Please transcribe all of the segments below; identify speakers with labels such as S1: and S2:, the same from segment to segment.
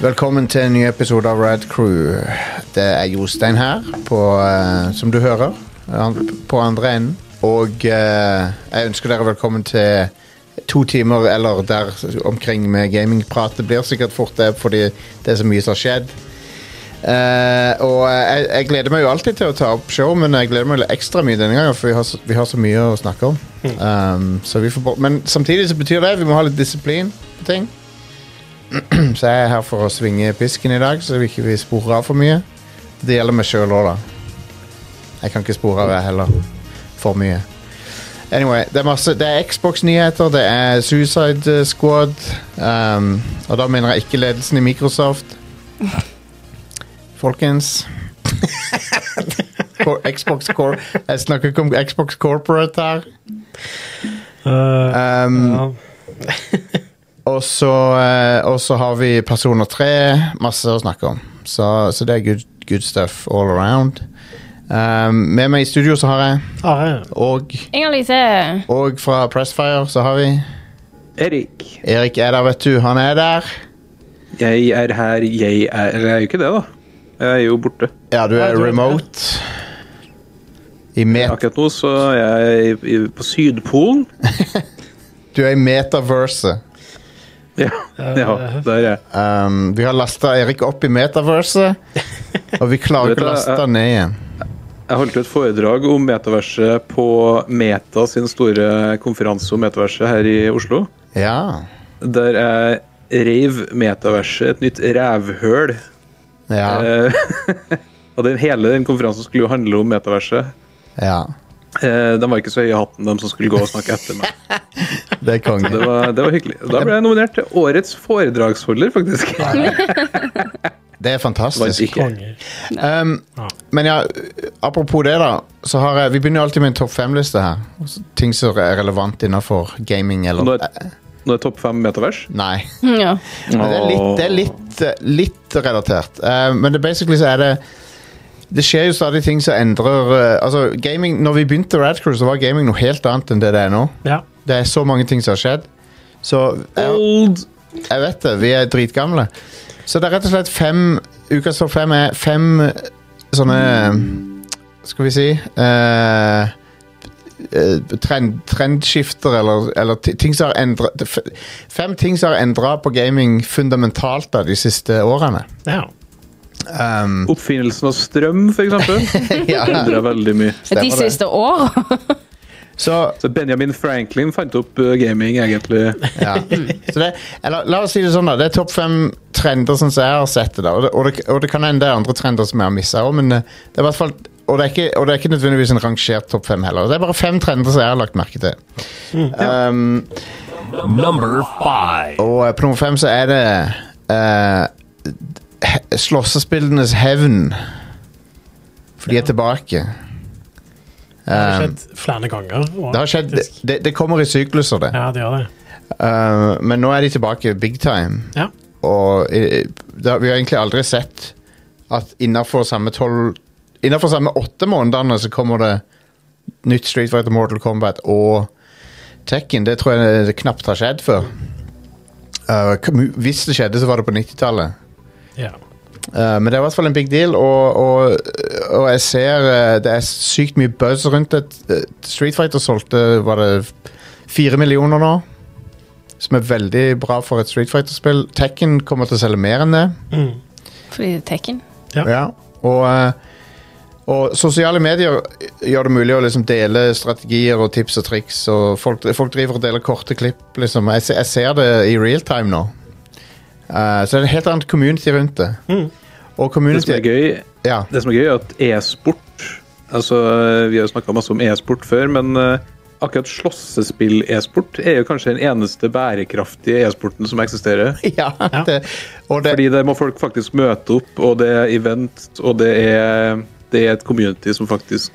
S1: Velkommen til en ny episode av Rad Crew. Det er Jostein her, på, eh, som du hører, han- på andre enden. Og eh, jeg ønsker dere velkommen til to timer eller der omkring med gamingprat. Det blir sikkert fort det, fordi det er så mye som har skjedd. Eh, og jeg, jeg gleder meg jo alltid til å ta opp show, men jeg gleder meg litt ekstra mye denne gangen, for vi har, så- vi har så mye å snakke om. Um, så vi får, bort- men samtidig så betyr det vi må ha litt disiplin på ting. Så jeg er her for å svinge pisken i dag, så vi ikke vi sporer av for mye. Det gjelder meg sjøl òg, da. Jeg kan ikke spore av jeg heller. For mye. Anyway, det er masse Det er Xbox-nyheter, det er Suicide Squad. Um, og da mener jeg ikke ledelsen i Microsoft. Folkens Cor- Xbox Cor Jeg snakker ikke om Xbox Corporate her.
S2: Eh,
S1: Um,
S2: ja.
S1: Og så, eh, og så har vi Personer 3, masse å snakke om. Så, så det er good, good stuff all around. Um, med meg i studio så har jeg,
S2: Ah, ja.
S1: og,
S3: Inger-Lise.
S1: og fra Pressfire så har vi
S4: Erik,
S1: Erik er der, vet du. Han er der.
S4: jeg er her, jeg er Eller jeg er jo ikke det, da. Jeg er jo borte.
S1: Ja, du
S2: Ja,
S1: er
S2: du er
S1: remote. I met,
S4: Akkurat nå så er jeg i- på Sydpolen.
S1: du er i metaverset.
S4: Ja, ja der er jeg.
S1: Um, vi har lasta Erik opp i metaverset, og vi klarer
S4: Du
S1: ikke å
S4: vet det,
S1: laste
S4: jeg-
S1: han ned igjen.
S4: Jeg holdt jo et foredrag om metaverset på Meta sin store konferanse om metaverset her i Oslo.
S1: Ja.
S4: Der jeg reiv metaverset et nytt rævhøl.
S1: Ja.
S4: Eh, og den, hele den konferansen skulle jo handle om metaverset.
S1: ja.
S4: Eh, de var ikke så høye i hatten, de som skulle gå og snakke etter meg.
S1: Det er konge.
S4: Det var, det var hyggelig. Da ble jeg nominert til årets foredragsholder, faktisk.
S1: Det er
S4: Vant
S1: fantastisk.
S4: ikke.
S2: Konge.
S1: Um,
S2: Ja.
S1: Men ja, apropos det, da. Så har jeg, vi begynner jo alltid med en topp fem-liste her. Altså, Ting som er relevant innafor gaming eller
S4: Nå er, nå er topp fem metavers.
S1: Nei.
S3: hm, Ja.
S1: Men det er litt, det er litt, eh, litt relatert. Eh, men det basically så er det Det skjer jo stadig ting som endrer eh, Altså, gaming Når vi begynte Radcrew, så var gaming noe helt annet enn det det er nå.
S2: ja.
S1: Det er så mange ting som har skjedd. Så jeg,
S4: Old
S1: jeg vet det. Vi er dritgamle. Så det er rett og slett fem Ukas topp fem er fem eh, sånne Skal vi si eh, eh, trend, Trendskifter, eller, eller ti- ting som har endra Fem ting som har endra på gaming fundamentalt da, de siste årene.
S2: ja.
S1: Um,
S4: Oppfinnelsen av strøm, for eksempel.
S1: ja,
S4: Endra veldig mye.
S3: De
S1: det.
S3: siste åra.
S1: så
S4: Så Benjamin Franklin fant opp eh, gaming, egentlig.
S1: Ja.
S2: Mm.
S1: Så det, eller, la oss si det sånn, da. Det er topp fem trender sånn som jeg har sett det. da Og det, og det, og det kan hende det er andre trender som jeg har missa òg, men eh, det er i hvert fall og det, er ikke, og det er ikke nødvendigvis en rangert topp fem heller. Det er bare fem trender som jeg har lagt merke til.
S2: Mm.
S1: Um,
S5: Number five.
S1: og eh, på nummer fem så er det eh, he- Slåssespillenes hevn. For de er tilbake.
S2: Det
S1: Um,
S2: har skjedd flere ganger. og-
S1: det har skjedd det,
S2: faktisk.
S1: det kommer i sykluser, det.
S2: Ja, det gjør det.
S1: Uh, men nå er de tilbake big time.
S2: Ja.
S1: Og eh, da, vi har egentlig aldri sett at innenfor samme tolv Innenfor samme åtte månedene så kommer det nytt Street Fighter, Mortal Kombat og Tekken. Det tror jeg det knapt har skjedd før. Eh, kom- hvis det skjedde, så var det på 90-tallet.
S2: ja.
S1: Eh, men det er i hvert fall en big deal, og, og, og jeg ser eh, det er sykt mye buzz rundt det. Eh, Street Fighter solgte var det fire millioner nå, som er veldig bra for et Street Fighter-spill. Tekken kommer til å selge mer enn det.
S2: Mm.
S3: Fordi det er Tekken.
S2: Ja.
S1: Ja, og, eh, og sosiale medier gjør det mulig å liksom dele strategier og tips og triks. Og folk, folk driver og deler korte klipp. Liksom. Jeg, se- jeg ser det i real time nå. Eh, så det er et helt annet community rundt det. Og
S4: Det som
S1: community
S4: er gøy,
S1: ja,
S4: det som er, gøy er at e-sport Altså, Vi har jo snakka masse om e-sport før, men eh, akkurat slåssespill-e-sport er jo kanskje den eneste bærekraftige e-sporten som eksisterer.
S1: ja,
S2: Ja.
S1: det, og det,
S4: Fordi der må folk faktisk møte opp, og det er event, og det er, det er et community som faktisk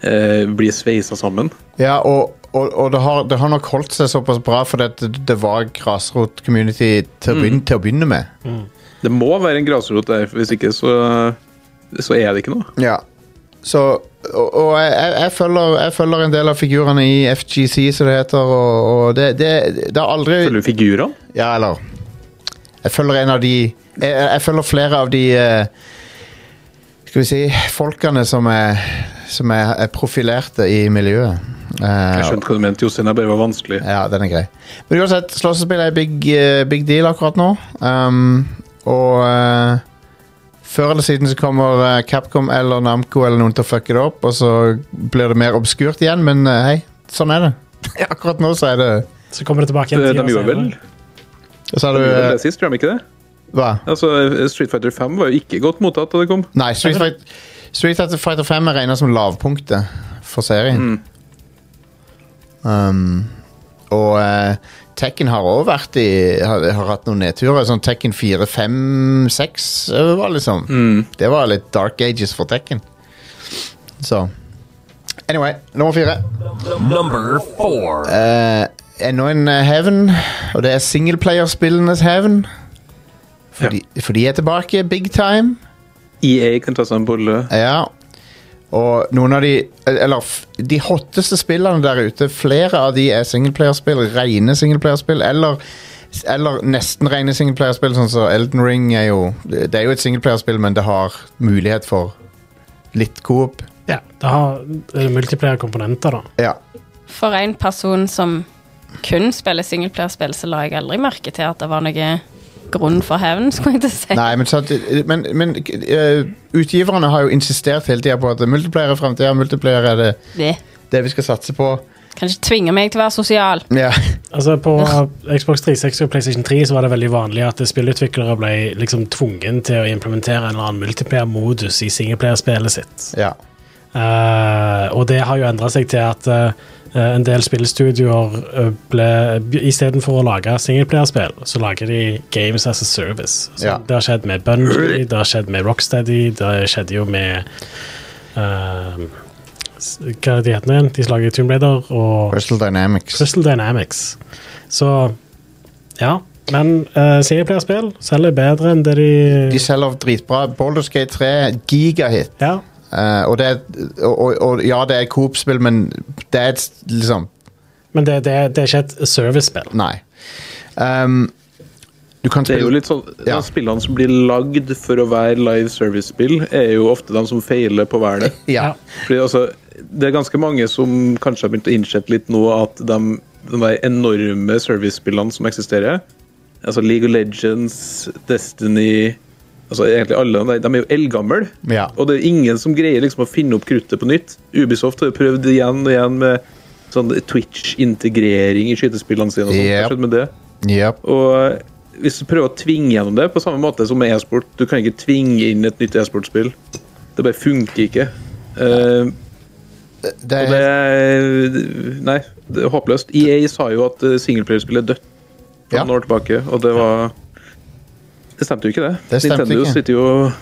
S4: eh, blir sveisa sammen.
S1: ja, og, og, og det, har, det har nok holdt seg såpass bra fordi at det, det var grasrot-community til, å begynne- til å begynne med.
S4: Det må være en grasrot der, for hvis ikke så, så er det ikke noe.
S1: Ja. Så, og, og jeg, jeg, jeg, følger, jeg følger en del av figurene i FGC, som det heter, og, og det, det, det har aldri
S4: Følger du figurene?
S1: Ja, eller Jeg følger en av de Jeg, jeg følger flere av de eh, Skal vi si Folkene som er, som er, er profilerte i miljøet. Eh,
S4: Jeg skjønte hva du mente, Jostein. Jeg bare var vanskelig.
S1: ja, den er grei. Men uansett, slåssespill er big, eh, big deal akkurat nå. Um, og eh, før eller siden så kommer eh, Capcom eller Namco eller noen til å fucke det opp, og så blir det mer obskurt igjen, men eh, hei, sånn er det. akkurat nå så er det
S2: Så kommer det tilbake
S4: Eh, De,
S2: en tid
S4: de gjorde vel
S1: Så er
S4: de
S1: det
S4: gjorde vel det
S1: eh,
S4: sist, gjorde de ikke det?
S1: Hva?
S4: Altså, Street Fighter 5 var jo ikke godt mottatt da det kom.
S1: Nei, Street, Fight, Street Fighter 5 er regna som lavpunktet for serien. Um, og eh, Tekken har òg vært i har, har hatt noen nedturer. Sånn Tekken 4, 5, 6 var liksom Det var litt dark ages for Tekken. Så Anyway, nummer fire.
S5: Number 4.
S1: Eh, Enda en eh, hevn, og det er singleplayerspillenes hevn. For,
S4: Ja.
S1: de, for de er tilbake big time.
S4: EA E kan ta seg en bolle.
S1: Ja. Og noen av de Eller f- de hotteste spillene der ute, flere av de er singleplayerspill, rene singleplayerspill, eller eller nesten rene singleplayerspill, sånn som Elden Ring er jo Det er jo et singleplayerspill, men det har mulighet for litt coop.
S2: Ja, det har eh, multiplayer komponenter, da.
S1: Ja.
S3: For en person som kun spiller singelplayerspill, så la jeg aldri merke til at det var noe grunn for hevn, skulle jeg til å si.
S1: Nei, men, sant, men, men eh, utgiverne har jo insistert hele tida på at multiplayer er framtida, multiplayer er det,
S3: Det.
S1: det vi skal satse på.
S3: Kan ikke tvinge meg til å være sosial.
S1: Ja.
S2: Altså På Xbox 360 og PlayStation 3 så var det veldig vanlig at spillutviklere ble liksom tvungen til å implementere en eller annen multiplayer-modus i singleplayerspillet sitt.
S1: ja.
S2: Eh, og det har jo endra seg til at eh, en del spillstudioer uh, ble Istedenfor å lage singelplayerspill, så lager de Games as a Service. Så
S1: Ja.
S2: Det har skjedd med Bungie, det har skjedd med Rocksteady, det skjedde jo med uh, Hva er det de heter igjen? De som lager Tomb Raider og
S1: Crystal Dynamics.
S2: Crystal Dynamics. Så ja. Men uh, singelplayerspill selger bedre enn det de,
S1: De selger dritbra. Baldur's Gate 3, gigahit.
S2: Ja.
S1: Eh, og, det er, og, og, og ja, det er et Coop-spill, men det er et s- liksom
S2: Men det, det, det er ikke et servicespill.
S1: Nei. Um, du kan
S4: Det er jo
S1: spille
S4: litt sånn,
S1: Ja.
S4: de Spillene som blir lagd for å være live service-spill, er jo ofte de som feiler på å være det.
S1: ja.
S4: Fordi altså, Det er ganske mange som kanskje har begynt å innsette litt nå at de, de der enorme servicespillene som eksisterer, altså League of Legends, Destiny altså egentlig alle de, der, de er jo eldgamle.
S1: Ja.
S4: Og det er ingen som greier liksom å finne opp kruttet på nytt. Ubisoft har jo prøvd igjen og igjen med sånn Twitch-integrering i skytespillene sine. og sånt. Hva
S1: Yep.
S4: skjedde med det?
S1: Yep.
S4: Og eh, hvis du prøver å tvinge gjennom det, på samme måte som med e-sport Du kan ikke tvinge inn et nytt e-sportspill. Det bare funker ikke. Eh,
S1: Det
S4: og det
S1: er,
S4: er- Nei, det er håpløst. EA sa jo at eh, singleplayerspill er dødt for
S1: Ja.
S4: noen år tilbake, og det var Det stemte jo ikke, det.
S1: Det stemte
S4: Nintendo
S1: ikke.
S4: sitter jo eh,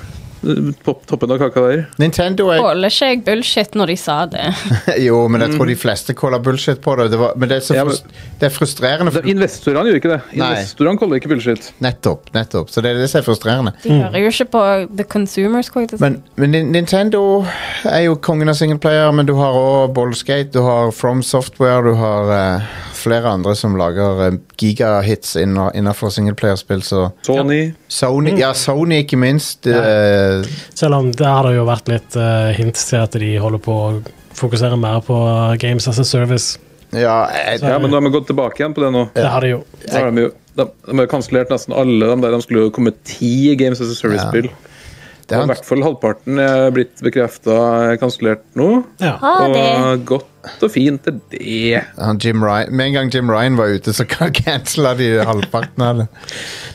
S4: på toppen av kaka der.
S1: Nintendo er
S3: Tåler ikke jeg bullshit når de sa det?
S1: Jo, men jeg tror de fleste caller bullshit på det. det var, men det er, så
S4: Mm. Ja, men-
S1: frust, det er frustrerende.
S4: De-
S1: For,
S4: Altså, Investorene gjorde ikke det.
S1: Nei.
S4: Investorene kaller det ikke bullshit.
S1: nettopp. nettopp Så det er det som er frustrerende.
S3: De hører jo ikke på The Consumer, skulle jeg til å si.
S1: Mm. Men, men Nin- Nintendo er jo kongen av singleplayer, men du har òg Ballskate, du har From Software, du har eh, flere andre som lager eh, gigahits innafor singleplayerspill, så
S4: Sony
S1: Sony, ja, Sony ikke minst. eh,
S2: Selv om der har det jo vært litt eh, hint til at de holder på å fokusere mer på Games as a Service.
S1: ja, eh, jeg,
S4: Ja, men nå har vi gått tilbake igjen på det nå.
S2: Det har de jo.
S4: Da har de, jo, de, de har jo kansellert nesten alle de der de skulle jo komme ti Games as a Service-spill.
S1: det
S4: Og I
S1: er,
S4: hvert fall halvparten er blitt bekrefta kansellert nå.
S2: Ja.
S3: Ah, det.
S4: Og godt og fint er det.
S1: han, han Jim Ryan, med en gang Jim Ryan var ute, så kan cancela de halvparten av det.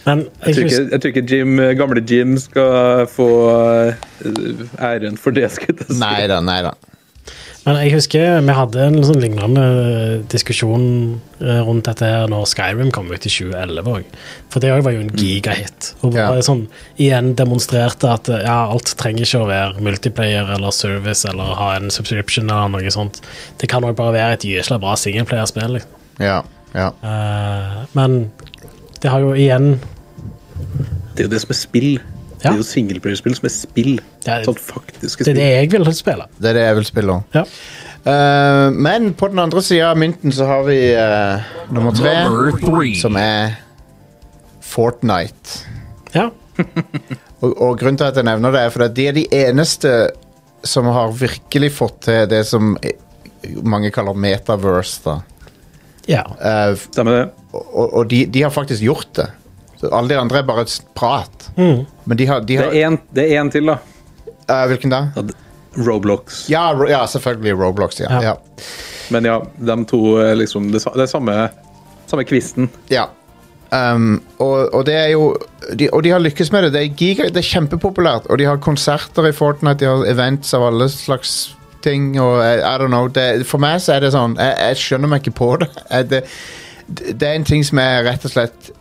S2: Men
S4: Jeg
S2: jeg
S4: tror ikke,
S2: husker,
S4: jeg tror ikke Jim, eh, gamle Jim skal få eh, æren for det. Skal jeg si.
S1: Nei da, nei da.
S2: men jeg husker vi hadde en sånn lignende diskusjon eh, rundt dette her når Skyrim kom ut i 2011 òg. For det òg var jo
S4: Mm.
S2: en gigahit. Og
S1: Ja.
S2: bare sånn igjen demonstrerte at eh, ja, alt trenger ikke å være multiplayer eller service eller ha en subscription eller noe sånt. Det kan òg bare være et gysla bra singelplayerspill. Liksom.
S1: Ja, ja.
S2: Eh, men det har jo igjen
S4: Det er jo det som er spill. Det
S2: Ja.
S4: er jo singleplayerspill som er spill.
S2: Ja,
S4: sånn faktiske
S2: Det er det
S4: spill.
S2: jeg vil spille.
S1: Det er det jeg vil spille om.
S2: Ja.
S1: Eh, men på den andre sida av mynten så har vi eh, nummer tre.
S5: Number 3.
S1: som er Fortnite.
S2: Ja.
S1: Og, og grunnen til at jeg nevner det, er fordi at de er de eneste som har virkelig fått til det som eh, mange kaller metaverse. da.
S2: ja.
S1: Eh,
S4: Stemmer det?
S1: og og de, de har faktisk gjort det. Så alle de andre er bare et s- prat. Men de har, de
S4: Det
S1: har
S4: er en- Det er én til, da.
S1: eh, Hvilken da?
S4: Ja, d- Roblox.
S1: Ja, Ro- ja, selvfølgelig Roblox. Ja.
S2: Ja.
S1: Ja.
S4: Men ja, de to er liksom Det, sa- det er samme, samme kvisten.
S1: Ja. Um, og, og det er jo de, Og de har lykkes med det. Det er, giga, det er kjempepopulært. Og de har konserter i Fortnite, de har events av alle slags ting. Og eh, I don't know det, For meg så er det sånn Jeg, jeg skjønner meg ikke på det. Jeg, det. Det er en ting som jeg rett og slett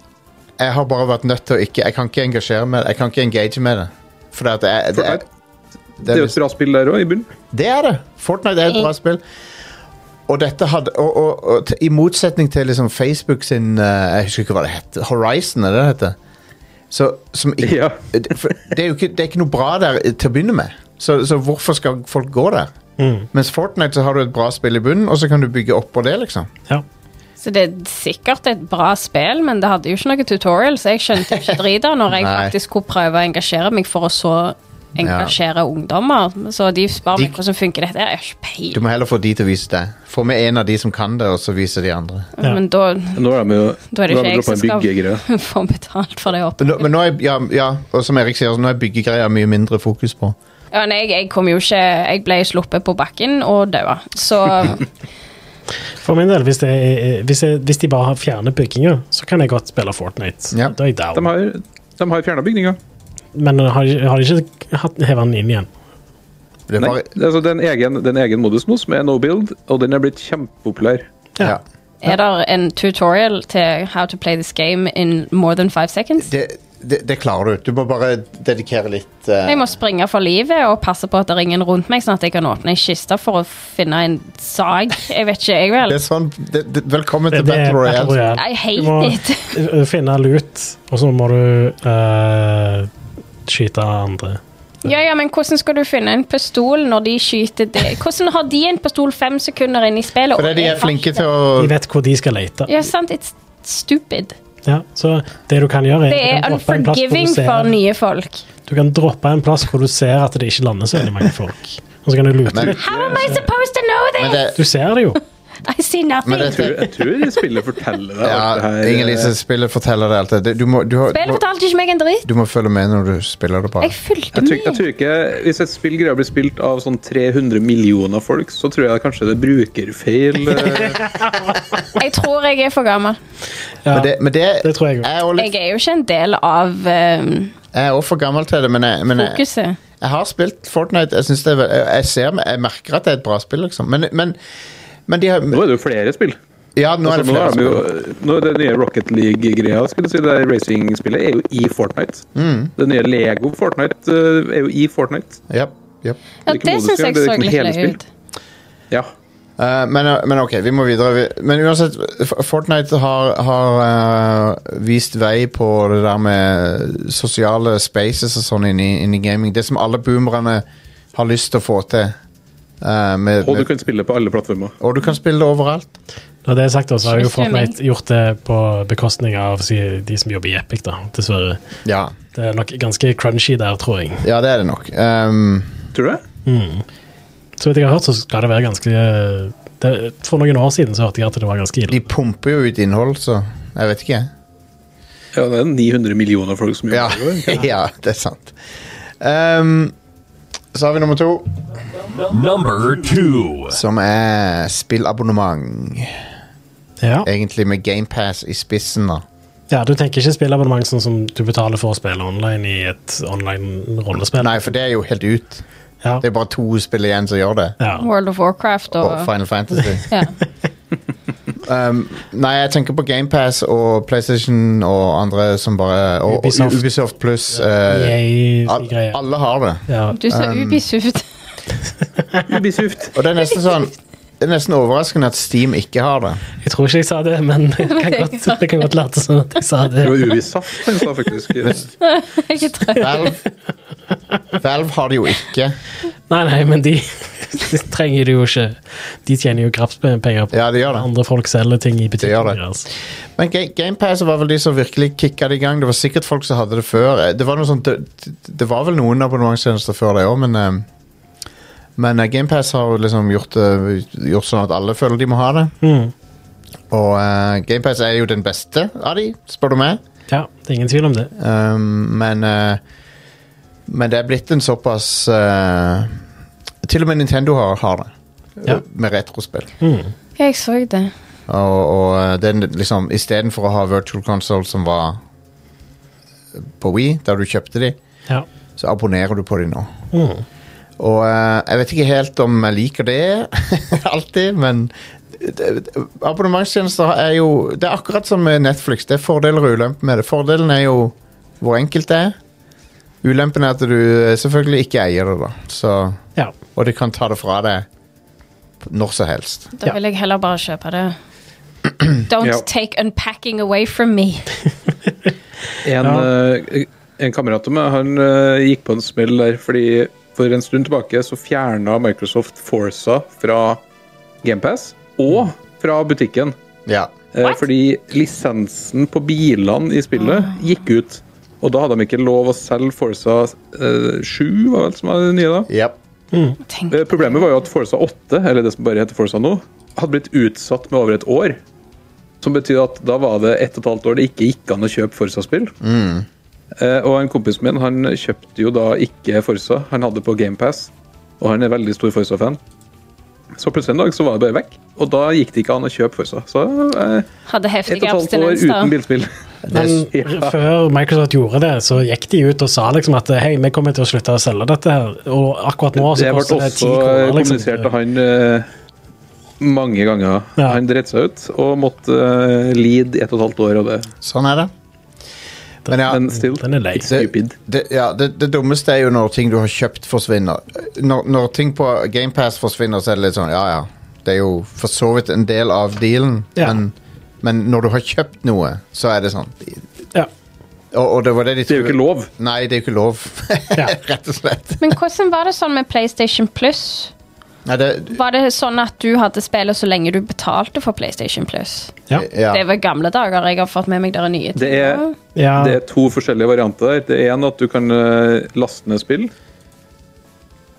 S1: Jeg har bare vært nødt til å ikke Jeg kan ikke engasjere meg Jeg kan ikke engage med det. Fordi at jeg, det, er-
S4: Fortnite. Det er jo et bra spill der òg, i bunnen.
S1: det er det. Fortnite er et bra spill. Og dette hadde Og, og, og t- i motsetning til liksom Facebook sin eh, Jeg husker ikke hva det het. Horizon, er det det heter? Så, som ikke,
S4: Ja.
S1: det, for det er jo ikke, det er ikke noe bra der eh, til å begynne med. Så, så hvorfor skal folk gå der?
S4: Mm.
S1: Mens Fortnite så har du et bra spill i bunnen, og så kan du bygge opp på det, liksom.
S2: ja.
S3: Så det er sikkert et bra spill, men det hadde jo ikke noe tutorial, så jeg skjønte jo ikke drit av når jeg
S1: Nei.
S3: faktisk skulle prøve å engasjere meg for å så engasjere ungdommer. Så de spør
S1: De-
S3: meg hvordan funker dette, jeg har ikke
S1: Du
S3: peiling.
S1: må heller få de til å vise deg. Få med en av de som kan det, og så vise de andre.
S2: Ja.
S3: Men da,
S4: Nå har de jo
S3: da er det
S4: nå
S3: ikke
S4: har de
S3: jeg som
S4: droppet en byggegreie.
S3: skal få betalt for det opp.
S1: Men nå, men nå er, ja, ja, og som Erik sier, nå er byggegreier mye mindre fokus på.
S3: Ja, nei, jeg, jeg kom jo ikke Jeg ble sluppet på bakken og daua. Så
S2: For min del, hvis, det er, eh, hvis, jeg, hvis de bare har fjernet bygginga, så kan jeg godt spille Fortnite.
S1: Ja.
S2: Da er jeg
S4: De
S2: down.
S4: har, de har fjerna bygninga.
S2: Men har, de- har de ikke hatt- hevet den inn igjen?
S1: Det er
S4: Nei,
S1: bare,
S4: altså, det er en egen, det er en egen modus nå som er no build, og den er blitt kjempepopulær.
S1: ja.
S3: er det en tutorial til how to play this game in more than five seconds.
S1: det, det, det klarer du. Du må bare dedikere litt eh,
S3: Jeg må springe for livet og passe på at det er ingen rundt meg, sånn at jeg kan åpne ei kiste for å finne en sag. Jeg vet ikke, jeg vel.
S1: Det er sånn det, det, Velkommen
S2: Det,
S1: til
S2: det er
S1: Battle Royale.
S3: I hate
S2: Du må
S3: it.
S2: eh, finne lut, og så må du eh, skyte andre.
S3: Ja, ja, men hvordan skal du finne en pistol når de skyter det? Hvordan har de en pistol fem sekunder inn i spillet?
S1: Fordi
S3: Og
S1: de er
S3: jeg har
S1: flinke
S3: ikke-
S1: til å
S2: De vet hvor de skal lete.
S3: Ja, sant? It's stupid.
S2: Ja, så det du kan gjøre,
S3: Det
S2: er,
S3: er
S2: du kan droppe en
S3: unforgiving
S2: plass hvor
S3: for
S2: du,
S3: nye folk.
S2: ser, du kan droppe en plass hvor du ser at det ikke lander så veldig mange folk. Og så kan du lute
S1: Men-
S2: litt.
S3: How am I supposed to know
S1: Men
S3: this?
S1: det,
S2: Du ser det jo.
S3: I see nothing.
S1: Men det-
S4: Jeg tror, jeg tror spillet forteller deg alt
S1: ja,
S4: det her. eh,
S1: Inger-Lise, spillet forteller deg alt det. Du må, du, har-
S3: Spillet
S1: du,
S3: fortalte ikke meg en dritt.
S1: du må følge med når du spiller det bare.
S3: Jeg fulgte
S4: Jeg tror, jeg
S3: med.
S4: tror ikke, Hvis et spill greier å bli spilt av sånn 300 millioner folk, så tror jeg kanskje det er brukerfeil. eh,
S3: Jeg tror jeg er for gammel.
S2: Ja,
S1: Men det, men det,
S2: det tror jeg
S1: jeg
S2: òg.
S1: er også
S3: Jeg
S1: litt-
S3: er jo ikke en del av ehm,
S1: jeg er også for gammel til det, men jeg, men jeg,
S3: fokuset.
S1: jeg har spilt Fortnite. Jeg, synes det er, vel- jeg, jeg, ser, jeg merker at det er et bra spill, liksom. Men, men, men de har
S4: Nå er det jo flere spill.
S1: Ja, nå er det
S4: Altså, nå
S1: flere
S4: er det,
S1: spill.
S4: jo, nå er det nye Rocket League-greia. skulle jeg si, Det er racing-spillet er jo i Fortnite.
S1: Mm.
S4: Det nye Lego Fortnite eh, er jo i Fortnite.
S1: Japp, japp.
S3: Ja,
S4: Hvilken
S3: det
S4: modus
S3: syns
S4: er
S3: jeg
S4: det? Det
S3: så
S4: er ikke
S3: litt
S4: hele
S3: løye ut.
S4: Ja.
S1: Eh, men, eh, men ok, vi må videre. Vi- Men uansett, F- Fortnite har, har eh, vist vei på det der med sosiale spaces og sånn inni, inni gaming. Det som alle boomerne har lyst til å få til. eh, med,
S4: Og du
S1: med,
S4: kan spille på alle plattformer.
S1: og du kan spille det overalt.
S2: Når det er sagt, også, har jo
S3: Strømming.
S2: Fortnite gjort det på bekostning av si, de som jobber i Epic, da, dessverre.
S1: Ja,
S2: Det er nok ganske crunchy der, tror jeg.
S1: ja det er det nok. Ehm,
S4: Tror du det?
S2: Så vidt jeg har hørt, så skal det være ganske det, For noen år siden så hørte jeg at det var ganske
S1: de
S2: ille.
S1: pumper jo ut innhold, så jeg vet ikke. jeg.
S4: Ja, det er 900 millioner folk som
S1: Ja,
S4: gjør det.
S1: ja det er sant. Ehm, så har vi nummer to,
S5: Number two.
S1: som er spillabonnement.
S2: Ja.
S1: Egentlig med GamePass i spissen, da.
S2: ja, Du tenker ikke spillabonnement sånn som du betaler for å spille online i et online rollespill?
S1: Nei, for det er jo helt ut.
S2: Ja.
S1: Det er bare to spill igjen som gjør det.
S2: Ja.
S3: World of Warcraft og
S1: Og Final Fantasy.
S3: ja.
S1: Nei, jeg tenker på GamePass og PlayStation og andre som bare Og Ubisoft,
S2: Ubisoft.
S1: Ubisoft pluss. eh, al-
S2: EA-greier.
S1: alle har det.
S2: Ja.
S3: Du så
S1: Um,
S3: ubisoft.
S4: Ubisoft.
S1: Og det er nesten sånn Det er nesten overraskende at Steam ikke har det.
S2: Jeg tror ikke jeg sa det, men jeg kan godt, jeg kan godt late som at jeg sa det.
S4: Det var Ubisoft, jeg sa faktisk.
S3: Jeg er trøtt.
S1: Valve, Valve har det jo ikke.
S2: Nei, nei, men de Det trenger de jo ikke. De tjener jo krapspenger på
S1: Ja, de gjør det.
S2: andre folk selger ting i altså. butikken
S1: det.
S2: deres.
S1: Men Ga- Game Pass var vel de som virkelig kicka det i gang. Det var sikkert folk som hadde det før. Eh, Det var, noe sånt, det, det var vel noen abonnementstjenester før det òg, men eh, Men eh, Game Pass har jo liksom gjort, det- gjort sånn at alle føler de må ha det. Og eh, Game Pass er jo den beste av de, spør du meg.
S2: Ja, det er ingen tvil om det.
S1: Um, men eh, Men det er blitt en såpass eh, Til og med Nintendo har, har det.
S2: Ja.
S1: Med retrospill.
S3: Jeg så det.
S1: Og, og eh, den liksom Istedenfor å ha virtual console som var eh, på Wii, der du kjøpte de,
S2: Ja.
S1: så abonnerer du på de nå.
S2: Mm.
S1: Og eh, jeg vet ikke helt om jeg liker det alltid, men det- det- abonnementstjenester er jo Det er akkurat som med Netflix. Det er fordeler og ulemper med det. Fordelen er jo hvor enkelt det er. Ulempen er at du eh, selvfølgelig ikke eier det, da. Så,
S2: ja.
S1: og de kan ta det fra deg når som helst.
S3: Da
S2: Ja.
S3: vil jeg heller bare kjøpe det. Don't
S4: Ja.
S3: take unpacking away from me.
S4: En,
S2: Ja.
S4: eh, en kamerat av meg han eh, gikk på en smell der, fordi for en stund tilbake så fjerna Microsoft Forsa fra GamePass og fra butikken.
S1: Ja.
S4: Eh,
S3: What?
S4: Fordi lisensen på bilene i spillet gikk ut. Og da hadde de ikke lov å selge Forsa eh, 7, var vel som var det nye da.
S1: Yep.
S3: Tenk.
S4: Eh, Problemet var jo at Forsa 8, eller det som bare heter Forsa nå, hadde blitt utsatt med over et år. Som betyr at da var det ett og et halvt år det ikke gikk an å kjøpe Forsa-spill. Eh, Og en kompis min han kjøpte jo da ikke Forsa, han hadde på GamePass. Og han er veldig stor Forsa-fan. Så plutselig en dag så var det bare vekk, og da gikk det ikke an å kjøpe Forsa. Så eh,
S3: Hadde
S4: ett og
S3: heftig
S4: et halvt år
S3: abstinens,
S4: uten
S3: da.
S4: bilspill.
S2: Men
S4: Ja.
S2: før Microsoft gjorde det, så gikk de ut og sa liksom at hei, vi kommer til å slutte å selge dette her. Og akkurat nå så
S4: Det ble
S2: koster det ti
S4: også eh,
S2: kroner. Liksom.
S4: kommunisert av han eh, mange ganger.
S2: Ja.
S4: Han dreit seg ut og måtte eh, lide i ett og et halvt år av det.
S1: Sånn er det. Men ja,
S4: Men still,
S2: Mm, Den er lei.
S4: it's stupid.
S1: det, ja det, det dummeste er jo når ting du har kjøpt, forsvinner. Når, når ting på GamePass forsvinner, så er det litt sånn ja ja. Det er jo for så vidt en del av dealen,
S2: Ja.
S1: men, men når du har kjøpt noe, så er det sånn.
S2: Ja.
S1: Og, og det var det de
S4: Det er jo ikke lov.
S1: Nei, det er jo ikke lov.
S2: Ja.
S1: Rett og slett.
S3: Men hvordan var det sånn med PlayStation Plus?
S1: Nei, det,
S3: Var det sånn at du hadde spillet så lenge du betalte for PlayStation Plus?
S2: Ja.
S1: ja.
S3: Det var gamle dager. Jeg har fått med meg dere nye
S4: Det er,
S3: tider.
S2: ja.
S4: det er to forskjellige varianter der. Det er en at du kan eh, laste ned spill.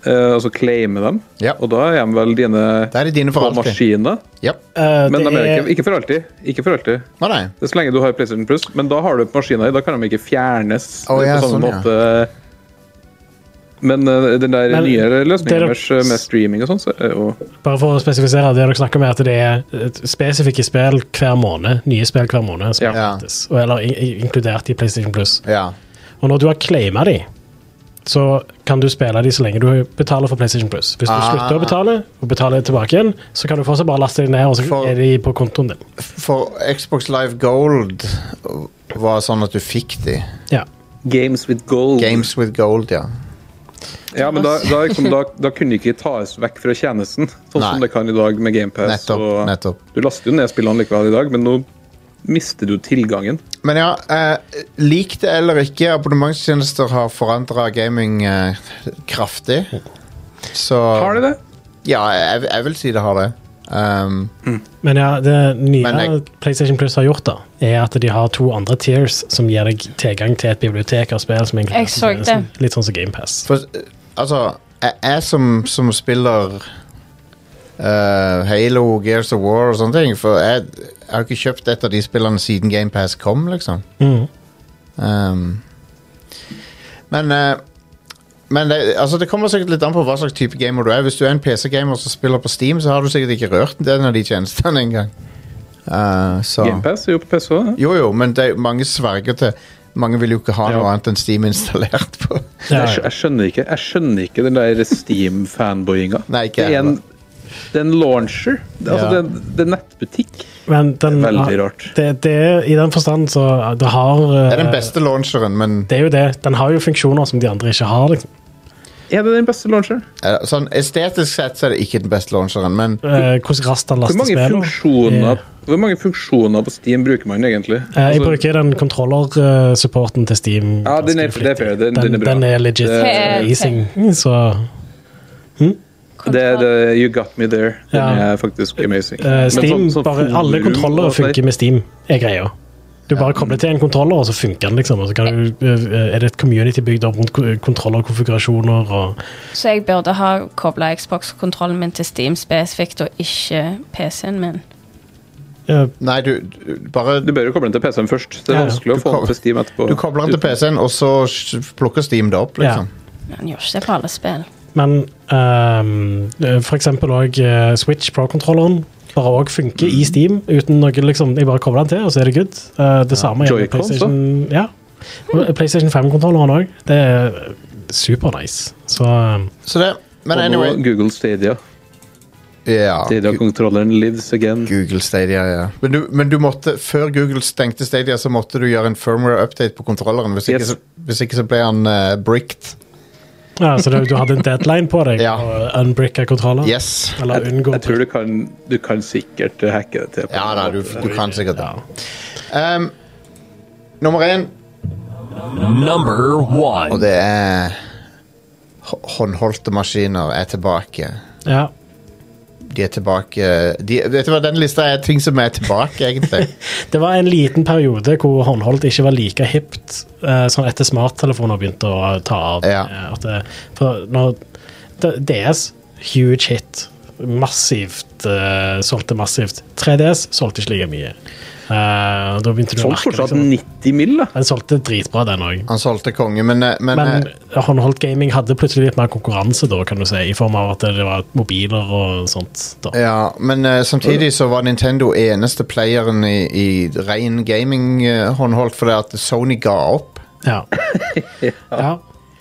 S4: eh, altså claime dem.
S1: Ja.
S4: Og da er de vel dine
S1: Da er det dine for
S4: på
S1: alltid.
S4: maskiner.
S1: Ja.
S2: Eh,
S4: Men de
S2: det
S4: er
S2: er-
S4: ikke, ikke for alltid. Ikke for alltid.
S1: Å, nei.
S4: Det er så lenge du har PlayStation Plus, men da har du på maskina di. Da kan de ikke fjernes
S1: Å, ja,
S4: på samme
S1: sånn, ja.
S4: måte. Men eh, den der
S2: Men
S4: nye
S2: det er-
S4: løsningen deres eh, med streaming og sånn, så er jo
S2: Bare for å spesifisere, det dere snakker om er at det er et spesifikke spill hver måned, nye spill hver måned, som
S4: Ja.
S2: er gratis, og- eller i- i- inkludert i PlayStation Plus.
S1: Ja.
S2: Og når du har claima de, så kan du spille de så lenge du betaler for PlayStation Plus. Hvis du
S1: Ah.
S2: slutter å betale, og betaler tilbake igjen, så kan du fortsatt bare laste de ned, og så
S1: For-
S2: er de på kontoen din.
S1: For Xbox Live Gold var sånn at du fikk de.
S2: Ja.
S4: Games with gold.
S1: Games with gold, ja.
S4: Ja, men da, da, liksom, da, da kunne det ikke tas vekk fra tjenesten, sånn
S1: Nei.
S4: som det kan i dag med GamePass.
S1: Nettopp, nettopp.
S4: Du laster jo ned spillene likevel i dag, men nå mister du tilgangen.
S1: Men ja, eh, lik det eller ikke, abonnementstjenester har forandra gaming eh, kraftig. Så
S4: Har de det?
S1: Ja, jeg, jeg vil si det har det. Um,
S2: Men ja, det nye
S1: Men jeg-
S2: PlayStation Plus har gjort, da, er at de har to andre tiers som gir deg tilgang til et bibliotek av spill som er inkludert
S3: Jeg så
S2: i
S3: det.
S2: tjenesten. Litt sånn som GamePass.
S1: for eh, altså, jeg, jeg som, som spiller eh, Halo, Gears of War og sånne ting For jeg, jeg har ikke kjøpt et av de spillene siden GamePass kom, liksom.
S2: Mm.
S1: Um, men eh, men det, altså det kommer sikkert litt an på hva slags type gamer du er. Hvis du er en PC-gamer som spiller på Steam, så har du sikkert ikke rørt den av de tjenestene engang. Uh, så
S4: GamePass er jo på PC òg.
S1: Jo, jo, men det, er- mange sverger til Mange vil jo ikke ha noe
S4: Ja.
S1: annet enn Steam installert på.
S2: Ja,
S4: Jeg, skj- jeg skjønner ikke Jeg skjønner ikke den der Steam-fanboyinga.
S1: Nei, ikke
S4: det, er en-
S1: heller.
S4: det er en launcher. Det, altså,
S1: Ja.
S4: det, er en- det er en nettbutikk.
S2: Men den,
S4: Veldig rart.
S2: Det, det er i den forstand så det har eh,
S1: Det er den beste launcheren, men
S2: Det er jo det. Den har jo funksjoner som de andre ikke har. Liksom.
S4: Er det den beste launcheren?
S1: eh, sånn estetisk sett så er det ikke den beste launcheren, men
S2: Eh, hvordan raskt den
S4: Hvor
S2: laster Eh,
S4: mange,
S2: spill.
S4: funksjoner, hvor mange funksjoner på Steam bruker man egentlig?
S2: Eh, jeg
S4: Altså,
S2: bruker den kontroller-supporten til Steam.
S4: Ja, den er-
S2: ganske flittig. eh,
S4: det er fair. Den- den er bra.
S2: legit
S4: Det-
S2: amazing, så
S4: Det er det You Got Me There. Den
S2: Ja.
S4: er faktisk amazing.
S2: Eh,
S4: Men
S2: Steam,
S4: sånn- sånn
S2: bare, alle
S4: forum
S2: kontroller
S4: og-
S2: funker med Steam, er greia. Du bare kobler til en kontroller, og så funker den. liksom. Og så kan du, eh, er det et community bygd opp rundt ko- kontroller og konfigurasjoner? og...
S3: Så jeg burde ha kobla Xbox-kontrollen min til Steam spesifikt, og ikke PC-en min.
S2: eh,
S1: Nei, du, du bare
S4: Du bør jo koble den til PC-en først. Det
S2: Ja,
S4: er
S2: ja.
S4: vanskelig å
S1: Du
S4: få den
S1: kobler-
S4: til Steam etterpå.
S1: Du kobler den til PC-en, og så s- plukker Steam det opp, liksom.
S3: Han gjør ikke det på alle spill.
S2: Men ehm, eh, for eksempel òg Switch Pro-kontrolleren bare òg funker
S4: Mm.
S2: i Steam. uten noe liksom, Jeg bare kobler den til, og så er det good. Eh, det samme gjelder
S4: Joy-Con,
S2: PlayStation, ja. Og PlayStation 5-kontrolleren òg. Det er super nice. Så ehm,
S1: Så det. Men
S4: Og nå
S1: anyway. Ah,
S4: Google Stadia.
S1: Ja.
S4: Stadia-kontrolleren lives again.
S1: Google Stadia, ja. Men du, men du måtte, før Google stengte Stadia, så måtte du gjøre en firmware-update på kontrolleren. Hvis ikke,
S4: Yes.
S1: så, hvis ikke så ble han eh, bricked.
S2: ja, så det, du hadde en deadline på deg
S1: Ja.
S2: å unbricke kontroller?
S1: Yes.
S2: Eller
S4: Jeg,
S2: unngå
S4: jeg tror du kan, du kan sikkert hacke det til. på
S1: Ja
S4: en
S1: da,
S4: måte.
S1: du, du kan sikkert det.
S2: ja.
S1: Um, nummer én,
S5: Number
S1: og
S5: one.
S1: det er hå- Håndholdte maskiner er tilbake.
S2: ja.
S1: De er tilbake de, Vet du hva, den lista er ting som er tilbake, egentlig.
S2: Det var en liten periode hvor håndholdt ikke var like hipt eh, sånn etter smarttelefoner begynte å ta av.
S1: Ja.
S2: Eh, At det, for når D- DS, huge hit. Massivt. eh, solgte massivt. 3DS solgte ikke like mye. Eh, og da begynte du å
S4: Solgt
S2: merke
S4: fortsatt
S2: liksom.
S4: 90 mill., da.
S2: Den solgte dritbra, den òg.
S1: Han solgte konge, men, eh, men,
S2: Men
S1: eh,
S2: håndholdt gaming hadde plutselig litt mer konkurranse, da, kan du si, i form av at det var mobiler og sånt. da.
S1: ja, men eh, samtidig så var Nintendo eneste playeren i, i ren gaming-håndholdt fordi at Sony ga opp.
S2: Ja. ja.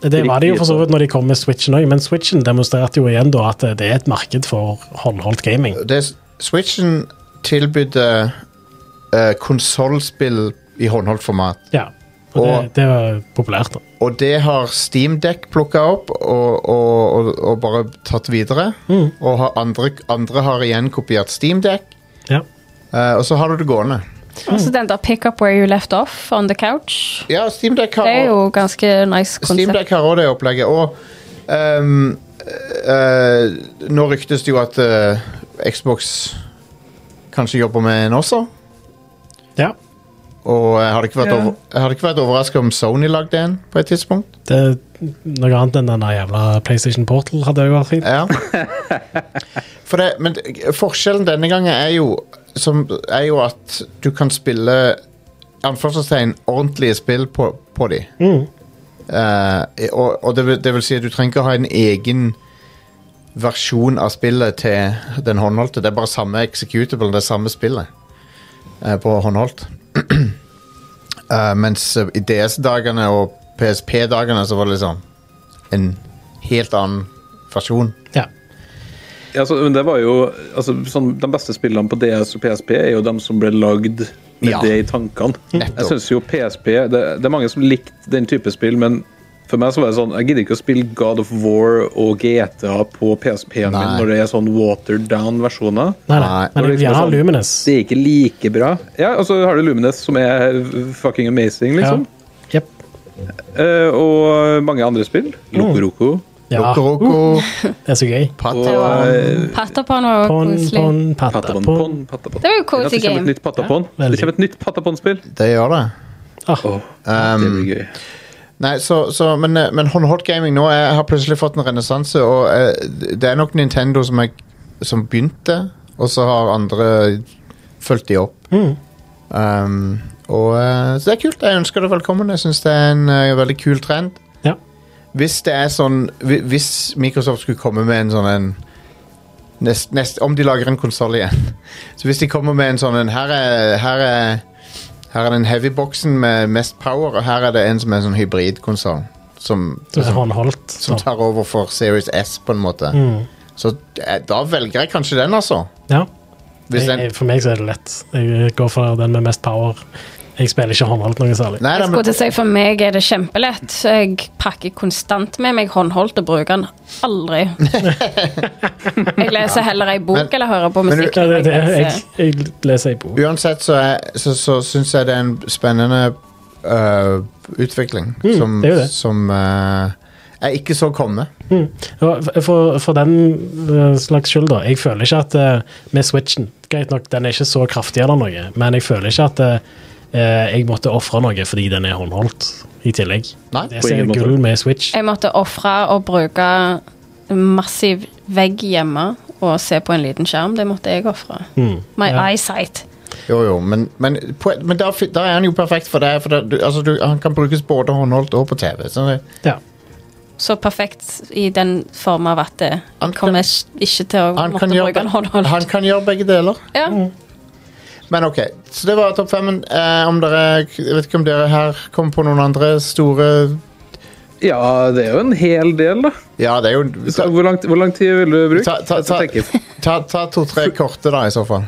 S2: Det var det jo for så vidt når de kom med Switchen òg, men Switchen demonstrerte jo igjen da at det er et marked for håndholdt gaming.
S1: det, Switchen tilbydde uh, konsollspill i håndholdt format.
S2: Ja. Og det,
S1: Og-
S2: det var populært. da.
S1: Og det har Steamdeck plukka opp og, og, og, og bare tatt videre. Og har andre, andre har igjen kopiert Steamdeck,
S2: Ja.
S1: uh, og så har du det gående.
S4: Mm.
S3: Også den der pick up where you left off on the couch.
S1: Ja, Steamdeck har
S3: Det er jo ganske nice konsept.
S1: Steamdeck har også det opplegget. Og ehm, eh, nå ryktes det jo at eh, Xbox kanskje jobber med en også.
S2: ja.
S1: Og jeg hadde ikke vært,
S4: Ja.
S1: over, jeg hadde ikke vært overraska om Sony lagde en på et tidspunkt.
S2: Det er noe annet enn den der jævla PlayStation Portal hadde jo vært fint.
S1: Ja. For det, men det- forskjellen denne gangen er jo, som, er jo at du kan spille anførselstegn ordentlige spill på, på de. Eh, og og det, vil, det vil si at du trenger ikke ha en egen versjon av spillet til den håndholdte. Det er bare samme executable, det er samme spillet eh, på håndholdt. Eh, mens eh, i DS-dagene og PSP-dagene så var det liksom en helt annen versjon.
S2: Ja.
S4: Ja, altså, men det var jo, altså, sånn, De beste spillene på DS og PSP er jo dem som ble lagd med
S1: Ja.
S4: det i tankene.
S1: Nettopp.
S4: Jeg synes jo PSP det, det er mange som likte den type spill, men for meg så var det sånn, jeg gidder ikke å spille God of War og GTA på PSP-en min
S1: Nei.
S4: når det er sånn watered down-versjoner.
S2: Nei, nei.
S1: Nei. liksom-
S2: Men jeg vil gjerne ha Luminous.
S4: Det er ikke like bra. Ja, Og så har du Lumines, som er fucking amazing,
S2: Ja.
S4: liksom.
S2: Jep.
S4: Eh, og mange andre spill. Loco Roco.
S2: Ja.
S1: Rokoroko,
S2: Det er så gøy.
S1: Pat-
S4: Og eh,
S3: Patapon var jo
S2: Pon,
S3: koselig.
S2: pon,
S4: Patapon.
S2: patapon.
S4: Pon, Patapon.
S3: Det var jo
S4: Ja,
S3: cozy
S4: det kommer
S3: game.
S4: et nytt Patapon.
S2: Ja, veldig.
S4: det kommer et nytt Patapon-spill.
S1: Det gjør det.
S2: Ah,
S4: Åh, det
S1: ehm,
S4: blir gøy.
S1: Nei, så, så, men, eh, men håndholdt gaming nå er, har plutselig fått en renessanse, og eh, det er nok Nintendo som, er, som begynte, og så har andre fulgt de opp. Um, og, eh, så det er kult. Jeg ønsker det velkommen. Jeg syns det er en eh, veldig kul trend.
S2: ja.
S1: Hvis det er sånn hvi- Hvis Microsoft skulle komme med en sånn en nest, nest, Om de lager en konsoll igjen. Så hvis de kommer med en sånn en Her er, her er, her er den heavy-boksen med mest power, og her er det en som er en sånn hybridkonsoll. Som,
S2: Det er
S1: som,
S2: håndholdt.
S1: som
S2: Så.
S1: tar over for Series S, på en måte.
S2: Mm.
S1: Så eh, da velger jeg kanskje den, altså.
S2: Ja.
S1: Hvis den,
S2: Jeg, for meg så er det lett. Jeg går for den med mest power. Jeg spiller ikke håndholdt noe særlig.
S1: nei,
S3: Jeg
S1: da,
S3: skulle
S1: men,
S3: til å si For meg er det kjempelett. Jeg pakker konstant med meg håndholdt og bruker den aldri. Jeg leser heller ei bok
S1: Men-
S3: eller hører på
S1: men du-
S3: musikk.
S2: Ja, det,
S3: enn
S2: det,
S3: jeg
S2: jeg,
S3: leser.
S2: jeg leser ei bok.
S1: uansett så, er- så, så syns jeg det er en spennende eh, øh, utvikling som,
S2: det Mm, er jo det.
S1: som eh, jeg ikke så komme.
S2: Og f- For, for den eh, slags skyld, da. Jeg føler ikke at eh, med Switchen Greit nok, den er ikke så kraftig eller noe, men jeg føler ikke at eh, eh, jeg måtte ofre noe fordi den er håndholdt i tillegg.
S1: Nei,
S2: Det
S4: på
S2: som er
S4: ingen måte.
S2: gull med Switch.
S3: Jeg måtte ofre å bruke massiv vegg hjemme og se på en liten skjerm. Det måtte jeg ofre. My
S2: Hmm. Ja.
S3: eyesight.
S1: Jo, jo, men, men, poe- men da, fi- da er han jo perfekt for deg, for da, du, altså, du, han kan brukes både håndholdt og på TV. Så det,
S2: Ja.
S3: Så perfekt i den form av at det
S1: Han
S3: jeg
S1: kan-
S3: kommer ikke- ikke til å
S1: han,
S3: måtte
S1: kan
S3: bruke
S1: gjøre,
S3: en håndholdt.
S1: han kan gjøre begge deler.
S3: ja.
S2: Hmm.
S1: Men ok, så det var topp femmen. Eh, om dere, jeg vet ikke om dere her kommer på noen andre store
S4: Ja, det er jo en hel del, da.
S1: Ja, det er jo
S4: Så hvor, lang, hvor lang tid vil du bruke?
S1: Ta, ta, ta,
S4: Jeg tenker,
S1: ta, ta to-tre korte, da, i så fall.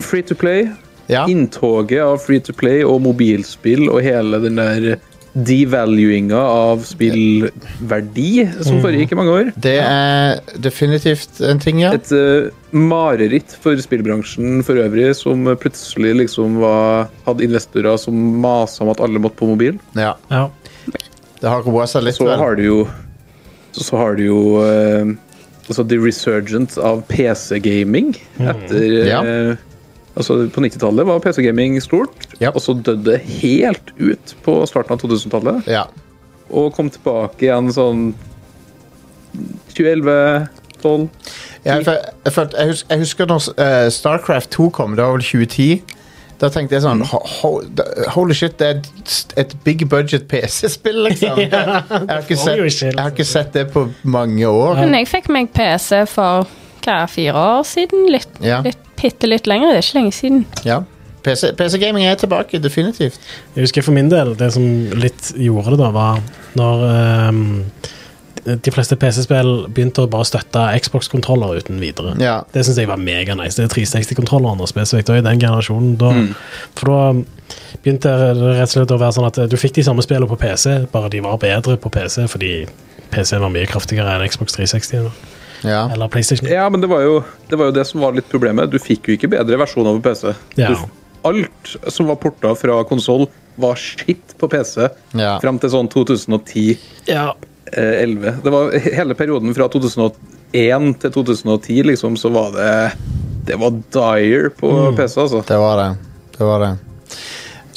S4: Free to play.
S1: Ja.
S4: Inntoget av free to play og mobilspill og hele den der devaluinga av spillverdi
S1: Mm.
S4: som foregikk i mange år.
S1: Det er definitivt en ting, ja.
S4: Et eh, mareritt for spillbransjen for øvrig, som plutselig liksom var, hadde investorer som masa om at alle måtte på mobil.
S1: ja.
S2: ja.
S1: Det har roa seg litt.
S4: Så
S1: vel.
S4: har du jo Så har du jo eh, altså the resurgence av PC-gaming etter
S1: Mm. Ja.
S4: eh, Altså På 90-tallet var PC-gaming stort,
S1: Ja.
S4: og så døde det helt ut på starten av 2000-tallet.
S1: Ja.
S4: Og kom tilbake igjen sånn 2011-12.
S1: Ja, jeg, fø- jeg, følte, jeg, husker, jeg husker når eh, Starcraft 2 kom, det var vel 2010. Da tenkte jeg sånn ho, ho, da- Holy shit, det er et, et big budget PC-spill, liksom. Jeg har, ikke
S2: får
S1: sett,
S2: jo ikke helt
S1: jeg har ikke sett det på mange år.
S3: Men jeg fikk meg PC for hva, fire år siden? Litt,
S1: Ja.
S3: litt, bitte litt lenger, det er ikke lenge siden.
S1: Ja. PC PC-gaming er tilbake, definitivt.
S2: Jeg husker for min del, det som litt gjorde det, da, var når ehm, de fleste PC-spill begynte å bare støtte Xbox-kontroller uten videre.
S1: Ja.
S2: Det syns jeg var meganice. Det er 360-kontrollerne spesifikt, og i den generasjonen. Da,
S1: Mm.
S2: For da ehm, begynte det rett og slett å være sånn at du fikk de samme spillene på PC, bare de var bedre på PC fordi PC var mye kraftigere enn Xbox 360 da.
S1: Ja.
S2: eller PlayStation.
S4: Ja, men det var, jo, det var jo det som var litt problemet. Du fikk jo ikke bedre versjoner på PC.
S2: Ja.
S4: Du, alt som var porta fra konsoll, var skitt på PC
S1: Ja.
S4: fram til sånn 2010-11.
S2: Ja.
S4: eh, Det var he- hele perioden fra 2001 til 2010, liksom, så var det Det var dire på PC, altså.
S1: Det var det. Det var det.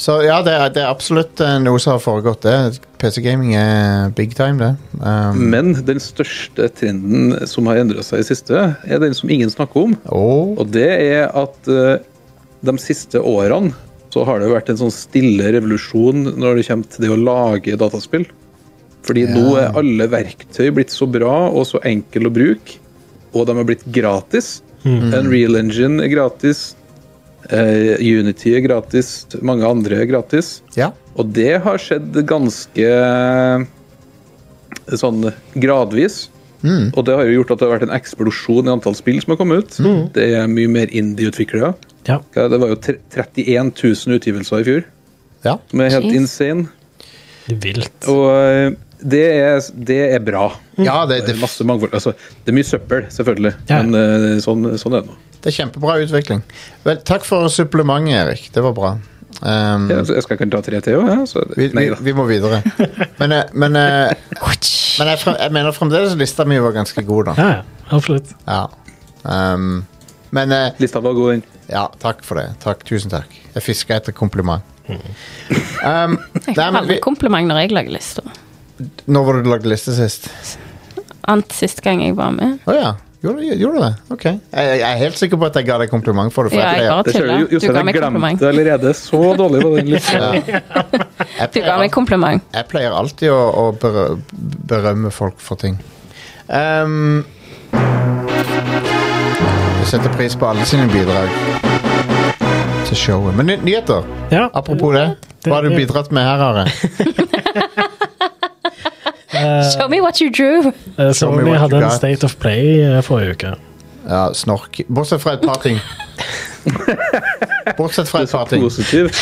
S1: Så ja, det er, det er absolutt eh, noe som har foregått, det. PC-gaming er big time, det. Um,
S4: Men den største trenden som har endra seg i siste, er den som ingen snakker om.
S1: og
S4: Og det er at eh, de siste årene så har det jo vært en sånn stille revolusjon når det kommer til det å lage dataspill. Fordi nå er alle verktøy blitt så bra og så enkle å bruke, og de er blitt gratis. Unreal Engine er gratis, eh, Unity er gratis, mange andre er gratis.
S1: Ja.
S4: Og det har skjedd ganske sånn gradvis.
S1: Mm.
S4: Og det har jo gjort at det har vært en eksplosjon i antall spill som har kommet ut.
S1: Mm.
S4: Det er mye mer indie-utviklere.
S2: Ja.
S4: Hva- Det var jo tre- 31 000 utgivelser i fjor,
S1: Ja.
S4: som er helt
S3: Jeez.
S4: insane.
S2: Det er Vilt.
S4: Og eh, det er, det er bra.
S1: Mm. ja det,
S4: Det
S1: det,
S4: er masse mangfold. Altså, det er mye søppel, selvfølgelig,
S2: Ja.
S4: men eh, sånn, sånn er det nå.
S1: det er kjempebra utvikling. Vel, takk for supplementet, Erik. Det var bra. Um,
S4: Ja, så jeg skal kunne ta tre til, jo, ja. Så,
S1: vi,
S4: nei
S1: vi,
S4: da.
S1: vi må videre. Men, eh, men, eh,
S3: Ouch.
S1: men jeg, frem, jeg mener fremdeles lista mi var ganske god, da.
S2: Ja, ja. Absolutt.
S1: Ja. Um, men eh,
S4: Lista var god, den.
S1: ja, takk for det. Takk, Tusen takk. Jeg fiska etter kompliment. Um,
S3: Jeg
S1: nei,
S3: får
S1: men
S3: aldri
S1: vi,
S3: kompliment når jeg lager lista.
S1: når var det du lagde liste sist?
S3: Annet sist gang jeg var med.
S1: Å ja. Gjorde, gjorde du det? Ok. Jeg, jeg er helt sikker på at jeg ga deg kompliment for det. For
S3: Ja, jeg bare
S1: jeg,
S4: Det ser
S3: tuller.
S4: du,
S3: Du ga
S4: Jostein
S3: meg
S4: har glemt
S3: kompliment.
S4: det allerede. Så dårlig var den lista.
S1: pleier, jeg,
S3: Du ga meg
S1: pleier,
S3: kompliment.
S1: jeg pleier alltid å, å berø- berømme folk for ting. Um, jeg setter pris på alle sine bidrag til showet. Men ny nyheter,
S2: Ja.
S1: apropos det. Hva har du bidratt med her, Are?
S4: Eh.
S3: Show me what you drew.
S2: Eh,
S1: Show me
S2: Sony
S1: what you
S2: hadde en
S1: got.
S2: State of Play eh, forrige uke.
S1: Ja, snork. Bortsett fra et par ting. Bortsett fra et par ting.
S4: Positiv.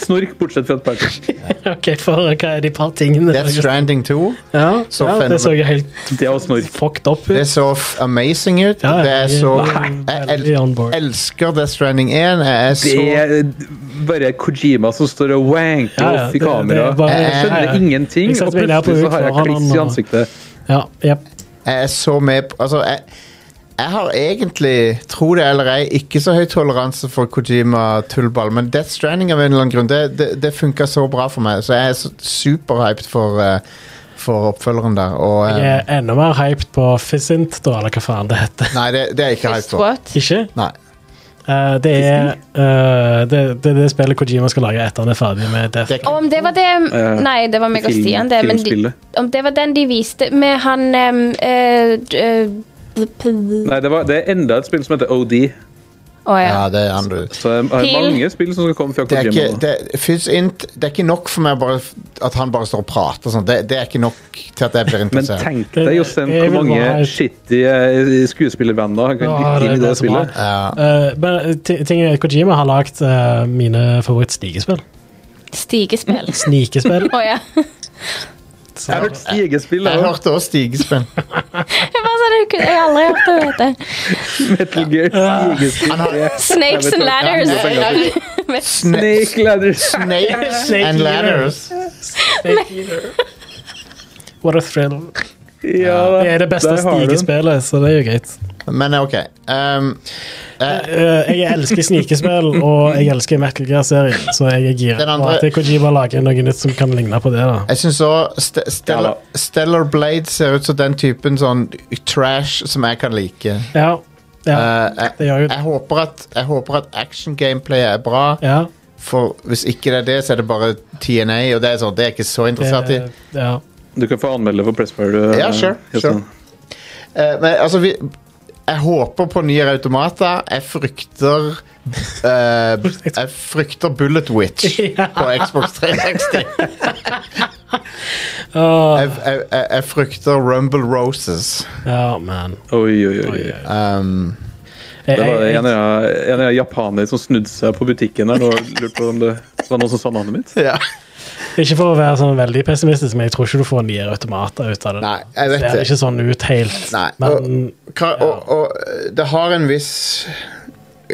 S4: Snork, bortsett fra et par ting.
S2: Ok, for hva er de par tingene?
S1: Death Stranding 2.
S2: Ja,
S1: Så
S2: ja det så jo helt
S4: Det er å snorke.
S2: fucked up
S1: Det
S2: ut.
S1: så f- amazing ut.
S2: Ja,
S1: Det er
S2: jeg-
S1: så
S2: Nei.
S1: Jeg
S2: Veldig on board.
S1: el elsker Death Stranding 1. Jeg er så
S4: Det er bare Kojima som står og wanker
S2: Ja, ja,
S4: off
S2: det-
S4: i
S2: det er
S4: kamera.
S2: bare-
S4: jeg skjønner
S2: ja, ja.
S4: ingenting,
S2: Jeg setter
S4: og
S2: meg ned på
S4: plutselig så har jeg
S2: foran
S4: kliss i
S2: han og-
S4: ansiktet.
S2: Ja, jep.
S1: Jeg er så med på Altså, jeg, jeg har egentlig, tro det eller ei, ikke så høy toleranse for Kojima-tullball, men Death Stranding av en eller annen grunn, det, det, det funka så bra for meg, så jeg er så superhyped for, eh, for oppfølgeren der. Og, eh,
S2: Jeg er enda mer hyped på Fizzint, da, eller hva faen det heter.
S1: Nei, det, det er jeg ikke hyped
S3: Fist
S1: for.
S3: what?
S2: Ikke?
S1: Nei.
S2: Eh, det er eh, det, det, er det spillet Kojima skal lage etter han er ferdig med Death.
S1: Det-
S3: Og om det var det
S4: Eh,
S3: Nei, det var meg og
S4: film-
S3: Stian, det. Men de,
S4: filmspillet.
S3: om det var den de viste med han um, eh, d- eh,
S4: Nei, det, var, det er enda et spill som heter OD.
S3: Å ja.
S1: Ja, det er andre.
S4: Så jeg har
S3: Pil.
S4: mange spill som skal komme fra
S1: Det er,
S4: Kojima.
S1: ikke,
S4: nå.
S1: det, Fizzint, det er ikke nok for meg bare, at han bare står og prater. og sånt. Det, det er ikke nok til at jeg blir
S4: Men
S1: interessert.
S4: tenk deg Jostein,
S2: Jeg
S4: hvor
S2: vil
S4: mange
S2: bare-
S4: shitty eh, skuespillervenner han kan
S2: Åh,
S4: dytte
S2: det
S4: inn i
S2: er
S4: det
S2: så bra.
S4: spillet.
S1: Ja.
S2: Eh, men ti- ting er, Kojima har lagd eh, mine favorittstigespill.
S3: Stigespill.
S2: Snikespill.
S3: Å ja.
S2: Så,
S4: Jeg har hørt stigespill,
S1: Jeg
S4: jeg har
S1: hørte også stigespenn.
S3: Jeg bare sa det, kunne jeg har aldri hørt det, vet du.
S4: hørt Metal Gear stigespill.
S3: Snakes and ladders.
S1: Ja, ja, ja.
S3: Men-
S4: Snake ladders.
S1: Snakes
S2: Snake
S1: and
S2: eater.
S1: ladders.
S2: What a thrill.
S4: Ja,
S2: Det er det beste
S4: der har du den.
S2: snikespillet, så det er jo greit.
S1: Men ok. Um, eh,
S2: Eh, jeg elsker snikespill, og jeg elsker Metal Gear-serien, så jeg er gira
S1: Den
S2: på
S1: andre-
S2: at Kojima lager noe nytt som kan ligne på det. da
S1: jeg syns òg Ste Stellar, Stellar Blade ser ut som den typen sånn trash som jeg kan like.
S2: Ja, ja
S1: Eh, jeg,
S2: det gjør jo det.
S1: jeg håper at, jeg håper at action-gameplayet er bra,
S2: Ja,
S1: for hvis ikke det er det, så er det bare TNA, og det er sånn, det er jeg ikke så interessert i.
S2: det, ja.
S4: Du kan få anmelde for Pressfire. du,
S1: Ja, sure,
S4: Jostein.
S1: Eh, men altså vi, Jeg håper på nye automater. Jeg frykter eh, Jeg frykter Bullet Witch på Xbox 360.
S2: Åh,
S1: Jeg, jeg, jeg, jeg frykter Rumble Roses.
S2: ja, man.
S4: Oi, oi, oi.
S2: Oi,
S1: Um,
S2: Jeg,
S4: Det var en
S2: jeg,
S4: eller annen- en eller annen japaner som snudde seg på butikken der og lurte på om det var noen som sa navnet mitt.
S1: ja.
S2: ikke for å være sånn veldig pessimistisk, men jeg tror ikke du får nye automater ut av det.
S1: Nei, jeg
S2: det
S1: vet
S2: ser
S1: det.
S2: ikke sånn ut helt.
S1: Nei,
S2: Men
S1: Ka og, og eh, det har en viss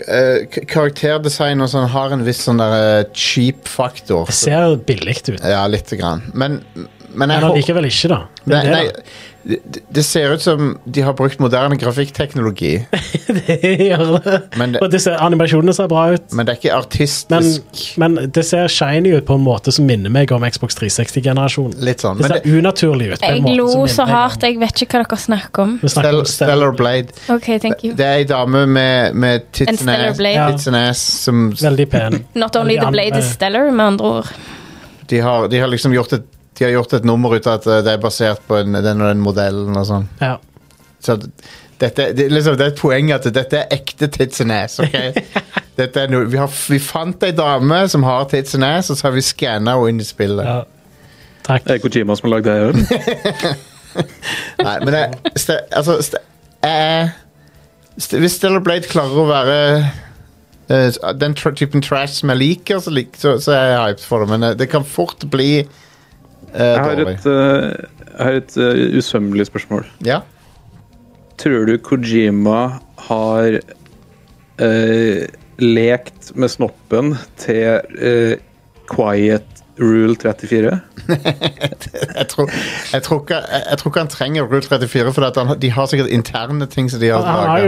S1: eh, k- Karakterdesign og sånn har en viss sånn der eh, cheap faktor.
S2: det ser billig ut.
S1: Ja, lite grann. Men, men jeg
S2: Men
S1: hå-
S2: allikevel ikke, da. Det
S1: Nei,
S2: er
S1: nei,
S2: det,
S1: det, det ser ut som de har brukt moderne grafikkteknologi,
S2: da. Det gjør det.
S1: men det,
S2: Og disse animasjonene ser bra ut.
S1: men det er ikke
S2: Men,
S1: artistisk
S2: men det ser shiny ut på en måte som minner meg om Xbox 360-generasjonen.
S1: Litt sånn.
S2: Det
S1: Men
S2: ser
S1: det,
S2: unaturlig ut. på en
S3: Jeg
S2: måte som
S3: lo så
S2: minner meg om-
S3: hardt, jeg vet ikke hva dere snakker om.
S2: Vi snakker om
S1: Stell- Stellar Blade
S3: OK, thank you.
S1: Det er ei dame med, med
S3: En
S1: tits and
S3: stellar
S1: ass-
S3: blade.
S1: tits and ass som
S2: Veldig pen.
S3: Not only the blade is stellar, med andre ord.
S1: de har, de har liksom gjort et de har gjort et nummer ut av at eh, det er basert på en, den og den modellen og sånn.
S2: Ja.
S1: Så d- dette, det, er liksom, det er et poeng at dette er ekte tits and ass. ok? Dette er noe, vi, har, vi fant ei dame som har tits and ass, og så har vi skanna henne inn i spillet.
S2: ja. Takk.
S4: Det er Kojima som har lagd det. her.
S1: Nei, men jeg, ste, altså, ste, eh, ste, Hvis Stellar Blade klarer å være eh, den tra typen trash som jeg liker, så, lik, så, så er jeg hyped for det. Men eh, det kan fort bli eh,
S4: Jeg har
S1: dårlig.
S4: et, eh, jeg har et eh, usømmelig spørsmål.
S1: Ja?
S4: Tror du Kojima har eh, lekt med snoppen til eh, Quiet Rule 34?
S1: Jeg, tror, jeg, tror ikke, jeg, jeg tror ikke han trenger Rule 34, for at han, de har sikkert interne ting som de har
S2: Han har,
S1: laget.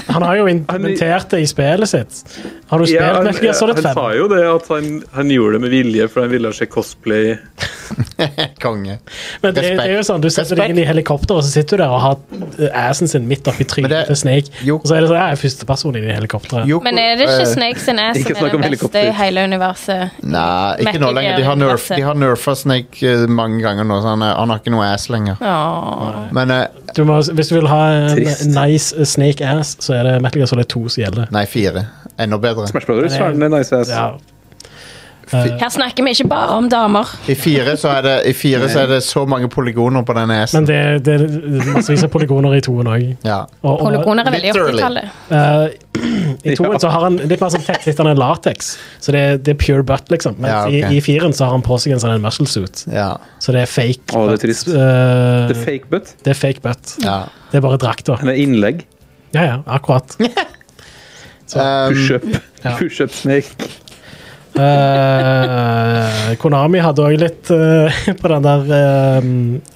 S2: jo, han har jo implementert det i spillet sitt. Har du spilt
S4: han,
S2: Metal Gear Solid
S4: han
S2: 5?
S4: sa jo det at han, han gjorde det med vilje, for han ville se cosplay.
S1: Konge.
S2: Men det, er- det er jo
S1: Respekt.
S2: sånn, Du setter deg
S1: Respekt.
S2: inn i helikopteret og så sitter du der og har eh, assen sin midt
S1: Men
S2: oppi
S1: det-
S2: trynet til Snake.
S1: Jo.
S2: Og så er det sånn, jeg er førsteperson inn i helikopteret.
S1: Yoko-
S3: Men er det
S1: eh,
S3: ikke Snakes and Ass
S4: ikke
S3: som
S4: snakk
S3: er
S4: om
S3: det beste
S4: helikopter.
S3: i hele universet?
S1: Nei, ikke nå
S3: Metal
S1: lenger. De
S3: Gear
S1: har, nerf,
S3: masse.
S1: de har nerfa Snake eh, mange ganger nå, så han, er- han har ikke noe ass lenger.
S3: Åh.
S1: Men eh,
S2: Du må, hvis du vil ha en
S4: Trist.
S2: nice eh, snake ass, så er det Metal Gear Solid 2 som gjelder.
S1: Nei, fire. Enda bedre.
S4: Smash Brothers har den en nice ass.
S2: Ja.
S3: Her snakker vi ikke bare om damer.
S1: I fire så er det, i fire så, er det så mange polygoner på den
S2: Men
S1: nesen.
S2: det, det er massevis av polygoner i toen òg.
S1: Ja.
S2: Og, og
S3: Polygoner er veldig
S1: Literally.
S3: 80-tallet.
S2: eh, i toen så har han litt mer sånn tettsittende lateks, så det, er- det er pure butt, liksom. Mens
S1: Ja, ok.
S2: i, i firen så har han på seg en sånn en muscle suit,
S1: Ja.
S2: så det er fake.
S4: Å, det er
S2: butt,
S4: trist.
S2: eh,
S4: The fake butt.
S2: det er fake butt.
S1: ja.
S2: Det er bare drakta.
S4: Han er innlegg.
S2: Ja, ja, akkurat.
S1: Um,
S4: Pushup.
S2: Ja.
S4: Pushup snake.
S2: Eh, Konami hadde òg litt eh, på den der eh,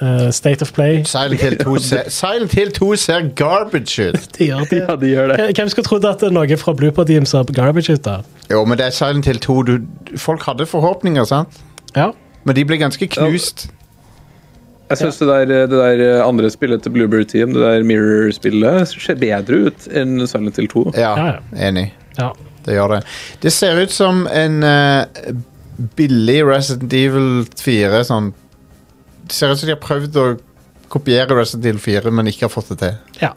S2: eh, State of Play.
S1: Silent Hill 2 ser, Silent Hill 2 ser garbage ut.
S2: De gjør det.
S4: Ja, de gjør det.
S2: Hvem skulle trodd at noe fra Blooper Team sa garbage ut der?
S1: Jo, men det er Silent Hill 2. Du, folk hadde forhåpninger, sant?
S2: Ja.
S1: Men de ble ganske knust.
S4: Jeg syns det, der- det der eh, andre spillet til Blueberry Team, det der Mirror-spillet, ser bedre ut enn Silent Hill 2.
S1: Ja,
S2: Ja,
S1: enig.
S2: ja.
S1: Det gjør det. Det ser ut som en eh, billig Resident Evil 4. Sånn. Det ser ut som de har prøvd å kopiere Resident Evil 4, men ikke har fått det til.
S2: ja.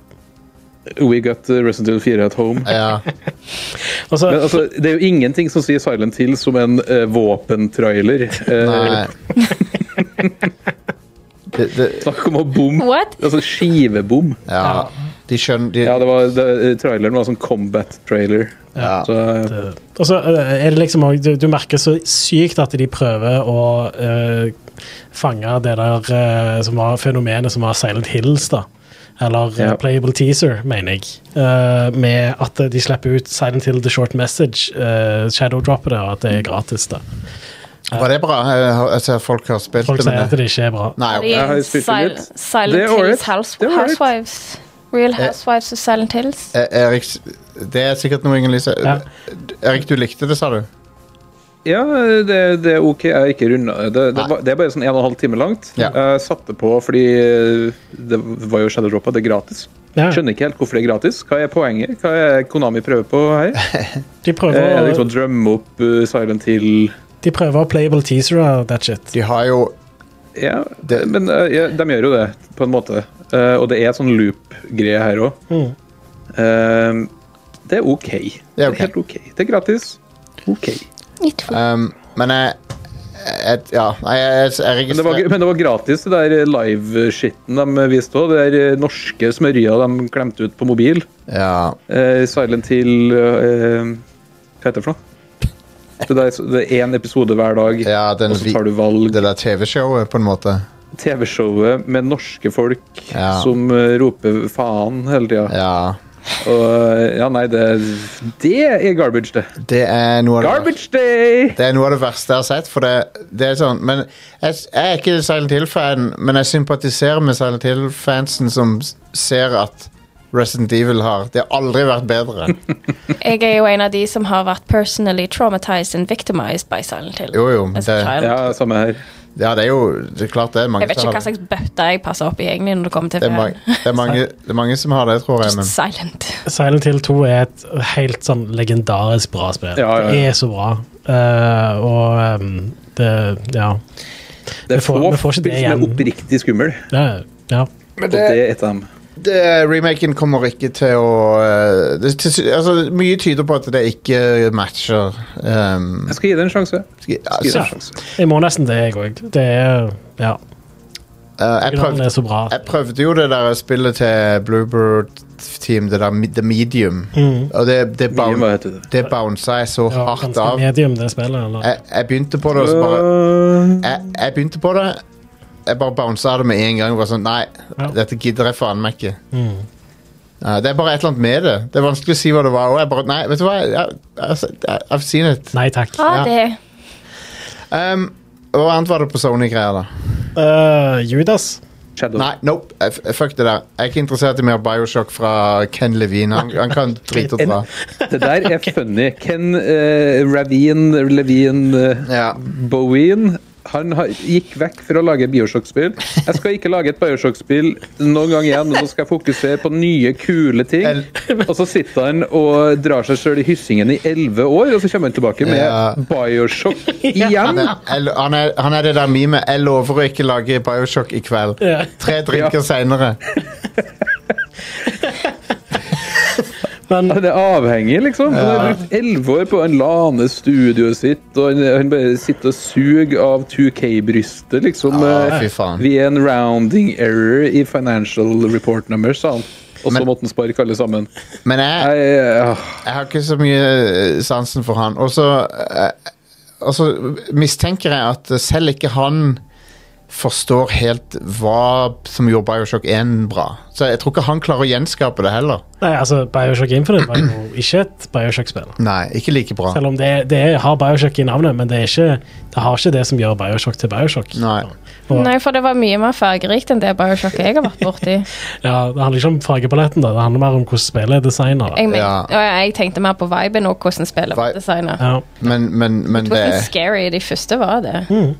S4: We got eh, Resident Evil 4 at home.
S1: Ja,
S2: Og så
S4: Men altså, det er jo ingenting som sier Silent Hill som en eh, våpentrailer.
S1: nei.
S4: Eh,
S1: Det, det,
S4: snakk om å bom.
S3: What?
S4: Altså skivebom.
S1: ja. De skjønner de,
S4: Ja, det var, det, eh, traileren var sånn combat-trailer.
S1: Ja.
S4: Så eh,
S2: Eh, Og så eh, er det liksom også- du, du merker så sykt at de prøver å eh, fange det der eh, som var fenomenet som var Silent Hills, da. Eller eh,
S4: Ja.
S2: Playable Teaser, mener jeg. Eh, med at eh, de slipper ut Silent Hill The Short Message, uh, Shadowdropper det, og at det er gratis. da.
S1: Var det bra? Jeg, har- jeg ser folk har spilt
S2: Folk
S1: det,
S2: sier at
S1: men det.
S2: det ikke er bra.
S1: Nei,
S3: Er de
S1: ok.
S4: jeg har jo spilt det
S3: Sil-
S4: litt. Det er
S3: Silent
S4: ålreit.
S3: Hills house,
S4: Det er ålreit.
S3: Housewives. Real Housewives og Silent Hills.
S1: Eh, Erik, det er sikkert noe Inger Lise
S2: Ja.
S1: Erik, du likte det, sa du?
S4: Ja, det, det er ok. Jeg er ikke runda. Det, det,
S1: Nei.
S4: var- det er bare sånn en og en halv time langt.
S1: Ja.
S4: Jeg satte på fordi eh, det var jo Shadow Droppa, det er gratis.
S2: Ja,
S4: Skjønner ikke helt hvorfor det er gratis. Hva er poenget? Hva er Konami prøver på her?
S2: de,
S4: Eh,
S2: prøver, å-
S4: liksom å drømme opp eh, Silent Hill
S2: de prøver å Playable Teaser eh, og that shit.
S1: De har jo
S4: Ja,
S1: Det-
S4: men eh, ja, de gjør jo det, på en måte. Eh, og det er sånn loop-greie her òg.
S2: Mm.
S4: det er OK. Det
S1: er
S4: er
S1: ok.
S4: helt OK. Det er gratis. OK.
S1: um, Men jeg, jeg Ja, nei, jeg, jeg, jeg
S4: Men det, var,
S1: registrerer
S4: men det var gratis, det der live-skitten de viste òg. Det der eh, norske smørja de klemte ut på mobil.
S1: ja,
S4: Eh, Silent Hill eh, Hva heter det for noe? Det, der, det er én episode hver dag,
S1: Ja, den
S4: og så
S1: vi-
S4: tar du valg.
S1: det der TV-showet, på en måte.
S4: TV-showet med norske folk
S1: Ja.
S4: som eh, roper faen hele tida.
S1: Ja.
S4: Og eh, ja, nei, det, det er garbage, det.
S1: Det er noe av det verste-
S4: Garbage day!
S1: det er noe av det verste jeg har sett. For det, det er sånn Men jeg, jeg er ikke Silent Hill-fan, men jeg sympatiserer med Silent Hill-fansen som s- ser at Resident Evil har Det har aldri vært bedre.
S3: Jeg er jo en av de som har vært personally traumatized and victimized by Silent Hill.
S1: Jo, jo.
S3: As a
S1: Det,
S3: child.
S4: Ja, samme her.
S1: ja, det er jo det er klart det er mange
S3: Jeg vet
S1: som
S3: ikke
S1: har
S3: hva
S1: det.
S3: slags bøtte jeg passer opp i egentlig når det kommer til
S1: Det er, mange, det, er mange, det er mange som har det, tror jeg. Men
S3: Just silent.
S2: Silent Hill 2 er et helt sånn legendarisk bra spill.
S4: Ja, ja, ja.
S2: Det er så bra. Eh, og um, det Ja. Vi
S4: Det er få
S2: får- vi får ikke det
S4: spill som er
S2: igjen.
S4: oppriktig skummel,
S2: Det, ja.
S4: og det er et av dem.
S1: det, remaken kommer ikke til å eh, det, til, altså, Mye tyder på at det ikke matcher. ehm,
S4: Jeg skal gi det en sjanse.
S1: skal-
S4: Gi det
S1: altså,
S4: en sjanse.
S2: Jeg må nesten det, jeg òg. Det er Ja.
S1: eh, jeg
S2: Finalen
S1: prøvde
S2: er så bra.
S1: Jeg prøvde jo det der spillet til Bluebird Team, det der Mi- The Medium. Og det, det,
S4: Mye,
S1: boun
S4: hva heter det?
S1: det bounsa jeg så
S2: Mm. Ja,
S1: hardt
S2: ganske
S1: av.
S2: medium, det spillet. Eller?
S1: Jeg, jeg begynte på det, og så
S4: Øh.
S1: bare jeg, jeg begynte på det. Jeg bare bounsa det med en gang. Bare sånn, Nei,
S2: Ja. Mm.
S1: dette gidder jeg faen meg ikke. Ja, det er bare et eller annet med det. Det er vanskelig å si hva det var. Og jeg bare, nei, vet du hva? Jeg, jeg, jeg, I've seen it.
S2: Nei takk.
S1: Ja.
S3: Ah, det
S1: Um, hva annet var det på Sony-greier, da?
S2: Eh, Judas.
S4: Shadow.
S1: Nei, nope. Jeg, f- fuck det der. Jeg er ikke interessert i mer Bioshock fra Ken Levine. Han, han kan drite og
S4: En-
S1: dra.
S4: Det der er funny. Ken eh, Ravine, Levine eh,
S1: Ja.
S4: Bowen han har, gikk vekk for å lage Bioshock-spill. Jeg skal ikke lage et Bioshock-spill noen gang igjen. Nå skal jeg fokusere på nye, kule ting. Og så sitter han og drar seg sjøl i hyssingen i elleve år, og så kommer han tilbake med
S1: Ja.
S4: Bioshock
S1: Han
S4: igjen!
S1: er, jeg- han, er, han er det der memet 'Jeg lover å ikke lage Bioshock i kveld'.
S2: Ja.
S1: Tre drinker
S4: Ja.
S1: seinere.
S2: Men
S4: Han er avhengig, liksom. Han har brukt elleve år på å lane studioet sitt, og han, han bare sitter og suger av 2K-brystet, liksom.
S1: Ah,
S4: Eh,
S1: fy faen.
S4: Vi er en rounding error i financial report numbers, sa han. Og så
S1: Men-
S4: måtte han sparke alle sammen.
S1: Men jeg,
S4: Nei, eh, ah,
S1: jeg har ikke så mye eh, sansen for han. Og så eh, og så mistenker jeg at selv ikke han forstår helt hva som gjorde Bioshock 1 bra. Så jeg tror ikke han klarer å gjenskape det heller.
S2: Nei, altså, Bioshock Infinite var jo ikke et Bioshock-spill.
S1: Nei, ikke like bra.
S2: Selv om det, det er, har Bioshock i navnet, men det, er ikke, det har ikke det som gjør Bioshock til Bioshock.
S1: Nei.
S2: Og,
S3: Nei, for det var mye mer fargerikt enn det Bioshock jeg har vært borti.
S2: Ja, det handler ikke om fargepaletten, da. det handler mer om hvordan spillet er designet. da.
S3: Jeg, men,
S1: Ja.
S3: ja. jeg tenkte mer på viben og hvordan spillet var
S1: Vi-
S3: designet.
S2: Ja.
S1: Men, men, men det,
S3: Hvordan scary de første var det.
S1: Mm.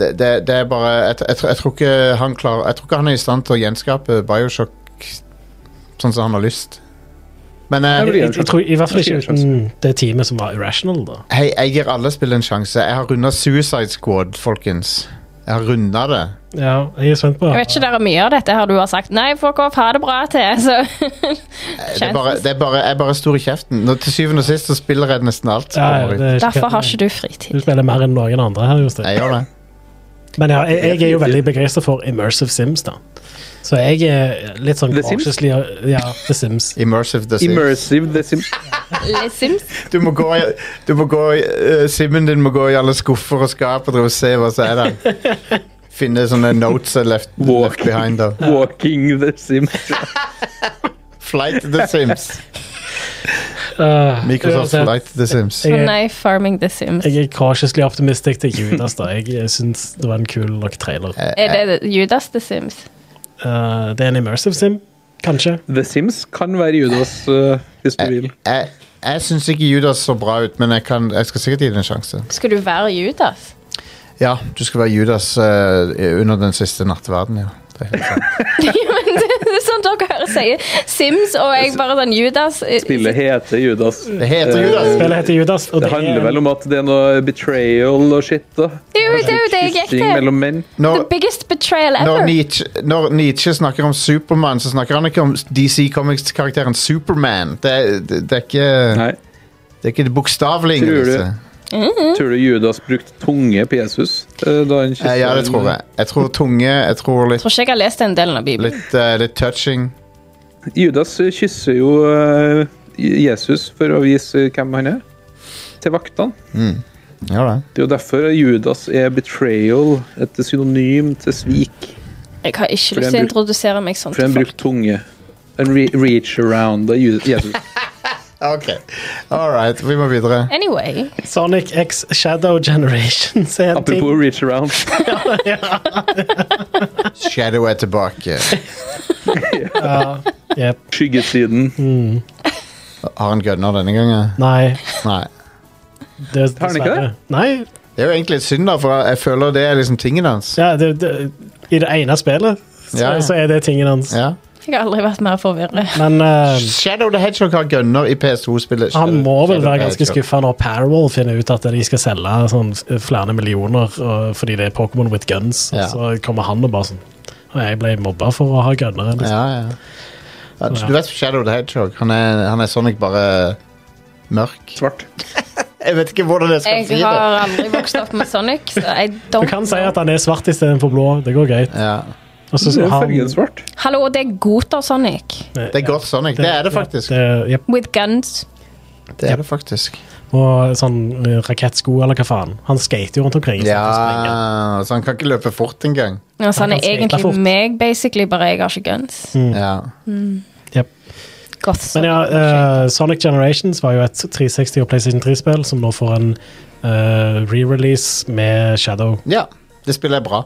S1: det, det, det er bare jeg, jeg, tror- jeg, tror ikke han klarer, jeg tror ikke han er i stand til å gjenskape Bioshock sånn som han har lyst. Men eh,
S4: Det blir
S2: Jeg,
S4: en
S2: jeg tror I hvert fall
S4: sjanse.
S2: ikke uten det teamet som var irrational, da.
S1: hei, jeg gir alle spill en sjanse. Jeg har runda Suicide Squad, folkens. Jeg har runda det.
S2: Ja, jeg er spent på
S3: Jeg vet ikke der er mye av dette her du har sagt 'nei, fuck off, ha det bra' til. Så
S1: Det er bare, det er bare, jeg er bare stor i kjeften. Når, til syvende og sist så spiller jeg nesten alt. som
S2: Ja,
S1: kommer ut.
S2: det er ikke
S3: derfor har
S2: helt-
S3: ikke du
S2: Du
S3: fritid.
S2: spiller mer enn noen andre her, Jostein.
S1: Jeg gjør det.
S2: Men ja, jeg, jeg er jo veldig begeistra for Immersive Sims, da. Så jeg er litt sånn
S4: The Sims?
S2: cautiously Ja, The Sims.
S1: Immersive the Sims.
S4: Immersive The Sims.
S3: Les Sims.
S1: Du må gå, i- du må gå i- eh, Simmen din må gå i alle skuffer og skap og drive og se hva som er der. Finne sånne notes are left, left
S4: Walk.
S1: behind. Da.
S4: Walking The Sims.
S1: Flight to the Sims.
S3: Ah,
S2: Uh,
S1: Microsoft
S2: uansett,
S1: Flight to the Sims.
S3: Å
S2: Jeg er,
S3: nei, Farming the Sims.
S2: jeg er cautiously optimistic til Judas, da. Jeg, jeg syns det var en kul nok trailer.
S4: Eh.
S3: Er det Judas the Sims?
S2: Uh, det er en Immersive Sim, kanskje.
S4: The Sims kan være Judas, eh, hvis du vil.
S1: Jeg, jeg syns ikke Judas så bra ut, men jeg, kan, jeg skal sikkert gi det en sjanse.
S3: Skal du være Judas?
S1: Ja, du skal være Judas eh, under den siste nattverden, ja. Det er helt sant.
S3: Ja, men det det er sånn dere hører sier Sims, og jeg bare sånn Judas eh,
S4: Spillet heter Judas. Eh,
S1: Det heter Judas.
S2: Spillet heter Judas. Og
S4: Det handler vel om at det er noe betrayal og shit. da.
S3: Det er jo det, er jo det jeg gikk
S4: Kyssing
S3: til.
S4: mellom menn.
S3: The
S1: Når,
S3: biggest betrayal
S1: når,
S3: ever.
S1: Nietzsche, når Nietzsche snakker om Supermann, så snakker han ikke om DC Comics-karakteren Superman. Det, er- det, det er ikke
S4: Nei.
S1: Det er ikke bokstavelig
S4: Tror du-
S1: engelse.
S4: Tror du Judas brukte tunge på Jesus? eh, Da han
S1: Mm. Eh, Ja, det tror jeg. Jeg tror tunge, jeg tror
S3: Jeg
S1: litt,
S3: tror ikke jeg har lest den delen av Bibelen.
S1: litt, eh, litt touching.
S4: Judas eh, kysser jo eh, Jesus for å vise hvem han er, til vaktene.
S1: Ja da.
S4: Det er jo derfor Judas er betrayal, et synonym til svik.
S3: Jeg har ikke lyst
S4: Fordi
S3: til å
S4: han bruk-
S3: introdusere meg sånn
S4: For
S3: til
S4: han
S3: folk.
S4: brukte tunge. En re reach around av Ju- Jesus.
S1: Ok. All right, vi må videre.
S3: Anyway,
S2: Sonic X Shadow Generations er en ting.
S4: Apropos reach around.
S1: Shadow er tilbake.
S2: Jep.
S4: Skyggesiden.
S2: Mm.
S1: Har han gunner denne gangen?
S2: Nei,
S1: Nei.
S2: det er
S4: Har han ikke
S2: dessverre
S4: det?
S2: Nei.
S1: Det er jo egentlig litt synd, da, for jeg føler det er liksom tingen hans.
S2: Ja, det, det, I det ene spillet så,
S1: Ja, ja.
S2: så er det tingen hans.
S1: Ja.
S3: jeg har aldri vært mer forvirret.
S2: Men eh,
S1: Shadow the Hedgehog har gunner i PS2-spillet.
S2: Han må vel være ganske
S1: skuffet
S2: skuffa når Parallel finner ut at de skal selge sånn f- flere millioner og, fordi det er Pokémon with guns.
S1: Ja.
S2: Så kommer han og bare sånn Og jeg ble mobba for å ha gunner. Liksom.
S1: Ja, ja. Ja, Du vet Shadow the Hedgehog? Han er, han er Sonic bare mørk.
S4: Svart.
S1: Jeg vet ikke hvordan jeg skal
S3: Jeg
S1: si det.
S3: har aldri vokst opp med Sonic, så I
S2: Du
S3: don't
S2: kan si at han er svart istedenfor blå. Det går greit.
S1: Ja.
S2: Og så
S4: Det er
S2: har han- eh,
S4: Fargen svart.
S3: Hallo, det er Goter Sonic.
S1: Det er godt Sonic. Det er det faktisk.
S2: Ja, det- jep.
S3: With guns.
S1: Det er det faktisk.
S2: Og sånn eh, rakettsko eller hva faen. Han skater jo rundt omkring. så han kan springe.
S1: Ja, så han kan ikke løpe fort engang.
S3: Ja, så Altså, han
S2: Han kan
S3: er
S2: skate
S3: egentlig
S2: fort.
S3: meg, basically, bare jeg har ikke guns.
S2: Mm.
S1: Ja.
S2: Jep.
S3: Goth
S2: Men
S3: Sonic.
S2: ja, eh, Sonic Generations var jo et 360 og PlayStation 3-spill som nå får en eh, re-release med Shadow.
S1: ja. Det spillet er bra.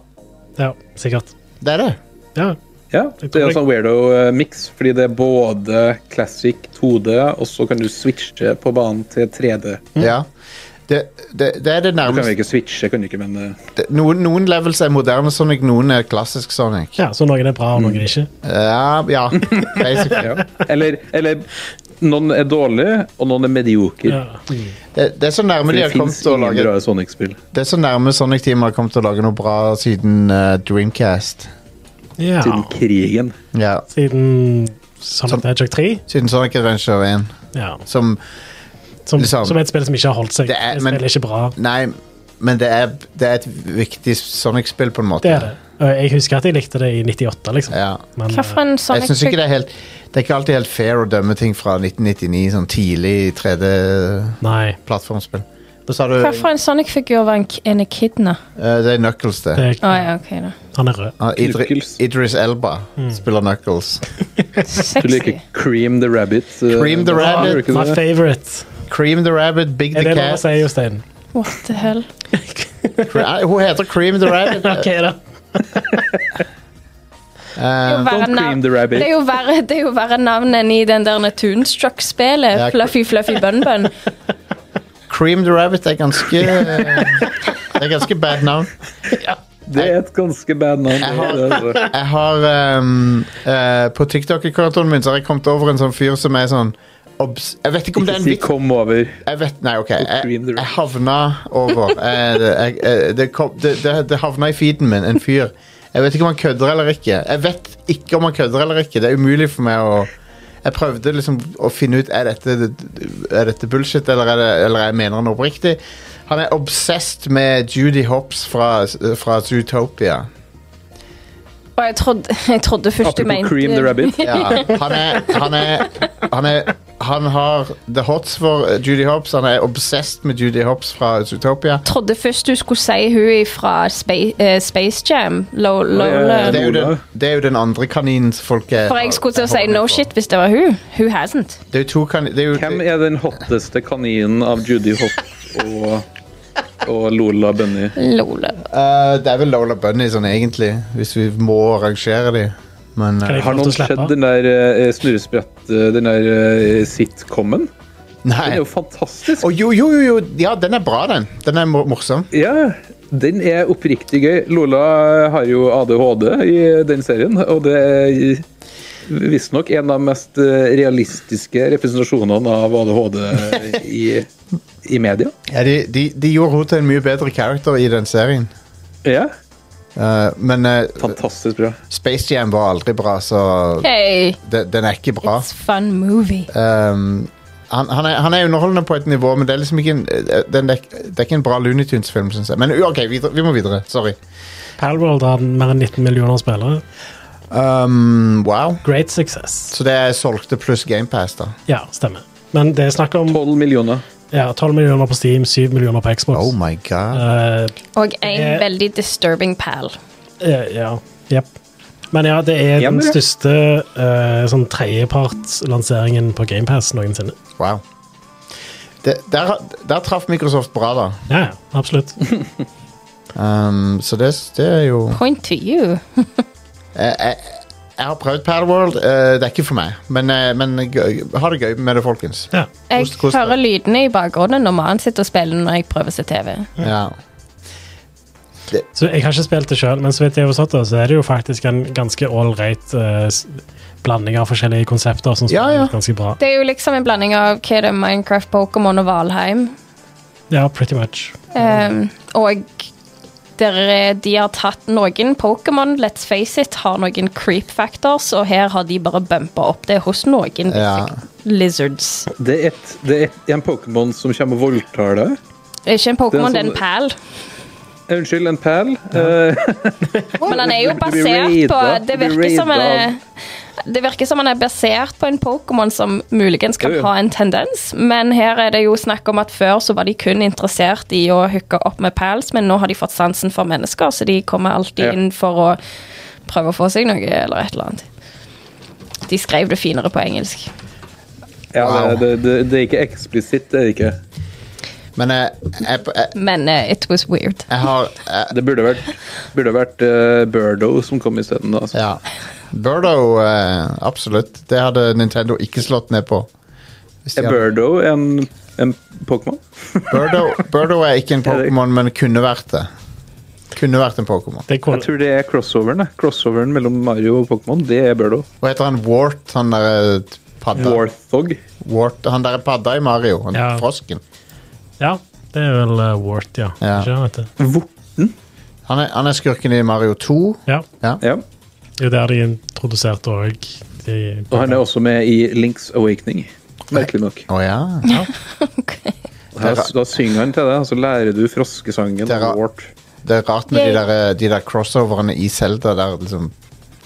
S2: Ja, sikkert.
S1: Det er det.
S2: Ja,
S4: Ja, det er en sånn weirdo-mix, fordi det er både classic 2D, og så kan du switche på banen til 3D.
S2: Mm.
S1: Ja. Det, det, det er det
S4: Du kan
S1: nærmeste
S4: jo ikke switche, kan du ikke, men eh,
S1: det- noen, noen levels er moderne Sonic, noen er klassisk Sonic.
S2: Ja, så noen er bra,
S1: Mm.
S2: og noen er ikke.
S1: Ja, ja. basically.
S4: ja. eller, eller noen er dårlige, og noen er medioker.
S2: Ja.
S1: Det, det er så nærme
S4: For
S1: de
S4: det
S1: har kommet
S4: fins
S1: til å
S4: ingen
S1: lage
S4: bra Sonic-spill.
S1: Det er så nærme Sonic Team har kommet til å lage noe bra siden eh, Dreamcast.
S2: ja.
S4: Siden krigen.
S1: Ja.
S2: Siden Sonic the Hedgehog 3,
S1: Siden Sonic Adventure 1.
S2: ja.
S1: Som
S2: som,
S1: Liksom.
S2: som er et spill som ikke har holdt seg.
S1: Det
S2: Det,
S1: er-
S2: er,
S1: men-
S2: spillet er ikke bra.
S1: Nei, men det er, det er et viktig Sonic-spill, på en måte.
S2: Det er det. Og Jeg husker at jeg likte det i 98, liksom.
S1: Ja.
S2: Men,
S3: Hva for en
S1: Jeg
S3: Sonic
S1: synes ikke det er helt Det er ikke alltid helt fair å dømme ting fra 1999, sånn tidlig 3D
S2: eh, Nei,
S1: plattformspill. Da sa du
S3: Hva for en Sonic-figur var en, k- en echidna?
S1: eh, Det er Knuckles, det.
S2: det er
S3: Å ja, ok da.
S2: Han er rød.
S1: Ah, Idri
S4: Knuckles.
S1: Idris Elba
S2: Hmm.
S1: spiller Knuckles.
S4: Du
S3: Sexy.
S4: liker Cream the Rabbit. eh,
S1: Cream the
S4: da,
S1: Rabbit.
S4: gjør du ikke
S2: My
S4: det?
S2: favorite.
S1: Cream the Rabbit, Big
S2: Er
S1: the
S2: det lov å
S1: Cat
S2: si, Jostein?
S3: What the hell?
S1: Cre- Nei, Hun heter Cream the Rabbit.
S2: Ok, da.
S3: Det er jo verre
S4: Don't
S3: nav-
S4: cream the rabbit.
S3: Det er jo verre, det er jo verre navn enn i den der Toonstruck-spelet.
S1: Ja,
S3: Fluffy Fluffy Bun Bun.
S1: Cream the Rabbit er ganske eh, Det er ganske bad navn.
S4: Det er et ganske bad navn. det er det, altså.
S1: Jeg har ehm, eh, På TikTok-kontoen min så har jeg kommet over en sånn fyr som er sånn obs Jeg vet ikke om det
S4: Ikke
S1: er en
S4: si
S1: vits.
S4: 'kom over'.
S1: Jeg vet, nei, ok. Jeg,
S4: Cream the
S1: jeg
S4: Rabbit.
S1: havna over eh, jeg, jeg, det, kom, det, det, det havna i feeden min, en fyr. Jeg vet ikke om han kødder eller ikke. Jeg vet ikke om han kødder eller ikke. Det er umulig for meg å Jeg prøvde liksom å finne ut Er dette, er dette bullshit, eller, er det, eller jeg mener han oppriktig. Han er obsessed med Judy Hopps fra, fra Zootopia.
S3: Og jeg trodde, jeg trodde først du
S4: Apropos
S3: mente eh,
S4: Cream the Rabbit.
S1: Ja, han er Han, er, han, er, han har the hots for eh, Judy Hopps. Han er obsessed med Judy Hopps fra Zootopia.
S3: trodde først du skulle si hun fra Space, eh, Space Jam. Low, low,
S4: ja, ja.
S1: Det er, jo
S4: Lola.
S1: den, det er jo den andre kaninen som folk er
S3: For jeg skulle til å
S1: er
S3: si
S1: hoppet
S3: no
S1: for.
S3: shit hvis det var hun. Hun hasn't.
S1: Det er jo to kaniner det, er
S4: Hvem
S1: jo-
S4: er den hotteste kaninen av Judy Hopp og, og Lola Bunny?
S3: Lole.
S1: Eh, det er vel Lola Bunny sånn egentlig, hvis vi må rangere de. Men eh,
S2: Kan jeg-
S4: Har
S2: Lov til
S4: noen
S2: å slippe.
S4: sett den der eh, snurresprett, eh, den der eh, sitcomen? Den
S1: Nei.
S4: er jo fantastisk.
S1: Å, jo, jo, jo, jo. Ja, den er bra, den. Den er mor- morsom.
S4: Ja, den er oppriktig gøy. Lola har jo ADHD i den serien, og det er visstnok en av de mest eh, realistiske representasjonene av ADHD i, i media.
S1: Ja, de, de, de gjorde henne til en mye bedre character i den serien.
S4: Ja,
S1: Eh, men eh,
S4: fantastisk bra.
S1: Space Jam var aldri bra, så
S3: Hey,
S1: de, den er ikke bra.
S3: it's fun movie.
S1: Um, han, han, er, han er underholdende på et nivå, men det er liksom ikke en, den, det, er, det er ikke en bra Looney Tunes-film, syns jeg. Men uh, OK, videre, vi må videre. Sorry.
S2: Palworld har mer enn 19 millioner spillere.
S1: Um, wow.
S2: Great success.
S1: Så det er solgte pluss GamePass, da.
S2: Ja, stemmer. Men det er snakk om
S4: 12 millioner.
S2: ja, 12 millioner på Steam, 7 millioner på Xbox.
S1: Oh my god.
S2: Eh,
S3: Og en
S2: Eh.
S3: veldig disturbing pal.
S2: eh, ja, jepp. Men ja, det er den
S4: Jammer, ja.
S2: største eh, sånn tredjepartslanseringen på GamePass noensinne.
S1: Wow. Det, der, der traff Microsoft bra, da.
S2: Ja, ja, absolutt.
S1: Um, så det, det er jo
S3: Point to you.
S1: jeg, jeg, jeg har prøvd Padworld. Uh, det er ikke for meg, men, eh, men gøy, ha det gøy med det, folkens.
S2: Ja.
S3: Jeg
S1: Kost- kost deg.
S3: hører lydene i bakgrunnen når mannen sitter og spiller når jeg prøver å se TV.
S1: Ja.
S2: Så jeg har ikke spilt det sjøl, men så vidt jeg har forstått det, så er det jo faktisk en ganske ålreit eh, s- blanding av forskjellige konsepter som
S1: Ja, ja.
S2: spiller ganske bra.
S3: Det er jo liksom en blanding av hva er det, Minecraft, Pokémon og Valheim.
S2: Ja, pretty much.
S3: Um, og der, eh, de har tatt noen Pokémon, let's face it, har noen creep factors, og her har de bare bumpa opp det hos noen
S1: Ja.
S3: lizards.
S4: Det er, et, det er et, en Pokémon som kommer og voldtar deg.
S3: Det er Ikke en sånn Pokémon,
S4: Det
S3: det
S4: er
S3: er
S4: en
S3: en pal.
S4: Eh, Unnskyld, en pæl. Eh,
S3: Men han er jo
S4: Du blir
S3: basert på
S4: raidet,
S3: Det
S4: du blir
S3: virker som han
S4: raidet
S3: er det virker som han er basert på en Pokémon som muligens kan
S4: Jo, jo.
S3: ha en tendens, men her er det jo snakk om at før så var de kun interessert i å hooke opp med pals, men nå har de fått sansen for mennesker, så de kommer alltid
S4: Ja.
S3: inn for å prøve å få seg noe eller et eller annet. De skrev det finere på engelsk.
S4: ja,
S1: Wow.
S4: det, det, det, det er ikke eksplisitt, det er det ikke.
S1: Men jeg, jeg, jeg,
S3: Men eh, it was weird.
S1: jeg har uh, jeg,
S4: Det burde vært, burde vært eh, Birdo som kom isteden. da, Altså.
S1: Ja. Birdo, eh, absolutt. Det hadde Nintendo ikke slått ned på. Hvis de
S4: Er
S1: hadde-
S4: Birdo en, en Pokémon?
S1: Birdo, Birdo er ikke en Pokémon, men kunne vært det. Kunne vært en Pokémon.
S2: Det er
S4: Jeg tror det er crossoveren. jeg. Crossoveren mellom Mario og Pokémon, det er Birdo.
S1: Hva heter han? Wart, han der eh, padda?
S4: Warthog.
S1: Wart, han der padda i Mario. Han
S2: Ja.
S1: frosken.
S2: Ja, det er vel eh, Wart, ja.
S1: Ja.
S2: Ikke sant, vet du?
S4: Vorten.
S1: Han er, han er skurken i Mario 2.
S2: ja.
S1: Ja.
S4: Ja.
S2: Det er jo der de introduserte òg de
S4: Og han er også med i Links Awakening. Merkelig nok.
S1: Å ja.
S4: Her, da synger han til deg, og så lærer du froskesangen.
S1: Det er ra-
S4: av Wart.
S1: Det er rart med de
S3: Yay.
S1: der, eh, de der crossoverne i Zelda der liksom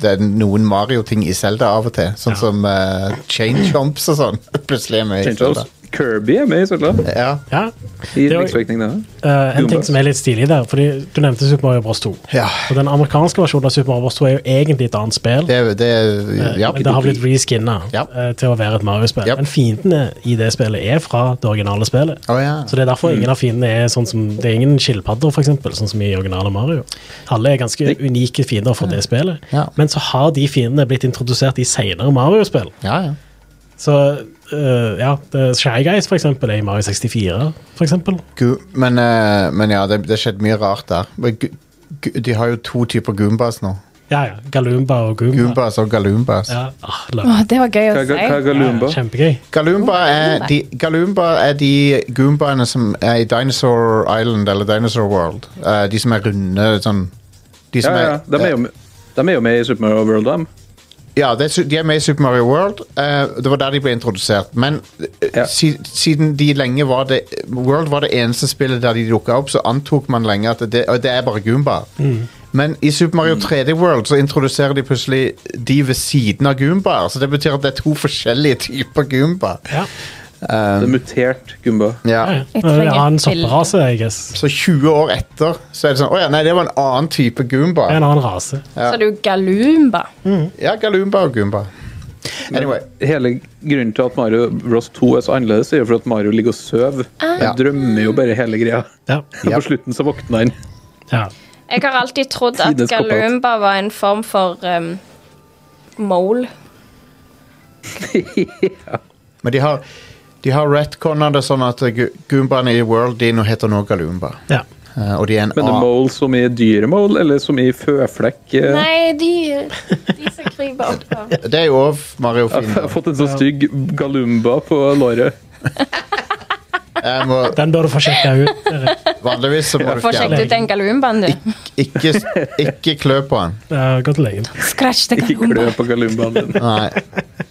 S1: det er noen Mario-ting i Zelda av og til. Sånn som eh, Chain Chomps og sånn. Plutselig er med i
S4: Change
S1: Zelda.
S4: House. Kirby er med i søla.
S1: Ja.
S2: Ja.
S4: I
S2: Det er jo-
S4: riksvekning, det.
S2: Eh, en ting som er litt stilig der, fordi du nevnte Super Mario Bros. 2.
S1: Ja.
S2: Og den amerikanske versjonen av Super Mario Bros. 2 er jo egentlig et annet spill.
S1: Det, er- det, er-
S2: eh,
S1: ja.
S2: men det har blitt reskinna
S1: Ja.
S2: eh, til å være et Mario-spill.
S1: Yep.
S2: Men fiendene i det spillet er fra det originale spillet.
S1: Å, ja. Mm.
S2: Så det er derfor ingen av fiendene er sånn som Det er ingen skilpadder, for eksempel, sånn som i originale Mario. Alle er ganske unike fiender fra det spillet.
S1: Ja.
S2: Men så har de fiendene blitt introdusert i senere Mario-spill.
S1: ja, ja.
S2: Så eh, ja, det- Shy Guys, for eksempel, er i Mario 64, for eksempel.
S1: Gu men, eh, men ja, det det har skjedd mye rart der. Men gu gu de har jo to typer goombas nå.
S2: Ja, ja. Galumba og Goomba.
S1: Goombas og galoombas.
S2: Ja, ah, løp.
S3: Å, det var gøy å si.
S4: Kagalumba.
S2: Kjempegøy.
S1: Galumba er
S3: Goomba.
S1: de, Galumba er de goombaene som er i Dinosaur Island eller Dinosaur World. Eh, de som er runde sånn De
S4: Ja,
S1: som
S4: ja. De er jo med, de er jo med i Super Mario World, dem.
S1: Ja, det er, su- de er med i Super Mario World. eh, det var der de ble introdusert. Men eh,
S4: Ja.
S1: si, siden de lenge var det World var det eneste spillet der de dukka opp, så antok man lenge at det, og det er bare Goomba.
S2: Mm.
S1: Men i Super
S4: Mm.
S1: Mario 3D World så introduserer de plutselig de ved siden av Goombaer. Så det betyr at det er to forskjellige typer Goomba.
S2: Ja.
S4: Det er mutert Gumba.
S1: Ja.
S2: Ja, ja.
S3: Jeg
S2: Det er en
S3: trenger et
S2: annen
S3: bilde.
S2: sopperase, I guess.
S1: Så 20 år etter så er det sånn Å ja, nei, det var en annen type Goomba.
S2: Det er En annen rase.
S3: Så er det jo Galumba.
S1: Ja, Galumba og Goomba. Anyway.
S4: Hele grunnen til at Mario Bros 2 er så annerledes, er jo for at Mario ligger og sover.
S1: Ja.
S4: Han drømmer jo bare hele greia.
S2: Ja.
S4: Og
S1: Ah. Ja.
S4: på slutten så våkner han.
S2: ja.
S3: Jeg har alltid trodd at
S4: Tidenes cop-out.
S3: Galumba var en form for um, mole.
S1: Men de har, de har retconna det sånn at Gu- Goombaene i World de nå heter nå Galumba.
S2: ja.
S1: Eh, og de er en
S4: Men det er
S1: annen
S4: mole som i dyremole, eller som i føflekk? eh?
S3: Nei, de, de som kryper oppå.
S1: Det er jo òg Mario
S4: Jeg har
S1: Fiender.
S4: fått en så stygg galumba på låret.
S1: Jeg må,
S2: Den bør du få sjekka ut. Erik.
S1: vanligvis så må du
S3: Får
S1: fjerne
S3: sjekket ut den galumbaen, du.
S1: ikke, ikke klø på den.
S2: Ja, Gå til legen.
S3: Scratch the
S4: Ikke klø
S3: galumba.
S4: på galumbaen din.
S1: Nei.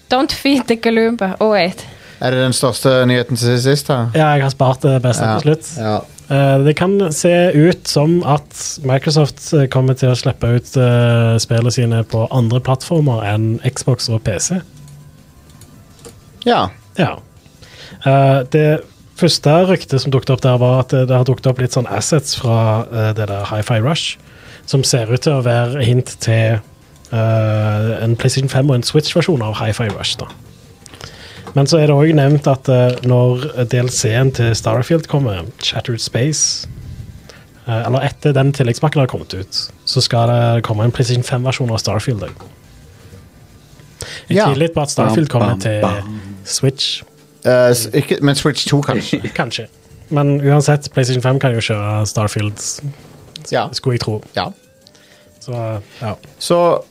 S3: Don't feed the galumba. Oh, wait.
S1: Er det den største nyheten til sist, da?
S2: Ja, jeg har spart det beste
S1: Ja.
S2: til slutt.
S1: Ja.
S2: Eh, Det kan se ut som at Microsoft eh, kommer til å slippe ut eh, spillene sine på andre plattformer enn Xbox og PC.
S1: ja.
S2: Ja. Eh, det første ryktet som dukket opp der, var at det, det har dukket opp litt sånn assets fra eh, det der Hi-Fi Rush, som ser ut til å være hint til eh, en PlayStation 5 og en Switch-versjon av Hi-Fi Rush. da. Men så er det òg nevnt at eh, når DLC-en til Starfield kommer, Shattered Space eh, Eller etter den tilleggspakken har kommet ut, så skal det komme en PlayStation 5-versjon av Starfield. da. Jeg
S1: Ja.
S2: tviler litt på at Starfield
S4: Bam,
S2: kommer
S4: bam,
S2: til
S4: bam.
S2: Switch.
S1: Eh, s- ikke, men Switch 2, kanskje.
S2: Kanskje. Men uansett, PlayStation 5 kan jo kjøre Starfield,
S1: Ja.
S2: skulle jeg tro.
S1: ja.
S2: Så ja.
S1: Så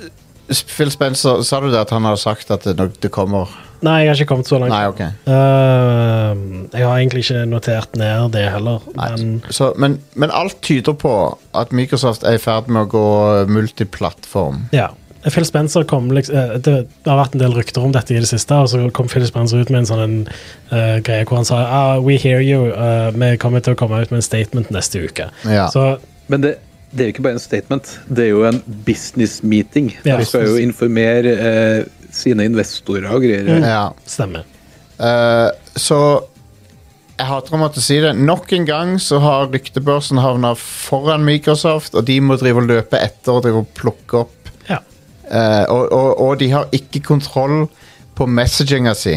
S1: eh, Phil Spencer, sa du det at han har sagt at det, nok- det kommer
S2: Nei, jeg har ikke kommet så langt.
S1: Nei, ok.
S2: Ehm, jeg har egentlig ikke notert ned det heller. Men
S1: Så, men, men alt tyder på at Microsoft er i ferd med å gå eh, multiplattform.
S2: ja. Phil Spencer kom liksom, eh, det, det har vært en del rykter om dette i det siste, og så kom Phil Spencer ut med en sånn en, eh, greie hvor han sa ah, We hear you. eh, vi kommer til å komme ut med en statement neste uke.
S1: Ja.
S2: Så
S4: Men det, det er jo ikke bare en statement, det er jo en business meeting.
S2: Ja.
S4: De skal jo informere eh, sine investorer og greier.
S1: Ja.
S2: mm, stemmer.
S1: Eh, så jeg hater å måtte si det. Nok en gang så har ryktebørsen havna foran Microsoft, og de må drive og løpe etter og drive og plukke opp.
S2: Ja.
S1: Eh, og, og, og de har ikke kontroll på messaginga si.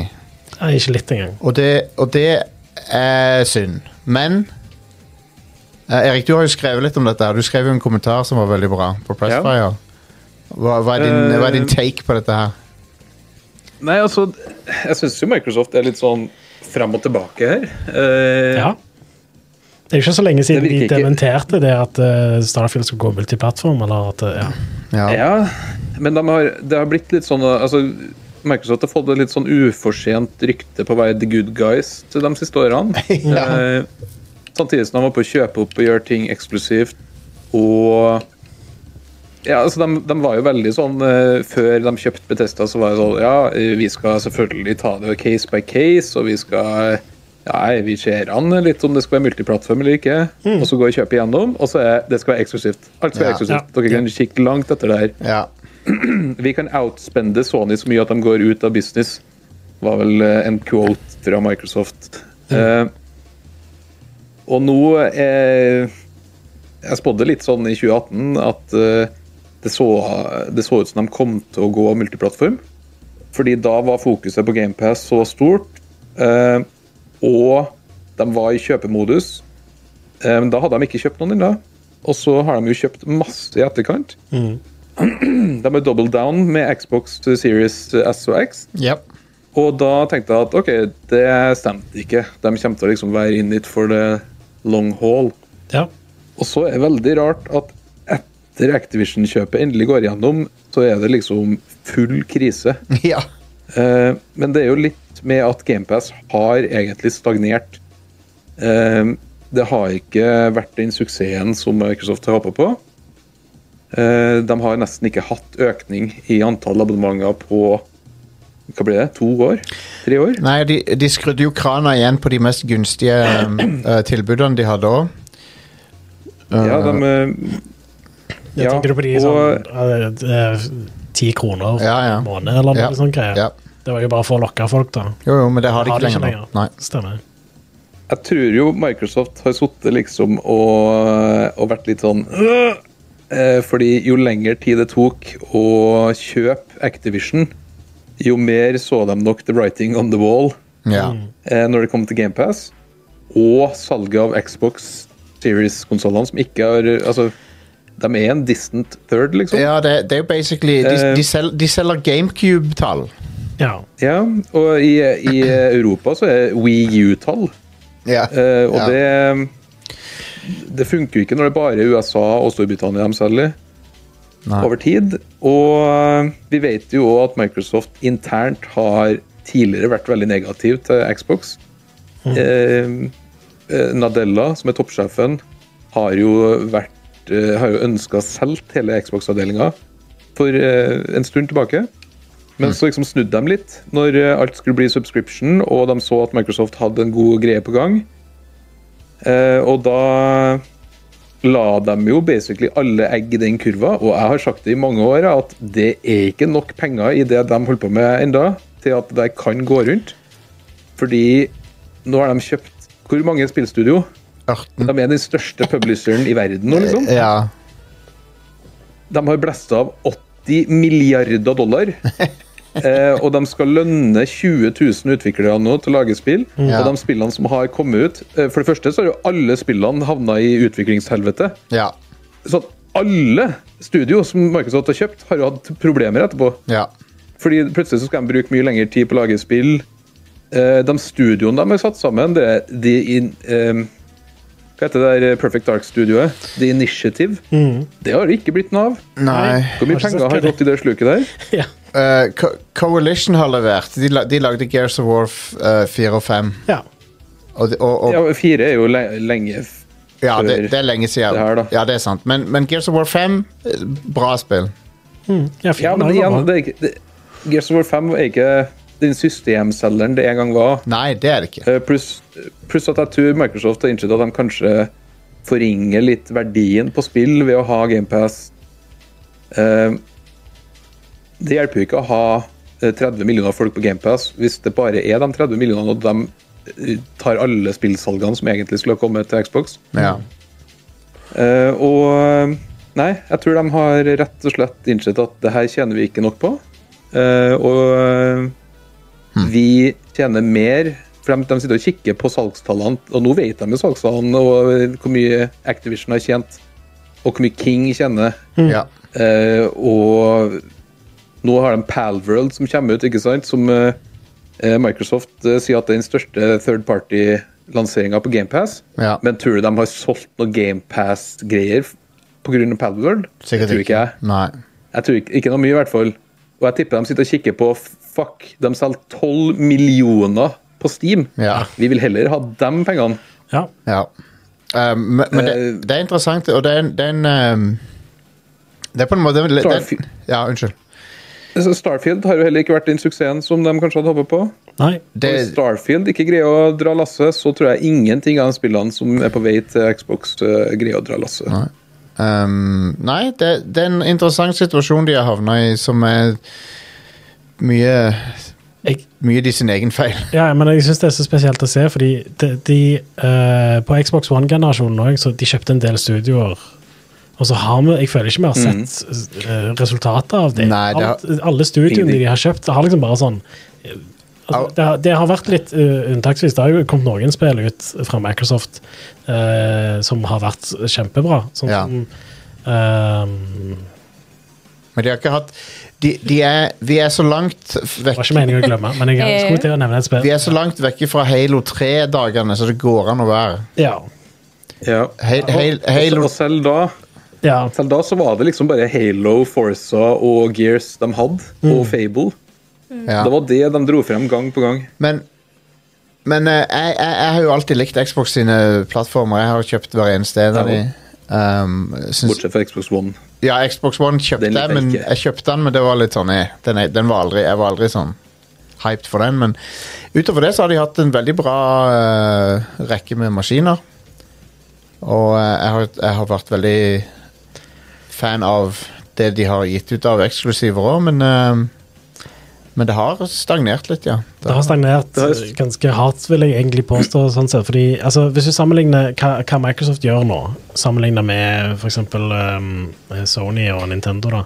S2: Nei, ikke litt engang.
S1: Og det, og det er synd. Men eh, Erik, du har jo skrevet litt om dette. her Du skrev jo en kommentar som var veldig bra på Pressfire. Hva, hva, er din, hva er din
S4: Eh,
S1: take på dette her?
S4: Nei, altså, jeg syns jo Microsoft er litt sånn fram og tilbake her. Eh,
S2: Ja. Det er jo ikke så lenge siden
S4: Det
S2: de
S4: virker ikke-
S2: dementerte det at eh, Starfield skulle gå multiplattform. Eller at, eh, ja.
S1: Ja.
S4: Ja, men de har, det har blitt litt sånn altså, Microsoft har fått et litt sånn ufortjent rykte på å være the good guys til de siste årene. eh, samtidig som de var på å kjøpe opp og gjøre ting eksklusivt. Og ja, altså, de, de var jo veldig sånn eh, Før de kjøpte Betesta, så var det sånn Ja, eh, vi skal selvfølgelig ta det case by case, og vi skal Nei, vi ser an litt om det skal være multiplattform eller ikke. Og så går kjøpet igjennom, og så er det skal være eksklusivt. Alt
S1: Mm.
S4: skal være
S1: Ja.
S4: eksklusivt. Dere kan kikke langt etter det her
S1: Ja.
S4: vi kan outspende Sony så mye at de går ut av business. var vel eh, en quote fra Microsoft. Eh, og nå eh, Jeg spådde litt sånn i 2018 at eh, det, så, det så ut som de kom til å gå multiplattform. Fordi da var fokuset på GamePass så stort, eh, og de var i kjøpemodus. Eh, men da hadde de ikke kjøpt noen ennå. Og så har de jo kjøpt masse i etterkant. De er double down med Xbox Series S og X.
S1: Yep.
S4: Og da tenkte jeg at ok, det stemte ikke. De kommer til å liksom være in it for the long haul.
S2: Ja.
S4: Og så er det veldig rart at etter Activision-kjøpet endelig går igjennom, så er det liksom full krise.
S1: ja.
S4: Eh, men det er jo litt med at GamePass har egentlig stagnert. Eh, det har ikke vært den suksessen som Microsoft har håpa på. Eh, de har nesten ikke hatt økning i antall abonnementer på hva blir det, to år? Tre år?
S1: Nei, de, de skrudde jo krana igjen på de mest gunstige eh, tilbudene de hadde òg.
S4: Ja, de, eh,
S2: Jeg
S4: Ja,
S2: tenker du på de
S4: og-
S2: sånn ti kroner
S1: Ja, ja.
S2: i måneden eller noe
S1: Ja,
S2: sånt greier.
S1: ja.
S2: Det var jo bare for å lokke folk, da.
S1: Jo, jo, men det har de
S2: Har
S1: ikke
S2: det
S1: lenger. nå. Nei.
S2: Stemmer.
S4: jeg tror jo Microsoft har sittet liksom og, og vært litt sånn «Øh!» eh, Fordi jo lengre tid det tok å kjøpe Activision, jo mer så de nok the writing on the wall
S1: Ja.
S4: eh, når det kom til GamePass. Og salget av Xbox Series-konsollene, som ikke har Altså, de er en distant third, liksom.
S1: ja, det, det er jo basically De,
S4: Eh.
S1: de, sel, de selger GameCube-tall.
S2: Ja.
S4: Ja, og i, i Europa så er Wii U-tall.
S1: Ja.
S4: Eh, og
S1: Ja.
S4: det Det funker jo ikke når det bare er USA og Storbritannia de selger
S1: Nei.
S4: over tid. Og eh, vi vet jo også at Microsoft internt har tidligere vært veldig negativ til Xbox.
S1: Mm.
S4: Eh, eh, Nadella, som er toppsjefen, har jo vært eh, har jo ønska solgt hele Xbox-avdelinga for eh, en stund tilbake.
S1: Mm.
S4: Men så liksom snudde de litt når eh, alt skulle bli subscription, og de så at Microsoft hadde en god greie på gang. Eh, og da la de jo basically alle egg i den kurva, og jeg har sagt det i mange år at det er ikke nok penger i det de holder på med enda, til at det kan gå rundt. Fordi nå har de kjøpt hvor mange spillstudio?
S1: Ørten.
S4: De er den største publisheren i verden nå, liksom.
S1: Ja.
S4: De har blæsta av 80 milliarder dollar. Eh, og de skal lønne 20 000 utviklere nå til å lage spill.
S1: Ja.
S4: Og de spillene som har kommet ut eh, For det første så har jo alle spillene havna i utviklingshelvete.
S1: Ja.
S4: Så at alle studio som Microsoft har kjøpt, har jo hatt problemer etterpå.
S1: ja.
S4: Fordi plutselig så skal de bruke mye lengre tid på å lage spill. Eh, de studioene de har satt sammen, det er The In... eh, hva heter det der Perfect Dark-studioet? The Initiative. Det har det ikke blitt noe av.
S1: Nei.
S4: Hvor
S2: Har
S4: mye
S2: ikke
S4: penger har
S2: sett
S4: gått i det sluket der?
S2: ja.
S1: Eh, Co Coalition har levert. De, la, de lagde Gears of War uh, 4 og 5.
S2: ja.
S1: Og, de- og, og,
S4: Ja, fire er jo le lenge f-
S1: ja,
S4: før.
S1: det, det er lenge siden.
S4: det her, da.
S1: Ja, det er sant. Men, men Gears of War 5, eh, bra spill.
S2: Ja,
S4: Ja, men igjen, det er ikke det, Gears of War 5 er ikke den systemselgeren det en gang var.
S1: Nei, det er det ikke.
S4: Eh, Pluss pluss at jeg tror Microsoft har innsett at de kanskje forringer litt verdien på spill ved å ha GamePass. Det hjelper jo ikke å ha eh, 30 millioner folk på GamePass hvis det bare er de 30 millionene og de eh, tar alle spillsalgene som egentlig skulle ha kommet til Xbox.
S1: Ja.
S4: Eh, og nei, jeg tror de har rett og slett innsett at det her tjener vi ikke nok på. Eh, og eh, vi tjener mer, for de, de sitter og kikker på salgstallene, og nå vet de jo salgstallene og eh, hvor mye Activision har tjent, og hvor mye King tjener.
S1: ja.
S4: Eh, og nå har de Palworld som kommer ut, ikke sant? Som eh, eh, Microsoft eh, sier at det er den største third party-lanseringa på GamePass.
S1: Ja.
S4: Men tror du de har solgt noen GamePass-greier pga. Palworld?
S1: Sikkert
S4: tror ikke jeg.
S1: Nei.
S4: Jeg tror ikke, ikke noe mye, i hvert fall. Og jeg tipper de sitter og kikker på Fuck, de selger 12 millioner på Steam.
S1: Ja.
S4: Vi vil heller ha de pengene.
S2: Ja.
S1: Ja. Um, men men
S4: Eh,
S1: det, det er interessant, og det er en, det er en um, Det er på en måte det er,
S4: Starfield.
S1: Ja, unnskyld.
S4: Så Starfield har jo heller ikke vært den suksessen som de kanskje hadde håpet på.
S2: Nei.
S1: Det,
S4: Hvis Starfield ikke greier å dra lasset, så tror jeg ingenting av de spillene som er på vei til Xbox, eh, greier å dra lasset.
S1: um, nei, det, det er en interessant situasjon de har havna i, som er mye
S2: Jeg,
S1: mye de sin egen feil.
S2: Ja, men jeg synes det er så spesielt å se, fordi de, de, eh, på Xbox One-generasjonen òg, så de kjøpte en del studioer. Og så har vi Jeg føler ikke vi har sett eh, resultatet av det.
S1: Mm. Nei, det har-
S2: Alt, alle studioene
S4: Ingenting.
S2: de har kjøpt, har liksom bare sånn eh, altså,
S1: Au.
S2: det, har, det har vært litt eh, unntaksvis. Det har jo kommet noen spill ut fra Microsoft eh, som har vært kjempebra. Sånn
S1: Ja.
S2: som eh,
S1: Men de har ikke hatt de, de er, Vi er så langt
S2: Det var
S1: vekk
S2: ikke meningen å glemme, men jeg skulle til å nevne et spill.
S1: Vi er så langt vekk fra Halo 3-dagene som det går an å være.
S2: Ja,
S4: Ja.
S1: Hei- hei-
S4: Og-
S1: Halo-
S4: og selv da,
S2: ja.
S4: selv da så var det liksom bare Halo, Forza og Gears de hadde, og Fable.
S1: Ja.
S4: Det var det de dro frem gang på gang.
S1: Men, men eh, jeg, jeg, jeg har jo alltid likt Xbox sine plattformer. Jeg har kjøpt hver eneste en av de.
S4: Ja.
S1: Um, syns,
S4: Bortsett fra Xbox One.
S1: ja, Xbox One kjøpte
S4: Den liker
S1: jeg,
S4: jeg
S1: men
S4: ikke.
S1: jeg kjøpte den, men det var litt sånn eh, den, er- den var aldri, Jeg var aldri sånn hyped for den, men utover det så har de hatt en veldig bra eh, rekke med maskiner. Og eh, jeg, har, jeg har vært veldig fan av det de har gitt ut av eksklusiver òg, men eh, Men det har stagnert litt, ja.
S2: Det har stagnert
S4: Det har-
S2: eh, ganske hardt, vil jeg egentlig påstå. sånn sett, fordi altså, Hvis du sammenligner hva, hva Microsoft gjør nå, sammenlignet med f.eks. Um, Sony og Nintendo da.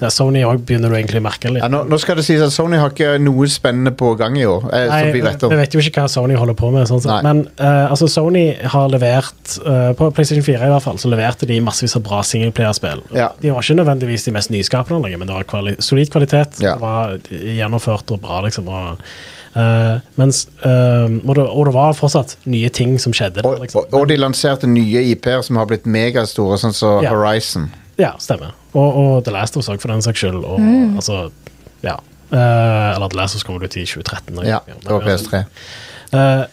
S2: Ja, Sony òg begynner du egentlig å merke
S1: Ja,
S2: litt.
S1: nå, nå skal det sies at Sony har ikke noe spennende på gang i år. Eh, som vi vet om.
S2: jeg vet jo ikke hva Sony holder på med. Sånn sett.
S1: Nei.
S2: Men eh, altså, Sony har levert eh, På PlayStation 4 i hvert fall, så leverte de massevis av bra singelplayerspill.
S1: Ja.
S2: De var ikke nødvendigvis de mest nyskapende, lenger, men det var kvali solid kvalitet.
S1: Ja.
S2: Det var gjennomført og bra, liksom. Og, eh, mens, eh, og, det, og det var fortsatt nye ting som skjedde. der,
S1: Og,
S2: liksom.
S1: og, og de lanserte nye IP-er som har blitt megastore, sånn som
S2: Ja.
S1: Horizon.
S2: Ja, stemmer. Og, og The Last of Us også, for den saks skyld. Og, altså, ja. Eh, eller The Last of Us kommer ut i 2013. eller
S1: Ja,
S2: noe sånt.
S1: det var PS3.
S2: Eh,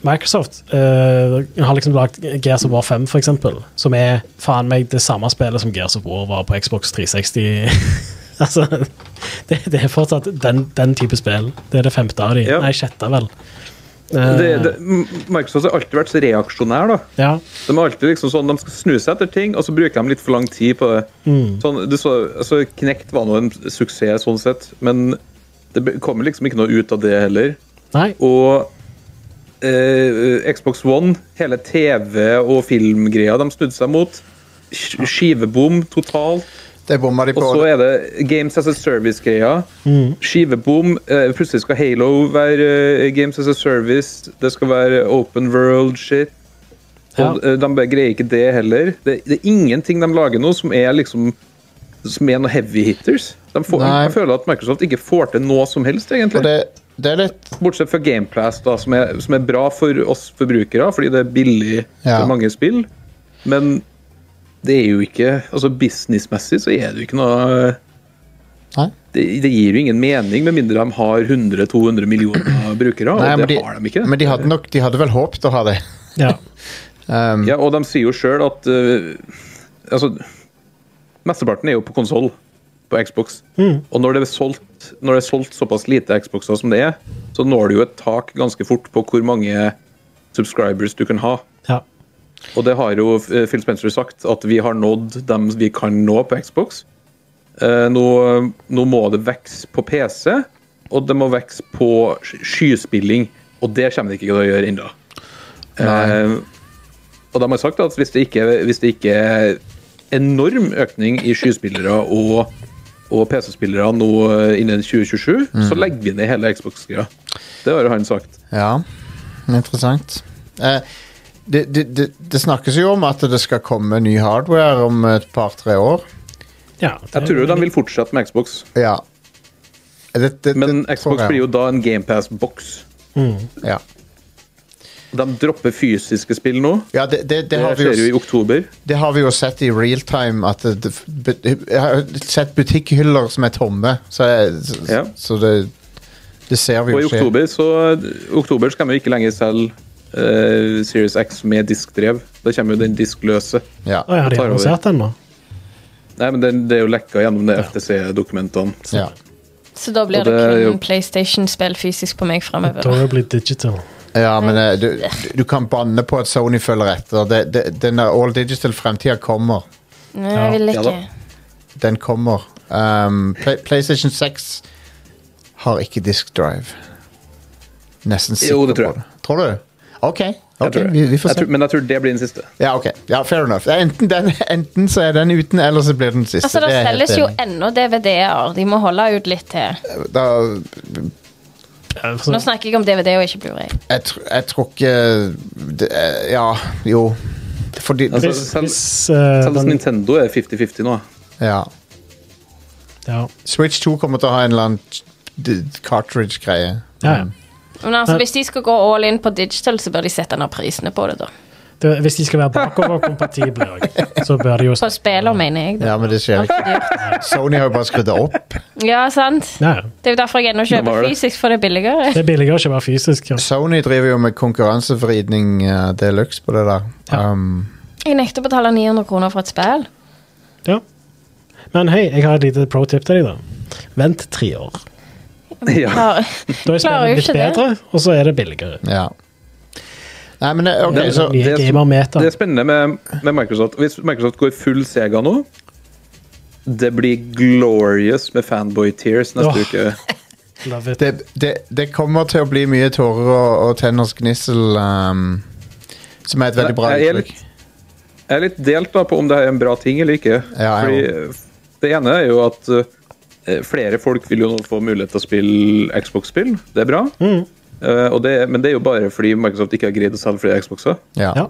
S2: Microsoft eh, har liksom lagd Gears of War 5, for eksempel, som er faen meg det samme spillet som Gears of War var på Xbox 360. altså, det, det er fortsatt den, den type spill. Det er det femte av de.
S4: Ja.
S2: Nei, sjette, vel. Eh.
S4: Det, det, Microsoft har alltid vært så reaksjonær, da.
S2: Ja.
S4: De er alltid liksom sånn, de skal snu seg etter ting, og så bruker de litt for lang tid på det. Sånn, du så, altså, Knekt var nå en suksess sånn sett, men det be- kommer liksom ikke noe ut av det heller.
S2: Nei.
S4: Og eh, Xbox One, hele TV- og filmgreia de snudde seg mot. Sk- Skivebom totalt.
S1: Det bomma de
S4: Og
S1: på.
S4: så er det Games as a Service-greia. Skivebom. eh, Plutselig skal Halo være eh, Games as a Service. Det skal være Open World-shit.
S2: Ja.
S4: Og eh, De bare greier ikke det heller. Det, det er ingenting de lager nå som er liksom Som er noe heavy hitters. De får,
S1: Nei.
S4: jeg føler at Microsoft ikke får til noe som helst, egentlig.
S1: Og det, det er litt
S4: Bortsett fra Gameplast, da, som er, som er bra for oss forbrukere, fordi det er billig
S1: Ja.
S4: for mange spill. Men det er jo ikke Altså businessmessig så er det jo ikke noe
S1: Nei.
S4: det, det gir jo ingen mening, med mindre de har 100-200 millioner brukere.
S1: Nei,
S4: og
S1: men
S4: det
S1: de,
S4: har de ikke.
S1: men de hadde nok De hadde vel håpet å ha det.
S2: Ja.
S1: Um,
S4: Ja, og de sier jo sjøl at eh, Altså, mesteparten er jo på konsoll, på Xbox. Og når det, er solgt, når det er solgt såpass lite Xboxer som det er, så når du jo et tak ganske fort på hvor mange subscribers du kan ha.
S2: ja.
S4: Og det har jo eh, Phil Spencer sagt, at vi har nådd dem vi kan nå på Xbox. Eh, Nå, nå må det vokse på PC, og det må vokse på sk- skyspilling. Og det kommer det ikke til å gjøre ennå. Eh, og de har sagt at hvis det ikke, hvis det ikke er enorm økning i skyspillere og, og PC-spillere nå eh, innen 2027, så legger vi ned hele Xbox-greia. Det har jo han sagt.
S1: ja. Interessant. Eh, det, det, det, det snakkes jo om at det skal komme ny hardware om et par-tre år.
S2: ja.
S4: Jeg tror jo de vil fortsette med Xbox.
S1: Ja. Det, det,
S4: Men
S1: det tror
S4: Xbox
S1: jeg.
S4: blir jo da en GamePass-boks.
S1: Ja,
S4: De dropper fysiske spill nå.
S1: ja det, det, det
S4: Det
S1: har vi
S4: skjer jo
S1: jo
S4: i oktober.
S1: Det har vi jo sett i real time at det, det, but- Jeg har sett butikkhyller som er tomme, så, jeg, så,
S4: Ja.
S1: så det Det ser vi
S4: Og i
S1: jo skje.
S4: oktober så oktober skal vi jo ikke lenger selge eh, Series X med diskdrev. Da kommer jo den diskløse.
S1: Ja.
S2: Å, ja, har de
S4: Tar over.
S2: annonsert den nå?
S4: Nei, men den, Det er jo lekka gjennom det FTC-dokumentene.
S1: Ja.
S3: Så da blir
S4: Og
S3: det,
S4: det er
S3: kun
S4: jo-
S3: PlayStation-spill fysisk på meg framover.
S2: Adorably digital.
S1: ja, men eh, du, du kan banne på at Sony følger etter. Det, det, den der all digital-fremtida kommer.
S3: Nei, jeg vil
S4: Ja
S3: ikke.
S4: da.
S1: Den kommer. Um, Play, PlayStation 6 har ikke disk drive. Nesten sikker
S4: Jo, det tror
S1: på
S4: jeg.
S1: Tror du? Ok, ok,
S4: tror det.
S1: vi, vi får
S4: jeg
S1: se.
S4: tror, men jeg tror det blir den siste.
S1: Ja, ok. Ja, fair enough. Det er Enten, den, enten så er den uten, eller så blir den siste.
S3: Altså, Det
S1: er jeg helt
S3: selges jo
S1: enig i.
S3: ennå DVD-er. De må holde ut litt til.
S1: da,
S2: Ja, for
S3: Nå
S2: så-
S3: snakker jeg om DVD og ikke Blu-ray.
S1: jeg, tr- jeg tror ikke det, er- Ja, jo. Fordi
S4: Altså,
S2: Hvis,
S4: selv
S2: hvis eh,
S4: selv
S2: den,
S4: Nintendo er 50-50 nå.
S1: Ja.
S2: ja.
S1: Switch 2 kommer til å ha en eller annen d- cartridge-greie.
S2: Ja, ja.
S3: Men altså,
S2: Men-
S3: hvis de skal gå all in på digital, så bør de sette ned prisene på det, da.
S2: Det, hvis de skal være bakoverkompatible, også, så bør de jo
S3: På spiller, mener jeg. Da.
S1: Ja, men det skjer ikke. Sony har jo bare skrudd det opp.
S3: Ja, sant?
S2: Ja, ja.
S3: Det er jo derfor jeg ennå
S4: Da var
S3: kjøper
S4: det.
S3: fysisk, for det er billigere.
S2: Det er billigere å kjøpe fysisk. Ja.
S1: Sony driver jo med konkurransevridning uh, deluxe på det der.
S2: Ja.
S1: Um,
S3: Jeg nekter å betale 900 kroner for et spill.
S2: Ja. Men hei, jeg har et lite pro tip til deg, da. Vent tre år.
S4: ja.
S3: Klar-
S2: Da er
S3: Klarer
S2: spillet
S3: jo
S2: litt
S3: ikke det.
S2: bedre, og så er det billigere.
S1: ja. Nei, men eh, ok,
S4: Det-
S1: så
S2: Nye
S4: det som-
S2: gamermeta.
S4: Det er spennende med, med Microsoft. Hvis Microsoft går full Sega nå Det blir glorious med fanboy tears neste
S2: Åh.
S4: uke.
S2: Love it.
S1: det, det, det kommer til å bli mye tårer og, og tenners gnissel, um, som er et veldig bra
S4: Nei, jeg er
S1: uttrykk.
S4: litt- Jeg er litt delt da på om det er en bra ting eller ikke.
S1: Ja,
S4: Fordi
S1: jeg
S4: eh, Det ene er jo at eh, flere folk vil jo nå få mulighet til å spille Xbox-spill. Det er bra.
S1: Mm.
S4: Eh, og det, er- men det er jo bare fordi Microsoft ikke har greid å selge flere Xboxer.
S1: Ja.
S2: Ja.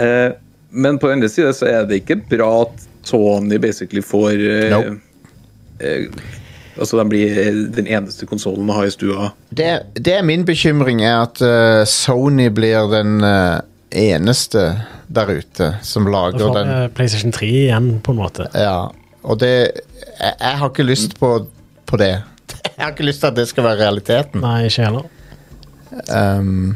S4: Eh, men på den andre siden så er det ikke bra at Tony basically får eh,
S1: Nope.
S4: eh, Altså, de blir eh, den eneste konsollen å ha i stua.
S1: Det, det er min bekymring, er at eh, Sony blir den eh, eneste der ute som
S2: Da
S1: lager
S2: får
S1: den.
S2: vi eh, PlayStation 3 igjen, på en måte.
S1: Ja, og det Jeg, jeg har ikke lyst på, på det. Jeg har ikke lyst til at det skal være realiteten.
S2: Nei, ikke heller.
S1: Um,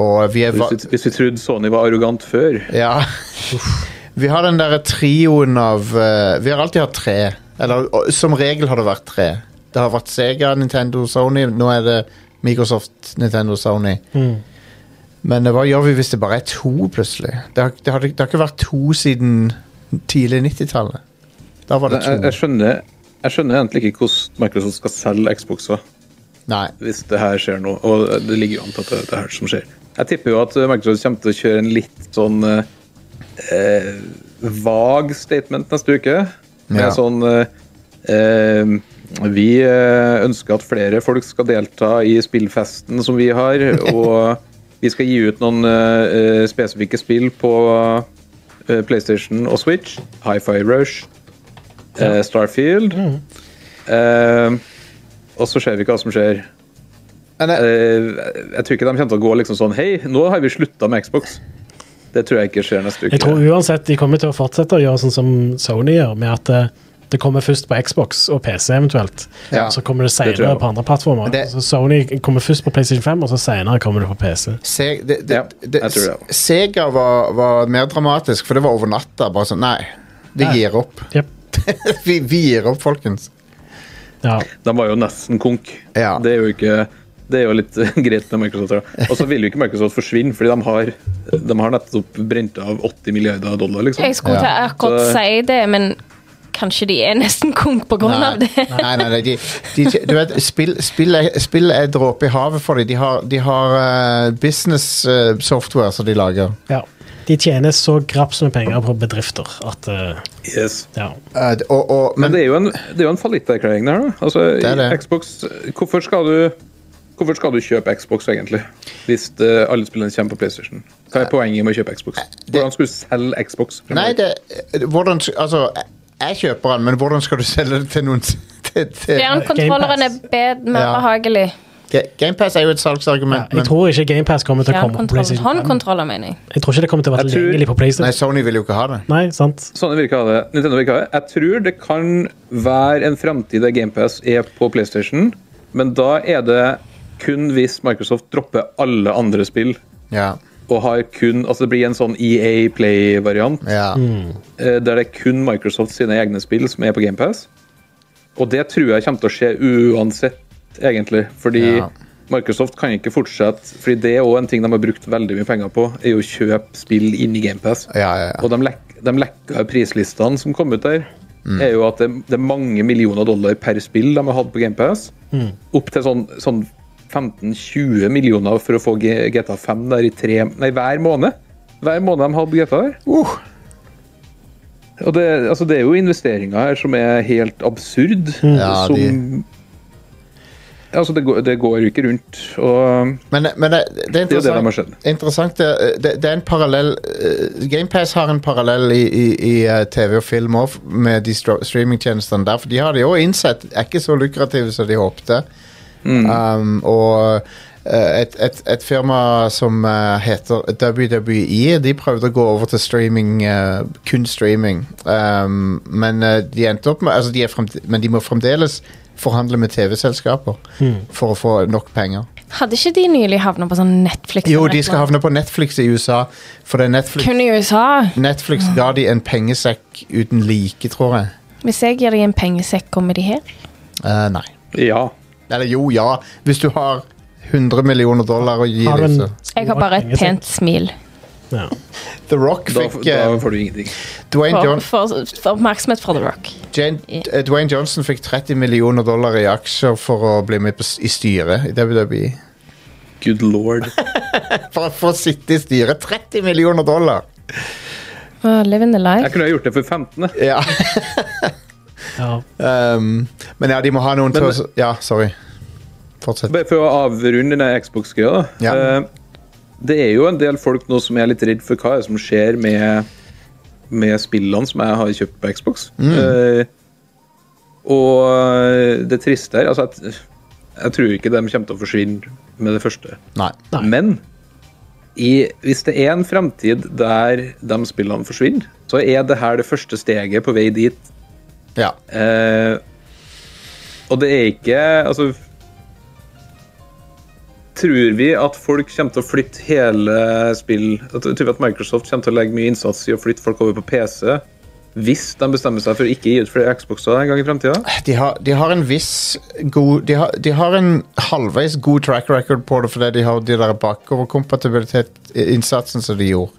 S1: og vi er va
S4: Hvis vi, hvis vi trodde Sony var arrogant før
S1: Ja. Vi har den derre trioen av eh, Vi har alltid hatt tre. Eller og, som regel har det vært tre. Det har vært Sega, Nintendo, Sony. Nå er det Microsoft, Nintendo, Sony. Men eh, hva gjør vi hvis det bare er to, plutselig? Det har, det har, det har ikke vært to siden tidlig 90-tallet. Da var det
S4: jeg,
S1: to.
S4: jeg, skjønner, jeg skjønner egentlig ikke hvordan Microsoft skal selge Xboxer
S1: Nei.
S4: hvis det her skjer nå. Og det ligger jo an til at det, det er her som skjer. Jeg tipper jo at eh, Microsoft kommer til å kjøre en litt sånn eh, eh, vag statement neste uke. Med
S1: Ja.
S4: sånn eh, eh, Vi eh, ønsker at flere folk skal delta i spillfesten som vi har, og vi skal gi ut noen eh, eh, spesifikke spill på eh, PlayStation og Switch. Hi-Fi Rush, eh, Starfield eh, Og så ser vi ikke hva som skjer.
S1: Men jeg,
S4: Eh, jeg tror ikke de kommer til å gå liksom sånn Hei, nå har vi slutta med Xbox. Det tror jeg ikke skjer neste uke.
S2: Jeg tror uansett de kommer til å fortsette å gjøre sånn som Sony gjør, med at eh, det kommer først på Xbox og PC eventuelt.
S1: Ja,
S2: så kommer det
S4: det tror
S2: senere
S4: jeg.
S2: på andre plattformer.
S1: det-
S2: Så Sony kommer først på PlayStation 5, og så senere kommer det på PC.
S1: Se, det, det,
S4: Ja,
S1: det,
S4: jeg tror det.
S1: S- Sega var, var mer dramatisk, for det var over natta. Bare sånn Nei, vi
S2: Nei.
S1: gir opp.
S2: Jep.
S1: vi, vi gir opp, folkens.
S2: Ja.
S4: De var jo nesten konk.
S1: Ja.
S4: Det er jo ikke det er jo litt greit med Microsoft. da. Og så vil jo ikke Microsoft forsvinne, fordi de har, de har nettopp brent av 80 milliarder dollar. liksom.
S3: Jeg skulle
S1: Ja.
S3: til akkurat
S4: Så-
S3: si det, men kanskje de er nesten konk på grunn av
S1: Nei,
S3: det.
S1: nei, nei, nei de, de, du vet, spill, spill, er, spill er dråpe i havet for dem. De har, de har eh, business eh, software som de lager.
S2: ja. De tjener så graps med penger på bedrifter at eh,
S4: Yes.
S2: Ja.
S1: Eh, d- og, og, men,
S4: Men det er jo en, det er jo en fallitterklæring der, da. Altså,
S1: er det.
S4: i Xbox, hvorfor skal du Hvorfor skal du kjøpe Xbox, egentlig? Hvis eh, alle spillene kommer på PlayStation? Hva er poenget med å kjøpe Xbox? Hvordan skal du selge Xbox?
S1: Eh,
S4: fremover?
S1: Nei, det hvordan, Altså, jeg- jeg kjøper den, men hvordan skal du selge det til noen s- til, til,
S3: Fjernkontrolleren er
S2: Game
S3: bed- mer
S1: Ja.
S3: behagelig.
S1: Ga- GamePass er jo et salgsargument,
S2: Jeg
S1: men
S2: tror ikke GamePass kommer til å komme på
S3: Fjernkontroller.
S2: PlayStation 5.
S3: Håndkontroller, mener jeg.
S2: Jeg tror ikke det kommer til å være
S4: Jeg tror-
S2: tilgjengelig på
S1: nei,
S2: PlayStation.
S1: Sony vil jo ikke ha det.
S2: Nei, sant?
S4: Sånn virker det. Nintendo virker det. Jeg tror det kan være en fremtid der GamePass er på PlayStation, men da er det kun hvis Microsoft dropper alle andre spill
S1: Ja,
S4: og har kun Altså det blir en sånn EA Play-variant
S1: ja.
S2: Mm.
S4: eh, der det er kun Microsoft sine egne spill som er på GamePass. Og det tror jeg kommer til å skje uansett, egentlig. Fordi
S1: Ja.
S4: Microsoft kan ikke fortsette Fordi det er òg en ting de har brukt veldig mye penger på, er jo å kjøpe spill inn i GamePass.
S1: Ja, ja, ja.
S4: Og de, lek, de lekka prislistene som kom ut der,
S1: Mm.
S4: er jo
S1: Mm.
S4: at det, det er mange millioner dollar per spill de har hatt på GamePass. Opp til sånn, sånn 15-20 millioner for å få G- GTA 5 der i tre Nei, hver måned. Hver måned de hadde GTA der.
S1: Uh,
S4: Og det, altså, det er jo investeringer her som er helt absurd.
S1: Ja,
S4: som
S1: de-
S4: Altså, det går, det går jo ikke rundt. Og
S1: men men det, det er
S4: det er jo det de
S1: interessant.
S4: har skjønt.
S1: interessant det, det, det er en parallell eh, Game Pass har en parallell i, i, i eh, TV og film også, med de stro- streamingtjenestene der. For de har det jo innsett er ikke så lukrative som de håpte.
S4: Mm.
S1: Um, og eh, et, et, et firma som eh, heter WWE, de prøvde å gå over til streaming, eh, kun streaming. Um, men eh, de endte opp med altså de er fremd- Men de må fremdeles forhandle med TV-selskaper for å få nok penger.
S3: Hadde ikke de nylig havna på sånn Netflix?
S1: Jo,
S3: eller
S1: de
S3: et
S1: skal
S3: eller annet?
S1: havne på Netflix i USA. For det er Netflix,
S3: Kun i USA.
S1: Netflix ga de en pengesekk uten like, tror jeg.
S3: Hvis jeg gir deg en pengesekk, kommer de her?
S1: Eh, nei.
S4: Ja.
S1: Eller jo, ja. Hvis du har 100 millioner dollar å gi
S2: Har du
S1: dem,
S2: en
S1: så
S3: Jeg har bare et pent smil.
S2: Ja.
S1: The Rock
S4: Da,
S1: fikk
S4: da
S1: eh,
S4: får du ingenting.
S1: Dwayne,
S3: For,
S1: John,
S3: for, for oppmerksomhet fra The Rock.
S1: Jane, eh, Dwayne Johnson fikk 30 millioner dollar i aksjer for å bli med på, s- i styret i WWE.
S4: Good lord.
S1: For, for å sitte i styret. 30 millioner dollar!
S3: Uh, living the
S4: Jeg
S3: life.
S4: kunne ha gjort det for 15. jeg.
S1: Ja.
S2: Ja.
S1: Um, men ja, de må ha noen til
S4: Men-
S1: å s- Ja, sorry. Fortsett.
S4: Bare for å avrunde denne Xbox-greia. da.
S1: Ja.
S4: Eh, Det er jo en del folk nå som er litt redd for hva er det som skjer med, med spillene som jeg har kjøpt på Xbox. Eh, og eh, det triste her altså jeg, jeg tror ikke de kommer til å forsvinne med det første.
S1: Nei.
S2: Nei.
S4: Men i, hvis det er en fremtid der de spillene forsvinner, så er det her det første steget på vei dit
S1: Ja.
S4: Eh, og det er ikke Altså Tror vi at folk kommer til å flytte hele spill at- Tror vi at Microsoft kommer til å legge mye innsats i å flytte folk over på PC? Hvis de bestemmer seg for å ikke gi ut flere Xboxer en gang i fremtiden?
S1: de har, de har en viss god de har, de har en halvveis god track record på det fordi de har de der bakoverkompatibilitetsinnsatsen som de gjorde.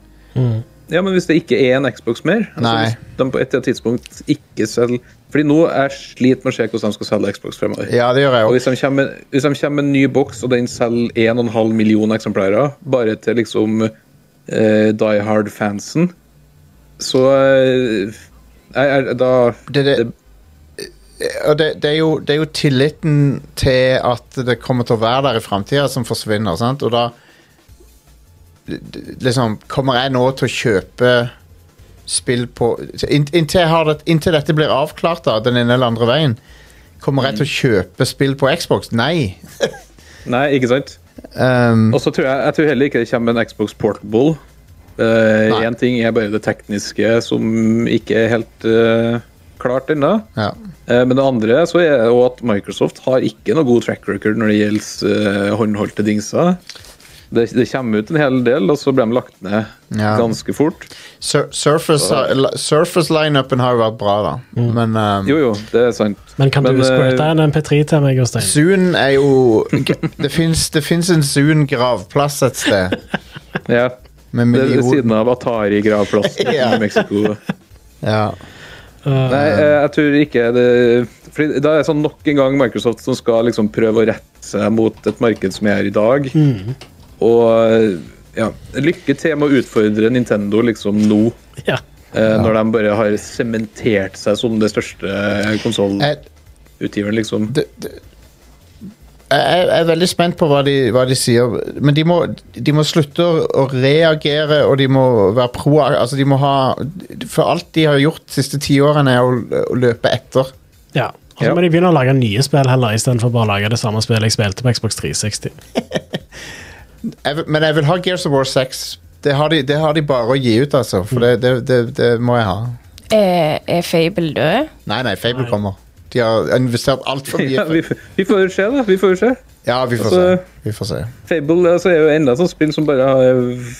S4: Ja, men hvis det ikke er en Xbox mer altså
S1: Nei.
S4: Hvis de på et eller annet tidspunkt ikke selger Fordi nå er jeg sliter med å se hvordan de skal selge Xbox fremover.
S1: Ja, det gjør jeg
S4: Og
S1: òg.
S4: hvis de, kommer, hvis de kommer med en ny boks, og den selger 1,5 million eksemplarer, bare til liksom eh, Die Hard-fansen, så eh, jeg, jeg, Da
S1: Det, det,
S4: det-
S1: og det, det, er jo, det er jo tilliten til at det kommer til å være der i framtida, som forsvinner. Sant? Og da liksom Kommer jeg nå til å kjøpe spill på inn- Inntil, jeg har det, inntil dette blir avklart, da, den ene eller andre veien, kommer jeg til å kjøpe spill på Xbox? Nei.
S4: Nei, ikke sant?
S1: Um,
S4: Og så tror jeg, jeg tror heller ikke det kommer en Xbox Portable.
S1: Nei.
S4: Én ting er bare det tekniske som ikke er helt eh, klart ennå.
S1: ja.
S4: Eh, Men det andre så er jo at Microsoft har ikke noe god track record når det gjelder eh, håndholdte dingser. Det, det kommer ut en hel del, og så blir de lagt ned
S1: Ja.
S4: ganske fort.
S1: Sur surface har- surface lineupen har jo vært bra, da. Men um,
S4: Jo, jo, det er sant.
S2: Men kan du
S4: eh,
S2: squirte en MP3 til meg, Jostein?
S1: Zoon er jo Det fins det finnes en Zoon-gravplass et sted.
S4: Ja,
S1: Med
S4: det er ved
S1: million-
S4: siden av Atari-gravplassen
S1: Ja.
S4: i Mexico.
S1: Ja.
S4: Nei, eh, jeg tror ikke det Fordi Da er det sånn nok en gang Microsoft som skal liksom prøve å rette seg mot et marked som er her i dag.
S2: Mm.
S4: Og eh, ja, lykke til med å utfordre Nintendo liksom nå.
S2: Ja.
S4: Eh, Når de bare har sementert seg som det største
S1: Jeg,
S4: konsollutgiveren, liksom.
S1: det, det, jeg jeg er veldig spent på hva de, hva de sier, men de må, de må slutte å, å reagere, og de må være pro... Altså, de må ha For alt de har gjort de siste ti årene, er å, å løpe etter.
S2: ja. Og så
S4: Ja.
S2: må de begynne å lage nye spill heller, istedenfor bare å lage det samme spillet jeg spilte på Xbox 360.
S1: jeg vil, men jeg vil ha Gears of War 6. Det har de, det har de bare å gi ut, altså. For det, det, det, det må jeg ha.
S3: Er, er Fable død?
S1: Nei, nei, Fable
S2: Nei.
S1: kommer. De har investert altfor mye.
S4: Ja, vi, vi får se, da. Vi får se.
S1: ja, vi får se.
S4: altså-
S1: Vi får se.
S4: Fable altså, er jo enda et sånt spill som bare har eh,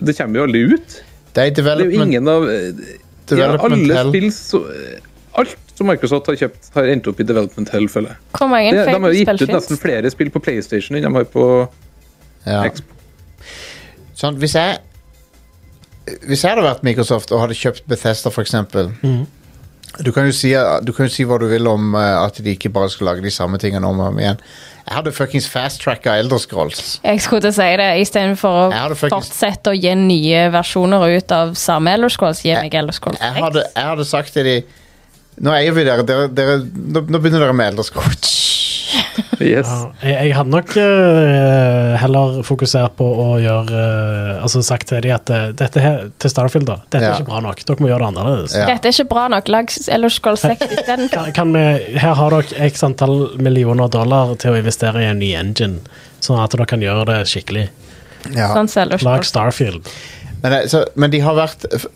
S4: Det kommer jo aldri ut.
S1: Det er
S4: Det er jo
S1: development,
S4: ingen av eh, ja,
S1: development
S4: Alle
S1: hell.
S4: spill så, eh, Alt som Microsoft har kjøpt, har endt opp i Development Hell, føler jeg.
S3: Hvor mange
S4: Det, de har jo
S3: Fable-spill
S4: gitt ut nesten
S3: fins?
S4: flere spill på PlayStation enn de har på
S1: Ja.
S4: Xbox.
S1: Sånn, hvis jeg
S4: Mhm.
S1: Hvis jeg hadde vært Microsoft og hadde kjøpt Bethesda, for eksempel Du kan, jo si, du kan jo si hva du vil om eh, at de ikke bare skal lage de samme tingene om og om igjen. Jeg hadde fuckings fast-tracka Elderscrolls.
S3: Jeg skulle til å si det, istedenfor å
S1: Jeg hadde faktisk-
S3: fortsette å gi nye versjoner ut av samme Elder Scrolls. Gi meg Elder Scrolls
S1: Jeg
S3: X.
S1: hadde, jeg hadde sagt til de Nå eier vi dere, dere, dere nå, nå begynner dere med Elderscrolls.
S4: Yes.
S2: Ja, jeg, jeg hadde nok eh, heller fokusert på å gjøre eh, Altså sagt til de at eh, dette her, til Starfield, da. Dette
S1: Ja.
S2: er ikke bra nok. Dere må gjøre det annerledes.
S1: Ja.
S3: Dette er ikke bra nok. Lag Elder Scrolls 6 istedenfor.
S2: Kan, kan vi, her har dere x antall millioner dollar til å investere i en ny engine, sånn at dere kan gjøre det skikkelig.
S1: Ja.
S3: Sånn som Elder
S2: Lag
S3: Scrolls.
S2: Starfield.
S1: Men, eh, så, men de har vært f-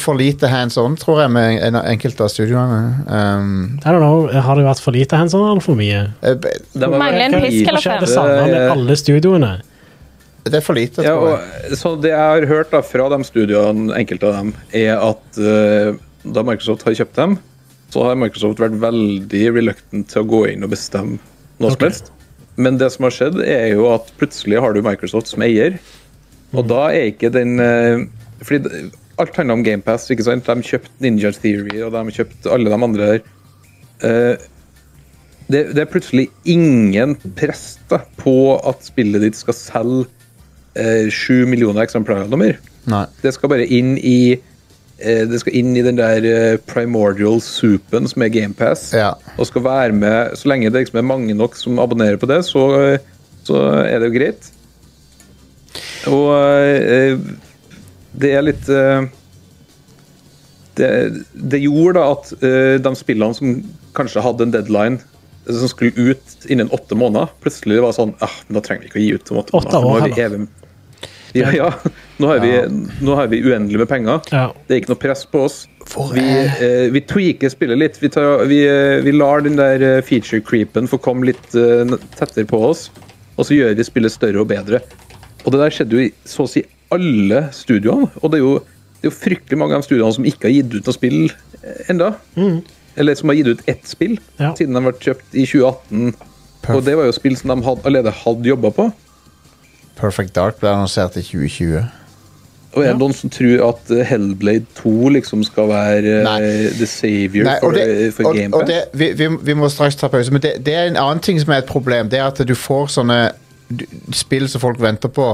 S1: for lite hands on, tror jeg, med en, enkelte av studioene. Um,
S2: I don't know, Har det vært for lite hands on eller for mye?
S1: eh, b-
S4: Det var
S3: Mangler en
S4: veldig-
S3: pisk
S2: Hva
S3: eller
S2: skjer det
S3: fem?
S2: samme med
S4: Eh,
S2: alle studioene?
S1: det er for lite,
S4: Ja,
S1: tror jeg.
S4: og, så det jeg har hørt da, fra de studioene, enkelte av dem, er at eh, da Microsoft har kjøpt dem, så har Microsoft vært veldig reluctant til å gå inn og bestemme noe som
S2: Ok.
S4: helst. Men det som har skjedd, er jo at plutselig har du Microsoft som eier, og da er ikke den eh, Fordi det- alt handler om GamePass, ikke sant? De kjøpte Ninja Theory, og de kjøpte alle de andre der. Eh, det, det er plutselig ingen press da, på at spillet ditt skal selge eh, 7 millioner eksemplarer eller noe mer.
S1: Nei.
S4: Det skal bare inn i eh, det skal inn i den der eh, primordial soupen som er GamePass.
S1: Ja.
S4: Og skal være med Så lenge det liksom er mange nok som abonnerer på det, så, eh, så er det jo greit. Og eh, det er litt eh, det, det gjorde da at eh, de spillene som kanskje hadde en deadline eh, som skulle ut innen åtte måneder, plutselig var sånn ah, men da trenger vi ikke å gi ut om åtte
S2: Åtte
S4: måneder. for
S2: år,
S4: nå har vi
S2: heller.
S4: evig ja, ja. Nå har, vi, nå har vi uendelig med penger.
S2: Ja.
S4: Det er ikke noe press på oss. Vi, eh, vi tweaker spillet litt. Vi, tar, vi, eh, vi lar den der eh, feature creepen få komme litt eh, n- tettere på oss, og så gjør vi spillet større og bedre. Og det der skjedde jo i så å si alle studioene, og det er jo, det er jo fryktelig mange av de studioene som ikke har gitt ut noe spill eh, enda. Eller som har gitt ut ett spill,
S2: Mm. Ja.
S4: siden de ble kjøpt i 2018. Og det var jo spill som de had, allerede hadde jobba på.
S1: Perfect Dark ble annonsert i 2020.
S4: Og er det noen som tror at eh, Hellblade 2 liksom skal være eh,
S1: Nei.
S4: the savior
S1: Nei, og
S4: for,
S1: det,
S4: eh, for
S1: og,
S4: Game
S1: og
S4: Pass?
S1: det, vi, vi, vi må straks ta pause, men det, det er en annen ting som er et problem. Det er at du får sånne du- spill som folk venter på,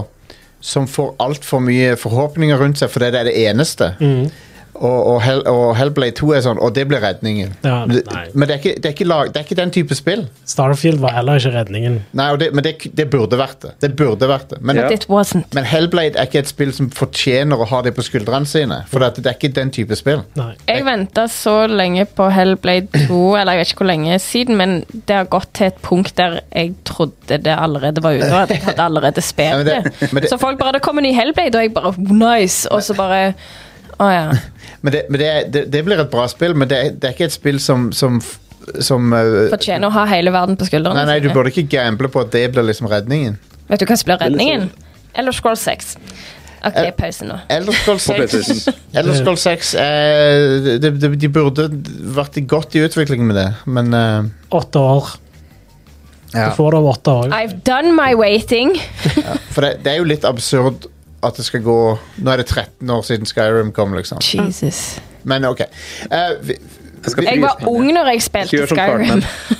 S1: som får altfor mye forhåpninger rundt seg, for det er det eneste.
S2: Mm.
S1: Og, og, Hell, og Hellblade 2 er sånn, og det blir redningen.
S2: Ja,
S1: men det,
S2: nei.
S1: men det, er ikke, det, er ikke lag, det er ikke den type spill.
S2: Starfield var heller ikke redningen.
S1: Nei, og det, men det, det burde vært det. Det burde vært det. Men,
S4: Ja.
S3: It wasn't.
S1: men Hellblade er ikke et spill som fortjener å ha det på skuldrene sine, for det, det er ikke den type spill.
S2: Nei.
S3: Jeg venta så lenge på Hellblade 2, eller jeg vet ikke hvor lenge siden, men det har gått til et punkt der jeg trodde det allerede var ute, og at jeg hadde
S1: Ja,
S3: allerede
S1: men
S3: spilt
S1: det- men
S3: det.
S1: det-
S3: Så folk bare Det kommer ny Hellblade, og jeg bare Nice! Og så bare Å ja.
S1: Men, det, men det, det, det blir et bra spill, men det, er- det er ikke et spill som, som, f- som eh,
S3: Fortjener å ha hele verden på skuldrene.
S1: Nei, nei, du
S3: sine.
S1: burde ikke gamble på at det blir liksom redningen.
S3: Vet du hva som blir
S4: er litt
S3: redningen? Eller Scroll 6. OK,
S1: Eh,
S3: pause nå.
S1: Elderscroll
S4: På
S1: 6,
S4: PlayStation.
S1: Elderscroll 6 eh, de, de, de burde vært godt i utvikling med det, men eh,
S2: Åtte år.
S1: ja.
S2: Du får det om åtte år.
S3: I've done my waiting.
S1: For det, det er jo litt absurd at det skal gå Nå er det 13 år siden Skyrim kom, liksom.
S3: Jesus.
S1: Men OK. Eh, vi,
S4: Jeg skal
S3: Jeg
S4: fryse
S3: var
S4: den.
S3: ung når jeg
S4: Ikke
S3: spilte
S4: gjør som Cartman.
S3: Skyrim.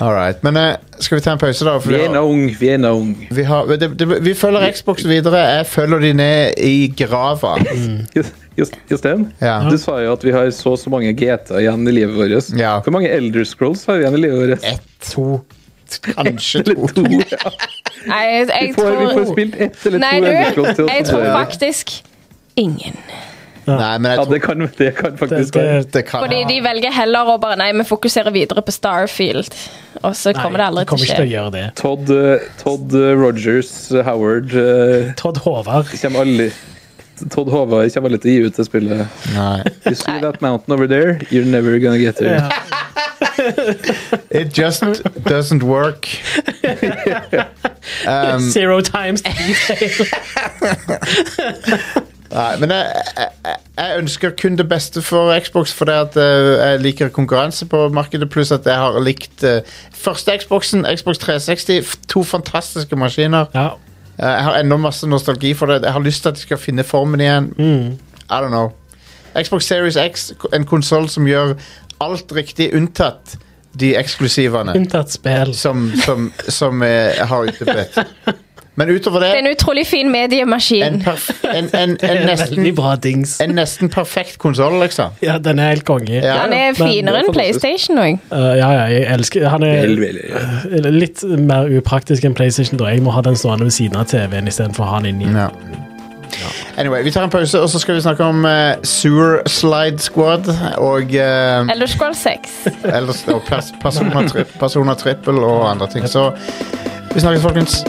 S1: all right. Men eh, skal vi ta en pause, da? For
S4: Vi
S1: vi
S4: er
S1: har-
S4: ennå ung, vi er ennå ung.
S1: vi, har, det, det, vi følger Xbox videre. Jeg følger de ned i grava.
S4: Just- Just- Jostein,
S1: Ja.
S4: du sa jo at vi har så og så mange GT igjen i livet vårt.
S1: Ja.
S4: Hvor mange Elder Scrolls har vi igjen i livet vårt?
S1: Ett, to, kanskje
S4: Eller
S1: to.
S4: to? Ja.
S3: Nei, jeg,
S4: Vi,
S3: jeg
S4: får, vi får
S3: tror
S4: spilt ett eller
S3: Nei,
S4: to Elder
S3: du,
S4: Scrolls til.
S3: jeg
S4: oss.
S3: tror faktisk ingen.
S1: Nei, men jeg
S4: Ja,
S1: tror
S4: det kan, det kan
S2: Det,
S4: faktisk
S2: det,
S4: være.
S1: det kan
S3: Fordi de
S4: Ah.
S3: velger heller å bare Nei, vi fokuserer videre på Starfield. Og så
S2: nei,
S3: kommer det aldri
S2: de kommer
S3: til
S2: ikke til å
S3: å skje.
S2: gjøre det.
S4: Todd, eh, Todd eh, Rogers eh, Howard eh,
S2: Todd Håvard.
S4: kommer aldri Todd Håvard kommer aldri til å gi ut det spillet.
S1: Nei.
S4: You see that mountain over there? You're never gonna get there.
S2: Ja.
S1: It just doesn't work.
S2: Zero times detail.
S1: Nei, men jeg, jeg, jeg- jeg ønsker kun det beste for Xbox, fordi at eh, jeg liker konkurranse på markedet, pluss at jeg har likt eh, første Xboxen, Xbox 360. f- To fantastiske maskiner.
S2: ja.
S1: Eh, jeg har ennå masse nostalgi for det. Jeg har lyst til at de skal finne formen igjen. I don't know. Xbox Series X, en konsoll som gjør alt riktig, unntatt de eksklusivene
S2: Unntatt spill.
S1: som, som, som eh, har utebledt. Men utover
S3: Det er en
S1: det
S3: utrolig fin
S1: en,
S3: mediemaskin.
S1: perf en, en, en,
S2: Veldig
S1: nesten,
S2: bra dings.
S1: en nesten perfekt konsoll, liksom.
S2: Ja, den er helt konge.
S1: Ja.
S3: Han er finere enn PlayStation òg.
S2: Uh, ja, ja, jeg elsker Han er
S4: Helvete.
S2: litt mer upraktisk enn PlayStation, da. Jeg må ha den stående ved siden av TV-en istedenfor å ha den inni.
S1: Ja. Anyway, vi tar en pause, og så skal vi snakke om eh, Sewer Slide Squad og eh,
S3: Eller Scroll 6.
S1: Ellers og pers personer, tri personer trippel og andre ting. Så vi snakkes, folkens.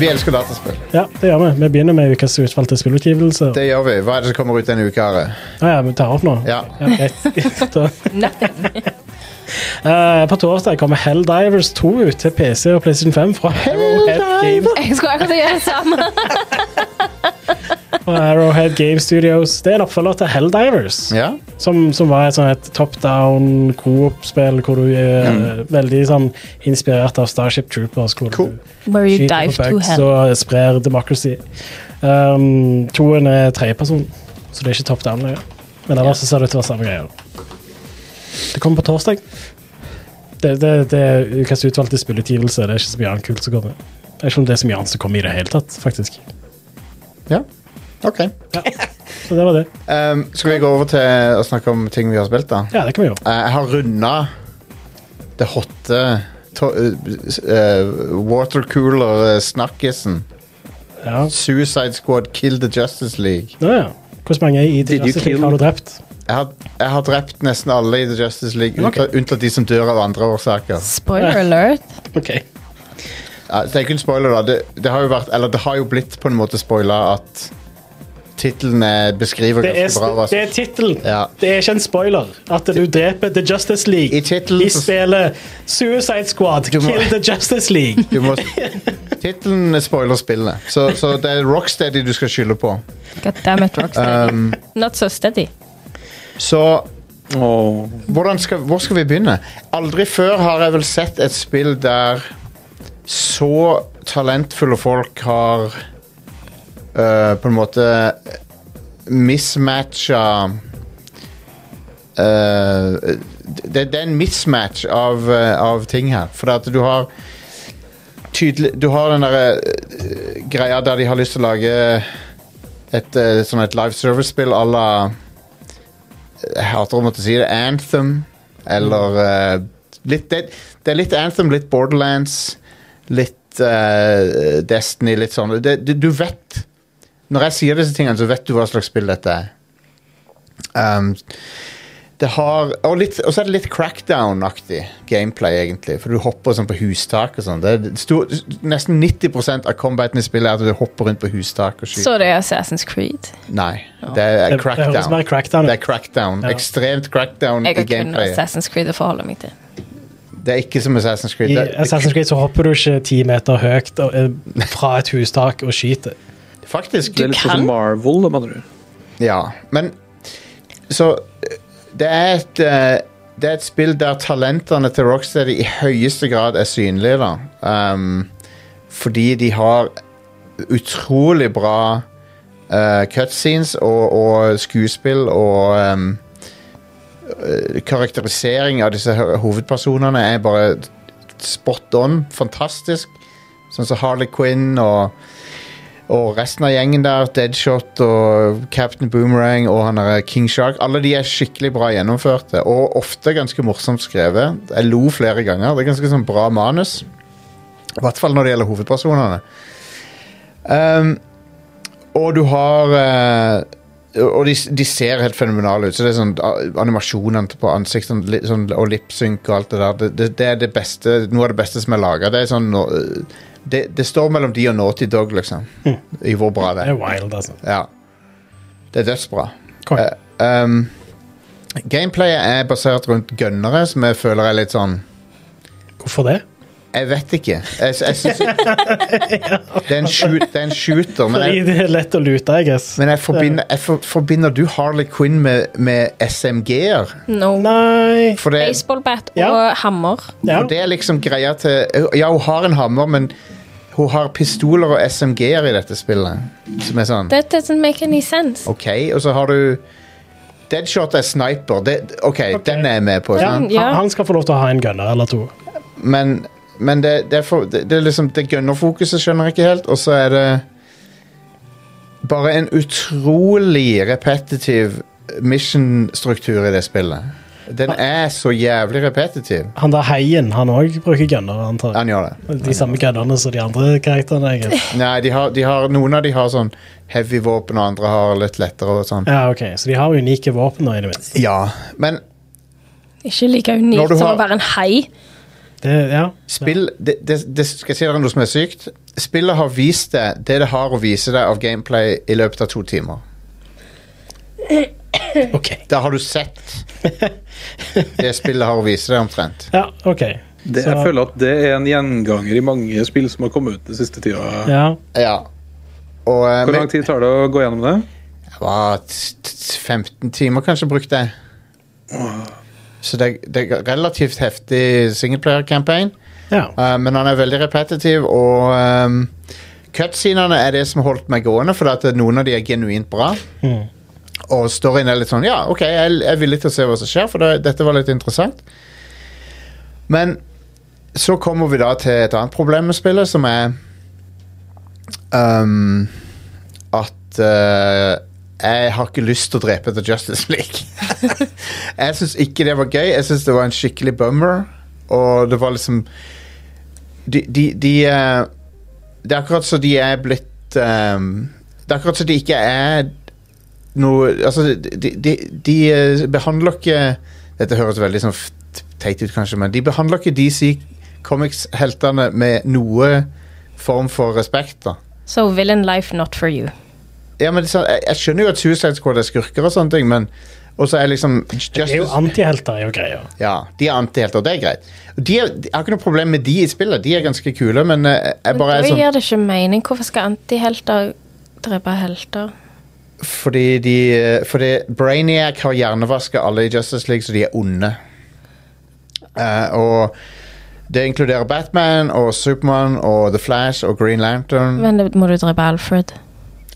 S1: Vi elsker dataspill.
S2: Ja, det gjør vi. Vi begynner med ukas utvalgte spillutgivelse.
S1: Det gjør vi. Hva er det som kommer ut denne uka? Are?
S2: Ja, ja, vi tar opp nå.
S1: Ja.
S2: greit. Da-
S3: Nothing.
S2: Eh, på torsdag kommer Helldivers 2 ut til PC og PlayStation 5 fra Arrowhead Games,
S3: Jeg skulle akkurat gjøre det samme.
S2: fra Arrowhead Game Studios. Det er en oppfølger til Helldivers,
S1: ja.
S2: som, som var et, sånn et top down coop-spill hvor du er veldig sånn, inspirert av Starship Troopers. Hvor
S1: Mm. Cool.
S3: Where
S2: du
S3: you
S2: skyter
S3: dive
S2: på
S3: to
S2: bugs
S3: hell.
S2: og sprer democracy. Um, toen er tredjeperson, så det er ikke top down lenger. Men ellers så ser det ut til å være samme greia. Det kommer på torsdag. Det, det, det er ukas utvalgte spillutgivelse. Det er ikke så mye annet kult som kommer. Det er ikke om det er så mye annet som kommer i det hele tatt, faktisk.
S1: ja. OK.
S2: Så det var det.
S1: Um, skal vi gå over til å snakke om ting vi har spilt, da?
S2: Ja, det kan vi gjøre.
S1: Eh, Jeg har runda det hotte to- eh, eh, watercooler-snakkisen.
S2: Ja.
S1: Suicide Squad Kill the Justice League.
S2: Nå, ja. Hvor mange i The
S4: Did you
S2: Justice League
S4: kill-
S2: har du drept?
S1: Jeg har, jeg har drept nesten alle i The Justice League,
S2: Ok.
S1: unntatt- unntatt de som dør av andre årsaker.
S3: Spoiler alert.
S2: Ok.
S1: Ja, det er ikke en spoiler, da. Det, det har jo vært, eller det har jo blitt på en måte spoila at titlene beskriver
S2: Det er,
S1: ganske bra hva
S2: det er
S1: som
S2: tittelen.
S1: Ja.
S2: Det er ikke en spoiler at du dreper The Justice League
S1: I tittelen så-
S2: spillet Suicide Squad
S1: Du må-
S2: Kill the Justice League.
S1: du må, Tittelen spoiler spillet, så, så det er Rocksteady du skal skylde på.
S3: God damn it, Rocksteady.
S1: Um,
S3: Not so steady.
S1: Så
S4: Åh.
S1: hvordan skal, hvor skal vi begynne? Aldri før har jeg vel sett et spill der så talentfulle folk har øh, på en måte mismatcha øh, det, det er en mismatch av, øh, av ting her. For at du har tydelig Du har den derre øh, greia der de har lyst til å lage et, øh, sånn et live service-spill à la jeg hater å måtte si det, Anthem, eller eh, litt, det, det er litt Anthem, litt Borderlands, litt eh, Destiny, litt sånn. Det, du, du vet Når jeg sier disse tingene, så vet du hva slags spill dette er. Um, det har Og litt- og så er det litt crackdown-aktig gameplay, egentlig. For du hopper sånn på hustak og sånn. Det er stor- Nesten 90 av combaten i spillet er at du hopper rundt på hustak og skyter.
S3: Så det er Assassin's Creed.
S1: Nei, det er
S2: Det- Det høres
S1: crackdown.
S2: mer crackdown
S1: Det er
S2: ut.
S1: crackdown.
S2: Ja.
S1: Ekstremt crackdown i
S3: Jeg har kun
S1: gameplay.
S3: Assassin's Creed å forholde meg til.
S1: Det er ikke som Assassin's Creed.
S2: I
S1: Det,
S2: Assassin's Creed så hopper du ikke ti meter høyt og, eh, fra et hustak og skyter.
S1: faktisk.
S4: Det er litt sånn
S3: kan.
S4: som Marvel, da, mener du.
S1: Ja, men Så eh, det er et eh, Det er et spill der talentene til Rocksteady i høyeste grad er synlige, da. Um, fordi de har utrolig bra eh, cutscenes og, og skuespill og um, eh, Karakterisering av disse ho- hovedpersonene er bare spot on. Fantastisk. Sånn som Harley Quinn og, og resten av gjengen der. Deadshot og Captain Boomerang og han der King Shark. Alle de er skikkelig bra gjennomførte og ofte ganske morsomt skrevet. Jeg lo flere ganger. Det er ganske sånn bra manus. I hvert fall når det gjelder hovedpersonene. Ehm, og du har eh, Og de, de ser helt fenomenale ut. Så det er sånn ah, Animasjonene på ansiktene li- sånn, og lipsynk og alt det der, det, det, det er det beste, noe av det beste som er laga. Det, er sånn, nå- det, det står mellom de og Naughty Dog, liksom. I hvor bra det
S2: Det er
S1: er.
S2: wild, altså.
S1: Ja. Det er dødsbra.
S2: Kong.
S1: Eh, um, gameplayet er basert rundt gønnere, som jeg føler er litt sånn
S2: Hvorfor det?
S1: Jeg vet ikke. Jeg, jeg synes, det, er en shoot, det er en shooter, men jeg,
S2: Fordi det er lett å lute, I guess.
S1: men jeg, forbinder, jeg for, forbinder du Harley Quinn med, med SMG-er.
S3: No.
S2: Nei
S1: For det,
S3: Baseballbat
S2: Ja.
S3: og hammer.
S2: ja.
S1: for det er liksom greia til Ja, hun har en hammer, men hun har pistoler og SMG-er i dette spillet. Som er sånn
S3: That doesn't make any sense.
S1: OK, og så har du Deadshot er sniper. Det, OK, den er jeg med på.
S2: Ja,
S1: sant?
S2: han,
S3: Ja.
S2: han skal få lov til å ha en gunner eller to.
S1: Men, men det, det, er for, det, det er liksom Det gunnerfokuset skjønner jeg ikke helt, og så er det bare en utrolig repetitiv mission-struktur i det spillet. Den er så jævlig repetitiv.
S2: Han der heien, han òg bruker gunner, antar jeg.
S1: Han gjør det.
S2: De samme gunnerne som de andre karakterene. Jeg. guess.
S1: Nei, de har, de har, noen av de har sånn heavy våpen, og andre har litt lettere og sånn.
S2: Ja, ok, Så de har unike våpen nå, i det minste.
S1: Ja, men
S3: Ikke like
S1: Når du
S3: unikt som
S1: har-
S3: å være en hei.
S2: Det, ja.
S1: Spill, det, det, det skal jeg si dere noe som er sykt. Spillet har vist deg det det har å vise deg av gameplay i løpet av to timer.
S2: Ok.
S1: Da har du sett det spillet har å vise deg omtrent.
S2: Ja, ok.
S4: Det, jeg føler at det er en gjenganger i mange spill som har kommet ut den siste tida.
S2: Ja.
S1: Ja. Og eh,
S4: Hvor
S1: men-
S4: lang tid tar det å gå gjennom det?
S1: Hva, t- t- 15 timer kanskje brukte jeg. Så det, det er relativt heftig singleplayer-campaign.
S2: ja.
S1: Eh, men han er veldig repetitiv, og um, cutscenene er det som holdt meg gående, for at noen av de er genuint bra.
S2: Mhm.
S1: Og storyen er litt sånn Ja, OK, jeg jeg er villig til å se hva som skjer, for det, dette var litt interessant. Men så kommer vi da til et annet problem med spillet, som er um, At eh, jeg har ikke lyst til å drepe The Justice League. jeg syns ikke det var gøy. Jeg syns det var en skikkelig bummer. Og det var liksom de, de, de eh, Det er akkurat som de er blitt ehm, Det er akkurat som de ikke er noe Altså, de, de, de eh, behandler ikke Dette høres veldig sånn f- teit ut, kanskje, men de behandler ikke DC Comics-heltene med noe form for respekt, da.
S3: So villain life not for you.
S1: Ja, men det er sånn, jeg, jeg skjønner jo at Suicide Squad er skurker og sånne ting, men Og så er liksom
S2: Det er jo
S1: Justice
S2: antihelter, er jo greia.
S1: Ja, de er antihelter, og det er greit. De er, jeg har ikke noe problem med de i spillet, de er ganske kule, men eh, jeg
S3: Men
S1: bare
S3: da
S1: er sånn
S3: gir det ikke mening. Hvorfor skal antihelter drepe helter?
S1: Mm. Fordi, de, eh, fordi Brainiac har hjernevasket alle i Justice League, så de er onde. Eh, og det inkluderer Batman og Supermann og The Flash og Green Lantern.
S3: Men da må du drepe Alfred.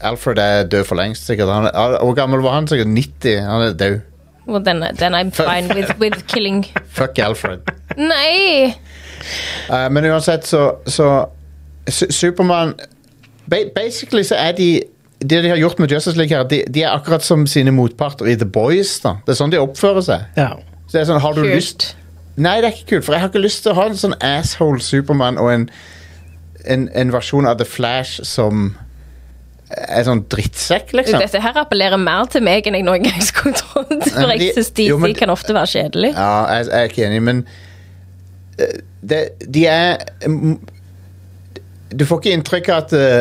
S1: Alfred er død for lengst, sikkert. Han er, hvor gammel var han? Sikkert 90. Han er død.
S3: Well, then, then I'm fine with, with killing.
S1: Fuck Alfred.
S3: Nei!
S1: Eh, men uansett, så, så Su- Supermann ba- Basically så er de Det de har gjort med Justice League her, de, de er akkurat som sine motparter i The Boys. da. Det er sånn de oppfører seg.
S2: Ja.
S1: Så det er sånn, har du lyst
S3: Kult.
S1: Nei, det er ikke kult, for jeg har ikke lyst til å ha en sånn asshole Supermann og en, en, en versjon av The Flash som er sånn drittsekk, liksom.
S3: Dette her appellerer mer til meg enn jeg noen gang skulle trodd. For
S1: men de-
S3: jeg synes DC
S1: jo, men de-
S3: kan ofte være kjedelig.
S1: Ja, jeg, jeg er ikke enig, men eh, det, de er mm, Du får ikke inntrykk av at eh,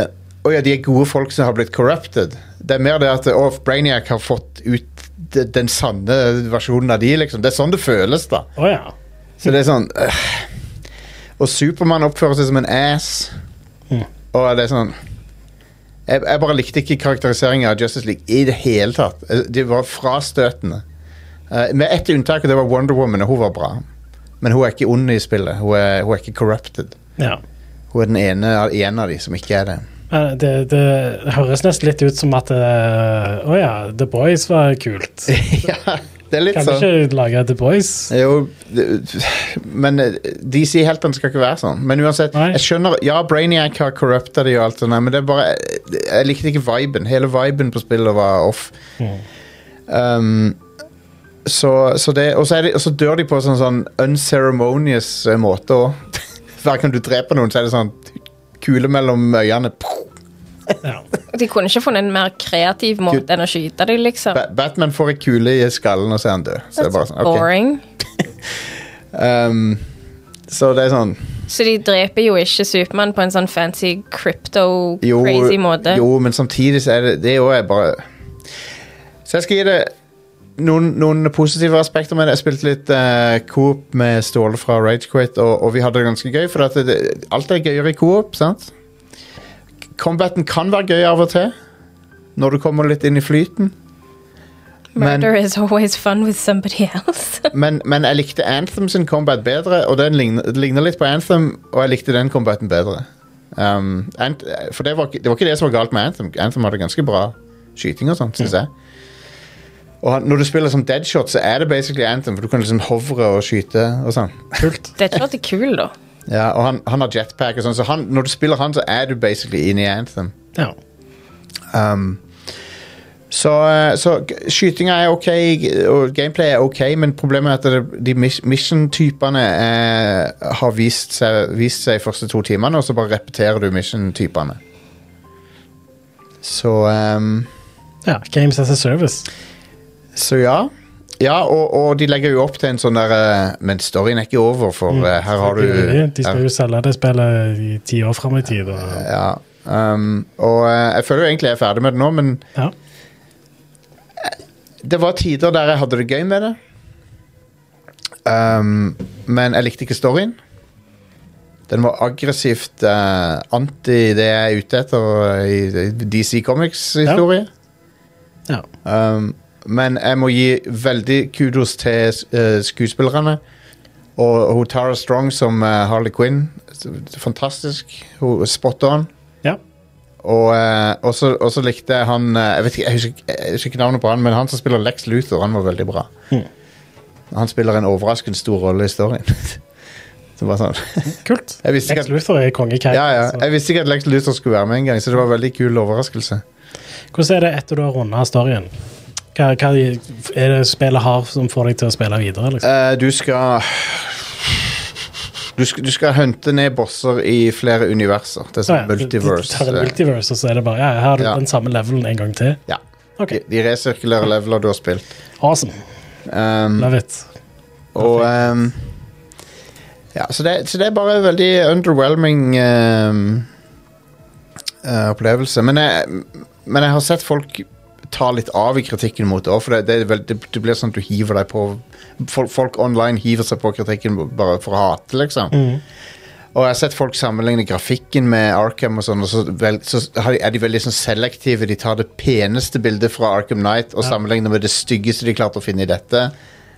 S1: Å ja, de er gode folk som har blitt corrupted. Det er mer det at oh, Brainiac har fått ut de- den sanne versjonen av de, liksom. Det er sånn det føles, da.
S2: Å ja.
S1: Så det er sånn øh. Og Supermann oppfører seg som en ass.
S2: Mm.
S1: Og det er sånn jeg, jeg bare likte ikke karakteriseringen av Justice League i det hele tatt. Eh, De var frastøtende. Eh, med ett unntak, og det var Wonder Woman, og hun var bra. Men hun er ikke ond i spillet. Hun er, hun er ikke corrupted.
S2: ja.
S1: Hun er den ene, ene av de som ikke er det.
S2: Eh, Det, det høres nesten litt ut som at eh, Å ja, The Boys var kult.
S1: ja, det er litt
S2: Kan vi
S1: sånn.
S2: ikke lage The Boys?
S1: Jo, det- men eh, DC-heltene skal ikke være sånn. Men uansett,
S2: Nei.
S1: jeg skjønner Ja, Brainiac har corrupta de og alt sånt, der, men det er bare jeg, jeg likte ikke viben. Hele viben på spillet var off. Um, så, så det, og, så er det, og så dør de på sånn, sånn unceremonious eh, måte òg. Hver gang du dreper noen, så er det sånn kule mellom øynene.
S2: Ja.
S3: De kunne ikke funnet en mer kreativ måte enn å skyte dem, liksom.
S1: Ba Batman får ei kule i skallen, og så er han død. Så det er bare sånn, ok.
S3: Boring.
S1: Ehm, så det er sånn
S3: Så de dreper jo ikke Supermann på en sånn fancy
S1: jo,
S3: crypto-crazy måte.
S1: jo, men samtidig så er det Det òg er bare Så jeg skal gi det noen, noen positive aspekter med det. Jeg spilte litt eh, coop med Ståle fra Ragequit, og, og vi hadde det ganske gøy. For at det, alt er gøyere i coop, sant? Combaten kan være gøy av og til, når du kommer litt inn i flyten. men-
S3: Murder is always fun with somebody else.
S1: Men, men jeg likte Anthem sin combat bedre, og den ligner, det ligner litt på Anthem, og jeg likte den combaten bedre. Um, Ant, for det var, ikke- det var ikke det som var galt med Anthem. Anthem hadde ganske bra skyting og sånt, synes jeg. Og han- når du spiller som deadshot, så er det basically Anthem, for du kan liksom hovre og skyte og sånn.
S2: Kult.
S3: Det er ikke alltid kul, da.
S1: Ja, og han, han har jetpack og sånn, så han, når du spiller han, så er du basically inne i Anthem.
S2: Ja.
S1: Um, så, eh, så g- skytinga er ok, g- og gameplay er ok, men problemet er at det, de mis- mission-typene er- har vist seg, vist seg i første to timene, og så bare repeterer du mission-typene. Så um,
S2: ja. Games as a service.
S1: Så ja. Ja, og, og de legger jo opp til en sånn der eh, Men storyen er ikke over, for
S2: Mm.
S1: eh, her har du
S2: De
S1: her-
S2: skal jo selge det spillet i ti år fram i tid. Og,
S1: ja, um, Og eh, jeg føler jo egentlig jeg er ferdig med det nå, men
S2: ja.
S1: Det var tider der jeg hadde det gøy med det. Um, men jeg likte ikke storyen. Den var aggressivt eh, anti det jeg er ute etter eh, i i DC Comics-historie.
S2: ja.
S1: Um, men jeg må gi veldig kudos til eh, skuespillerne. Og hun Tara Strong som eh, Harley Quinn. Fantastisk. Hun er spot on.
S2: ja.
S1: Og eh, og så og så likte jeg han eh, Jeg vet ikke, jeg husker, ikke- jeg husker ikke navnet på han, men han som spiller Lex Luthor, han var veldig bra. Han spiller en overraskende stor rolle i storyen. så bare sånn
S2: Kult.
S1: Jeg visste
S2: Lex
S1: ikke at,
S2: Luthor er kongekeiser.
S1: ja, ja, jeg visste ikke at Lex Luthor skulle være med engang, så det var en veldig kul overraskelse.
S2: Hvordan er det etter du har runda storyen? Hva, hva er det spillet har som får deg til å spille videre? Liksom?
S1: Eh, du skal du skal, du skal hunte ned bosser i flere universer. Det er sånn
S2: Ja, ja. Du,
S1: multiverse.
S2: du tar en
S1: eh,
S2: multiverse, og så er det bare ja, her har du
S1: Ja.
S2: den samme levelen en gang til.
S1: Ja.
S2: Ok,
S1: De, de resirkulerer leveler du har spilt.
S2: Awesome.
S1: Um,
S2: Love it.
S1: Og ehm, Ja, så det, så det er bare en veldig underwhelming ehm, eh, opplevelse. Men jeg, men jeg har sett folk ta litt av i kritikken mot det òg, for det, det, er vel- det, det blir sånn at du hiver deg på Folk, folk online hiver seg på kritikken bare for å hate, liksom. Og jeg har sett folk sammenligne grafikken med Arkham, og sånn, og så, vel, så har de- er de veldig sånn selektive. De tar det peneste bildet fra Arkham Knight og sammenligner med det styggeste de klarte å finne i dette.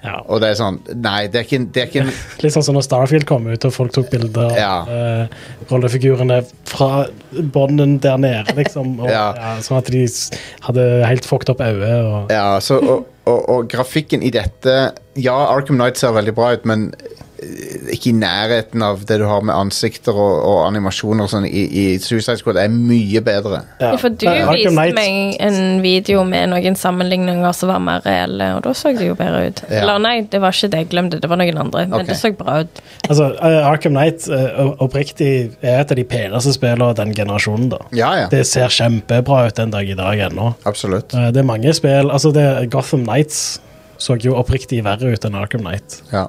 S2: Ja.
S1: Og det er sånn Nei, det er ikke, en- det er ikke en
S2: Litt sånn som når Starfield kom ut, og folk tok bilder av
S1: Ja.
S2: eh, rollefigurene fra bånden der nede, liksom. Og, ja.
S1: Ja.
S2: sånn at de s- hadde helt fucked opp øyet. Og,
S1: Ja, så, og, og, og grafikken i dette Ja, Arkham Knight ser veldig bra ut, men eh, ikke i nærheten av det du har med ansikter og, og animasjoner og sånn i, i Suicide Squad. er mye bedre.
S3: Ja, For du
S2: Eh, Arkham
S3: viste
S2: Knight-
S3: meg en video med noen sammenligninger som var mer reelle, og da så det jo bedre ut.
S1: Ja.
S3: Eller nei, det var ikke det jeg glemte, det var noen andre, men
S1: Ok.
S3: det så bra ut.
S2: Altså, eh, Arkham Knight eh, oppriktig er et av de peneste spillene av den generasjonen, da.
S1: Ja, ja.
S2: Det ser kjempebra ut den dag i dag ennå.
S1: Absolutt.
S2: Eh, Det er mange spill Altså, det Gotham Nights så jo oppriktig verre ut enn Arkham Knight.
S1: Ja.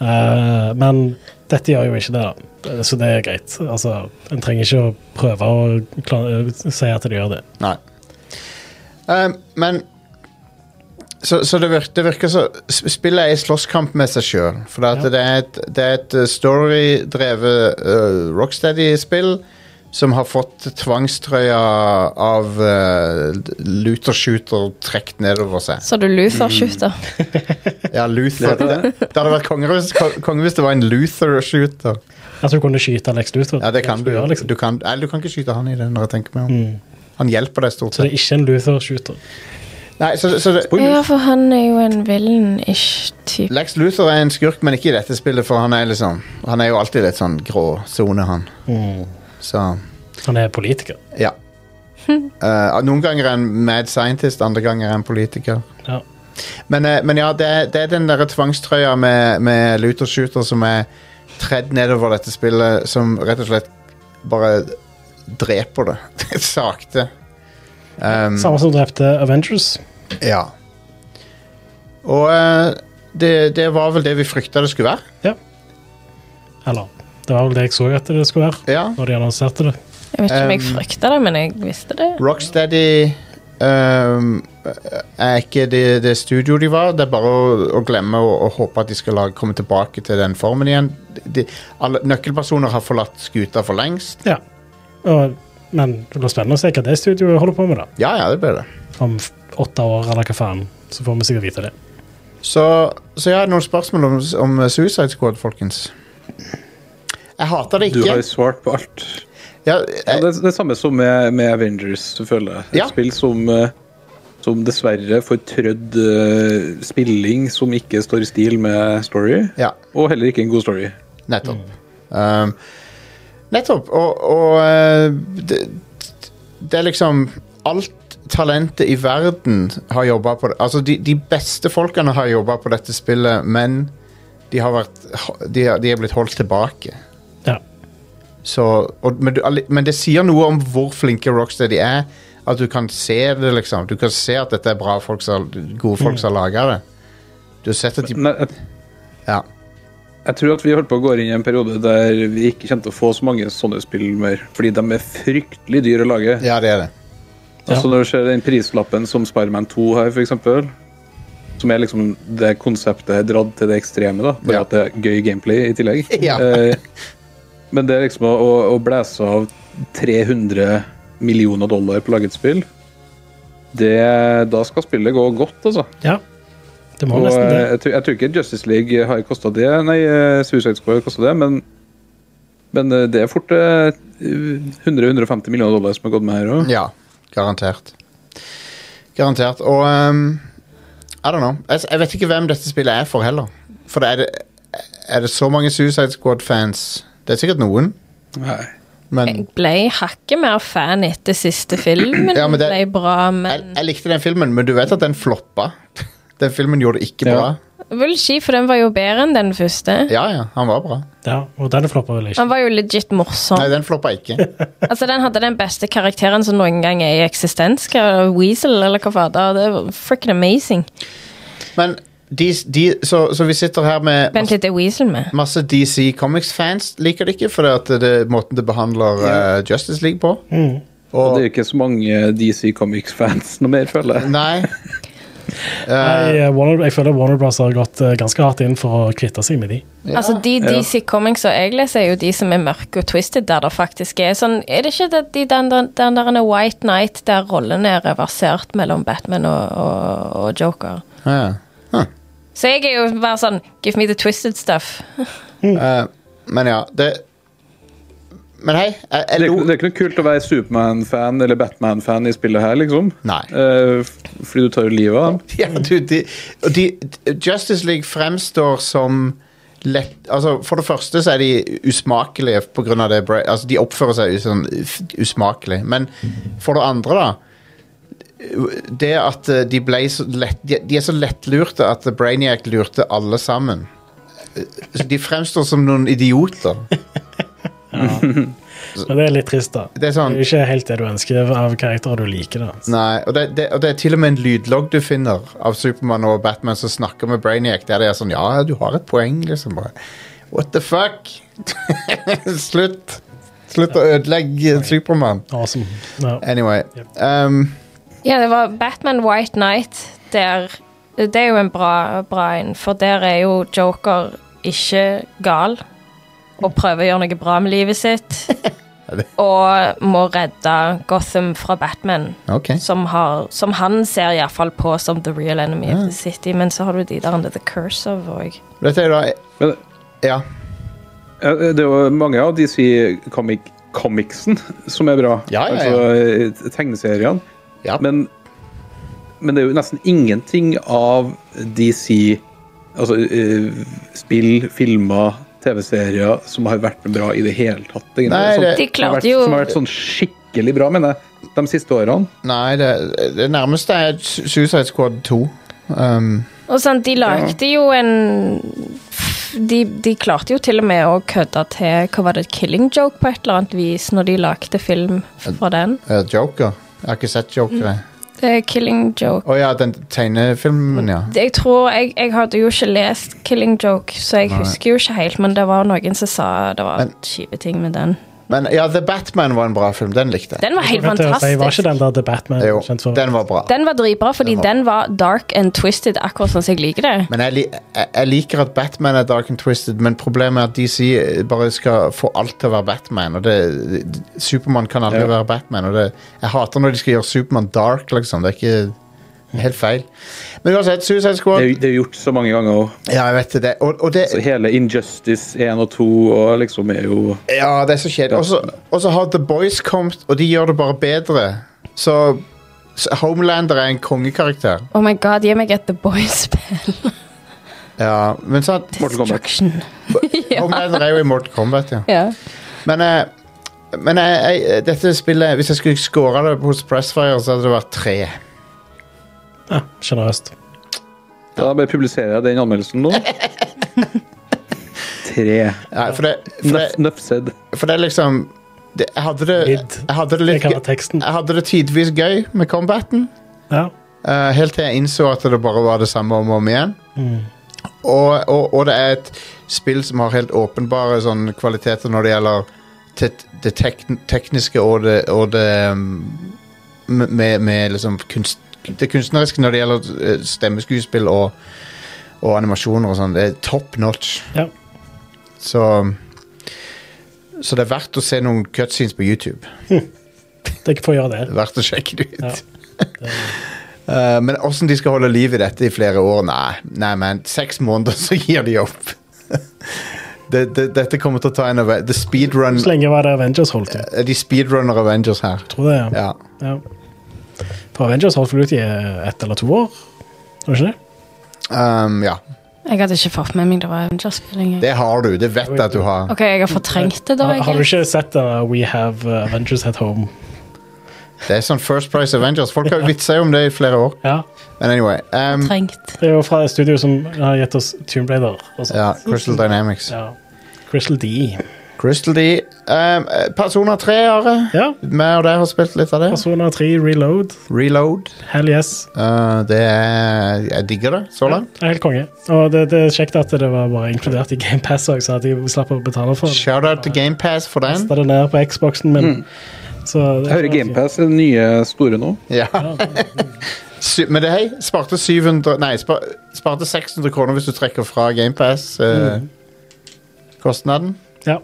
S2: Eh, men dette gjør jo ikke det, da. Eh, Så det er greit. Altså, en trenger ikke å prøve å kla- eh, si at det gjør det.
S1: Nei. Eh, men Så, så det, virker, det virker så sp- Spillet er i slåsskamp med seg sjøl. For det, at
S2: Ja.
S1: det er et, det er et eh, storydrevet eh, Rocksteady-spill som har fått tvangstrøya av uh, Luther-shooter trukket nedover seg.
S3: Så du Luther-shooter.
S1: Ja, Luther. Det, det hadde vært konge hvis- kon- konge hvis det var en Luther-shooter.
S2: Altså, du kunne skyte Lex Luthor.
S1: Ja, det kan du.
S2: gjøre, liksom. Mm.
S1: Du kan, nei, du kan ikke skyte han i det, når jeg tenker meg om. Han hjelper deg stort
S2: Så
S1: sett.
S2: det er ikke en Luthor-shooter.
S1: Nei, så, så det,
S3: Ja, for han er jo en villain-ish-type.
S1: Lex Luthor er en skurk, men ikke i dette spillet, for han er liksom Han er jo alltid litt sånn grå sone, han. Så
S2: Han er politiker.
S1: ja. Eh, noen ganger er han mad scientist, andre ganger er han politiker.
S2: Ja.
S1: Men, eh, men ja, det, er- det er den derre tvangstrøya med, med Luther Shooter som er tredd nedover dette spillet, som rett og slett bare dreper det sakte. Mm. Ehm,
S2: Samme som drepte Avengers.
S1: Ja. Og eh, det, det var vel det vi frykta det skulle være.
S2: Ja. Eller det var vel det jeg så at det skulle være,
S1: Ja.
S2: når de annonserte det.
S3: Jeg vet ikke om jeg
S1: Um,
S3: frykta det, men jeg visste det.
S1: Rocksteady ehm, er ikke det, det studio de var. Det er bare å, å glemme og, og håpe at de skal lage, komme tilbake til den formen igjen. De, alle, nøkkelpersoner har forlatt skuta for lengst.
S2: Ja. Og, men det blir spennende å se hva det studioet holder på med, da.
S1: Ja, ja, det ble det.
S2: Om f- åtte år, eller hva faen. Så får vi sikkert vite det.
S1: Så, så jeg har noen spørsmål om, om Suicide Squad, folkens. Jeg hater det
S4: Du
S1: ikke.
S4: har jo svart på alt.
S1: Ja, eh,
S4: Ja,
S1: jeg,
S4: det er det samme som med, med Avengers, føler jeg. Et
S1: Ja.
S4: spill som, eh, som dessverre får trødd eh, spilling som ikke står i stil med story,
S1: ja,
S4: og heller ikke en god story.
S1: nettopp. Ehm, nettopp. Og, og eh, det, det er liksom Alt talentet i verden har jobba på det. Altså, de, de beste folkene har jobba på dette spillet, men de har vært De, har- de er blitt holdt tilbake.
S2: Ja.
S1: Så, og, men, du, alli- men det sier noe om hvor flinke Rocksteady er. At du kan se det, liksom. Du kan se at dette er bra folk som, gode folk som har laga det. Du har sett at de
S4: Men jeg,
S1: Ja.
S4: jeg tror at vi holdt på å gå inn i en periode der vi ikke kommer til å få så mange sånne spill mer, fordi de er fryktelig dyre å lage.
S1: Ja, det er det.
S4: Altså Når du ser den prislappen som Spiderman 2 har, for eksempel som er liksom det konseptet er dratt til det ekstreme, da, bare
S1: Ja.
S4: at det er gøy gameplay i tillegg.
S1: Ja.
S4: Eh, men det er liksom å, å, å blæse av 300 millioner dollar på laget spill det, Da skal spillet gå godt, altså.
S2: ja. Det må
S4: Og
S2: nesten
S4: eh,
S2: det.
S4: jeg, tror, jeg tror ikke Justice League har kosta det, nei, eh, Suicide Squad har kosta det, men, men eh, det er fort eh, 100-150 millioner dollar som har gått med her òg.
S1: Ja, garantert. Garantert. Og um, I don't know. Jeg, jeg vet ikke hvem dette spillet er for heller. For det er, det, er det så mange Suicide Squad-fans Det er sikkert noen, men
S3: Jeg ble hakket mer fan etter siste filmen.
S1: Ja, men det-
S3: ble bra,
S1: jeg,
S3: men
S1: jeg likte den filmen, men du vet at den floppa. Den filmen gjorde det ikke
S4: Ja.
S1: bra.
S3: Vulgi, for den var jo bedre enn den første.
S1: Ja ja, han var bra.
S2: Ja, og den floppa vel ikke.
S3: Han var jo legit morsom.
S1: Nei, den floppa ikke.
S3: Altså, Den hadde den beste karakteren som noen gang er i eksistens. Hva- Weasel, eller hva fader. Det var freaking amazing.
S1: Men de, de så, så vi sitter her med
S3: Vent
S1: masse,
S3: litt, er Weasel med?
S1: masse DC Comics-fans liker det ikke, for det at det er måten det behandler eh, Justice League på.
S4: Mm. Og
S1: Og
S4: det er ikke så mange eh, DC Comics-fans noe mer, føler jeg.
S1: Nei.
S2: Nei, eh, Warner, jeg føler Warner Bros. har gått eh, ganske hardt inn for å kvitte seg med de.
S3: Altså, De DC Comics og jeg leser, er jo de som er mørke og twisted, der det faktisk er sånn Er det ikke det, de, den, den, den der ene White Night der rollene er reversert mellom Batman og, og, og Joker?
S1: Ja.
S3: Så jeg er jo bare sånn Give me the twisted stuff.
S1: Eh, men ja, det Men hei, eh, jeg, jeg
S4: Det er,
S1: lo
S4: ikke- det er ikke noe kult å være Superman-fan eller Batman-fan i spillet her, liksom.
S1: Nei.
S4: Eh, f- fordi du tar jo livet av dem.
S1: ja, du, de, og de, Justice League fremstår som lett Altså, for det første så er de usmakelige på grunn av det Bra- Altså, de oppfører seg sånn f- usmakelig. Men for det andre, da Det at eh, de ble så lett De, de er så lettlurte at Brainiac lurte alle sammen. Eh, så De fremstår som noen idioter.
S2: Men det er litt trist, da.
S1: Det er sånn-
S2: Det er ikke helt det du ønsker av karakterer du liker. da.
S1: Nei, og det, det, og det er til og med en lydlogg du finner av Supermann og Batman som snakker med Brainiac, der det er sånn Ja, du har et poeng, liksom. Bare. What the fuck? Slutt. Slutt å ødelegge Supermann.
S2: Awesome. Ja.
S1: Anyway. Um,
S3: Ja, det var Batman White Night der Det er jo en bra, bra en, for der er jo Joker ikke gal og prøver å gjøre noe bra med livet sitt. Og må redde Gotham fra Batman,
S1: ok.
S3: som, har, som han ser iallfall på som the real enemy of the city. Men så har du de der under The Curse of òg.
S1: Dette er jo da
S4: Men
S1: Ja.
S4: eh, det er jo mange av DC comic comicsen som er bra.
S1: Ja, ja, ja.
S4: Altså eh, tegneseriene.
S1: ja.
S4: Men, men det er jo nesten ingenting av DC Altså eh, spill, filmer, TV-serier som har vært bra i det hele tatt. egentlig.
S1: Nei,
S4: Sånn-
S1: det-
S3: De
S4: som har
S3: klarte
S4: vært,
S3: jo
S4: som har vært sånn skikkelig bra, mener jeg, de siste årene.
S1: Nei, det, det nærmeste er Su- Suicide Squad 2. Um,
S3: Og sånn, de lagde jo en de, de klarte jo til og med å kødde til hva var det, Killing Joke på et eller annet vis når de lagde film fra den.
S1: Eh, Joker? Jeg har ikke sett Joker. jeg.
S3: Det er Killing Joke.
S1: Å ja, den tegnefilmen, ja.
S3: Jeg tror, jeg, jeg hadde jo ikke lest Killing Joke, så jeg
S1: Nei.
S3: husker jo ikke helt, men det var noen som sa det var
S1: Men-
S3: kjipe ting med den.
S1: Men ja, The Batman var en bra film. Den likte jeg.
S3: Den var helt
S2: Hva heter det? Jeg var
S3: fantastisk.
S2: ikke den der The Batman
S1: Jo,
S2: kjent for.
S1: den var bra.
S3: Den var dritbra, fordi
S1: Den var-
S3: den var dark and twisted, akkurat sånn som jeg liker det.
S1: Men jeg, li jeg, jeg liker at Batman er dark and twisted, men problemet er at DC bare skal få alt til å være Batman. Og det, Supermann kan aldri
S4: Ja.
S1: være Batman. Og det, jeg hater når de skal gjøre Supermann dark, liksom. Det er ikke helt feil. Men uansett, Suicide
S4: Det
S1: Squad
S4: er, jo- det er jo gjort så mange ganger òg.
S1: Ja, jeg vet det. Og, og det
S4: Så hele Injustice 1 og 2 og liksom er jo
S1: Ja, det er så kjedelig. Og så- Og så har The Boys kommet, og de gjør det bare bedre. Så, så Homelander er en kongekarakter.
S3: Oh my god, gi meg et The Boys-spill.
S1: Ja, men sant?
S4: Mortal Kombat.
S3: Destruction.
S1: Homelander er jo i Mortal Kombat, ja.
S3: Ja.
S1: Men, eh, men jeg, jeg, dette spillet Hvis jeg skulle score det hos Pressfire, så hadde det vært tre.
S2: Ja, Generøst.
S4: Da bare publiserer jeg den anmeldelsen nå. Tre.
S1: Nei, for, det, for,
S4: Nuff,
S1: det,
S4: nuff said.
S1: for det er liksom det, jeg, hadde det,
S2: Mid.
S1: jeg hadde det
S2: Jeg
S1: litt
S2: kan ha
S1: gøy-
S2: teksten.
S1: Jeg hadde det tidvis gøy med combaten,
S2: Ja.
S1: eh, helt til jeg innså at det bare var det samme om og om igjen. Og, og, og det er et spill som har helt åpenbare sånn kvaliteter når det gjelder te- det tek tekniske og det, og det um, med, med liksom kunst, det kunstneriske når det gjelder eh, stemmeskuespill og, og animasjoner og sånn. Det er top notch.
S2: ja.
S1: Så så det er verdt å se noen cutscenes på YouTube.
S2: Det får gjøre det.
S1: Det er verdt å sjekke det ut.
S2: Ja.
S1: Eh, men åssen de skal holde liv i dette i flere år? Nei, nei men seks måneder, så gir de opp. det, det, dette kommer til å ta en av The speedrun
S2: Så lenge var det Avengers holdt ut.
S1: De speedrunner Avengers her.
S2: Tror det, ja.
S1: Eh, Ja.
S2: ja. For Avengers holdt vel ut i eh, ett eller to år? Var det ikke det?
S1: Um, ja.
S3: Jeg hadde ikke fått med meg det var Avengers-spill engang.
S1: Det har du. Det vet jeg at du har.
S3: Ok, jeg har fortrengt det, da.
S2: Har, har du
S3: Jeg.
S2: ikke sett eh, We Have eh, Avengers at Home?
S1: Det er sånn First Price Avengers. Folk har vitsa om det i flere år.
S2: Ja.
S1: Men anyway. Um,
S3: Fortrengt.
S2: Det er jo fra et studio som har gitt oss Tomb Raider. Og sånt.
S1: ja, Crystal Dynamics.
S2: Ja. Crystal D.
S1: Crystal D. Um, Personer 3, Are.
S2: Ja.
S1: Vi og deg har spilt litt av det.
S2: Persona 3 Reload.
S1: Reload.
S2: Hell yes.
S1: Uh, det er Jeg digger det så langt.
S2: Det er helt konge. Og det, det er kjekt at det var bare inkludert i GamePass òg, så at jeg slapp å betale for det.
S1: Shout-out til GamePass for den.
S2: Kasta det ned på Xboxen min.
S1: Mm.
S2: Så
S4: Jeg hører
S1: sånn
S4: GamePass er den nye store nå.
S1: Ja. Sy- Men det, hei, sparte 700 Nei, spar, sparte 600 kroner hvis du trekker fra eh, GamePass-kostnaden.
S2: Ja.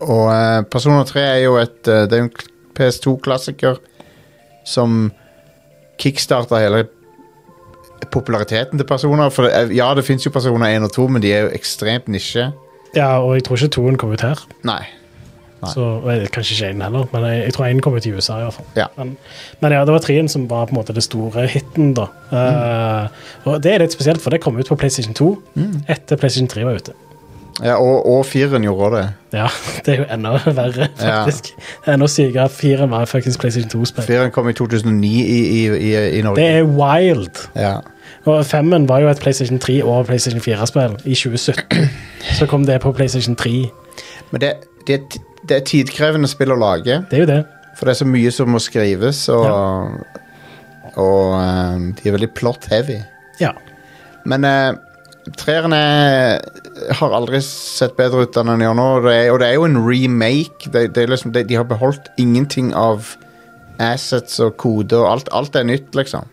S1: Og eh, Persona 3 er jo et eh, Det er jo en PS2-klassiker som kickstarta hele populariteten til personer. For det er- ja, det fins jo personer 1 og 2, men de er jo ekstremt nisje.
S2: ja, og jeg tror ikke toen kom ut her.
S1: Nei. Nei.
S2: Så, og jeg- kanskje ikke én heller, men jeg, jeg tror én kom ut i USA. i hvert fall.
S1: Ja.
S2: Men, men ja, det var treen som var på en måte det store hiten. da. Eh, og det er litt spesielt, for det kom ut på PlayStation 2 etter PlayStation 3 var ute.
S1: Ja, og og 4-en gjorde også det.
S2: Ja, Det er jo enda verre,
S1: Ja.
S2: faktisk. Enda sykere. Fire var faktisk PlayStation 2-spill.
S1: 4-en kom i 2009 i, i, i, i
S2: Det
S1: Norge.
S2: er wild.
S1: Ja.
S2: Og femmen var jo et PlayStation 3 og PlayStation 4-spill i 2017. Så kom det på PlayStation 3.
S1: Men det, det, er ti- det er tidkrevende spill å lage,
S2: Det er jo det.
S1: for det er så mye som må skrives, og, og eh, de er veldig plot-heavy.
S2: Ja.
S1: Men uh, treerne har aldri sett bedre ut enn den gjør nå, og det er, og det er jo en remake. Det, det er liksom, det, de har beholdt ingenting av assets og kode, og alt, alt er nytt, liksom.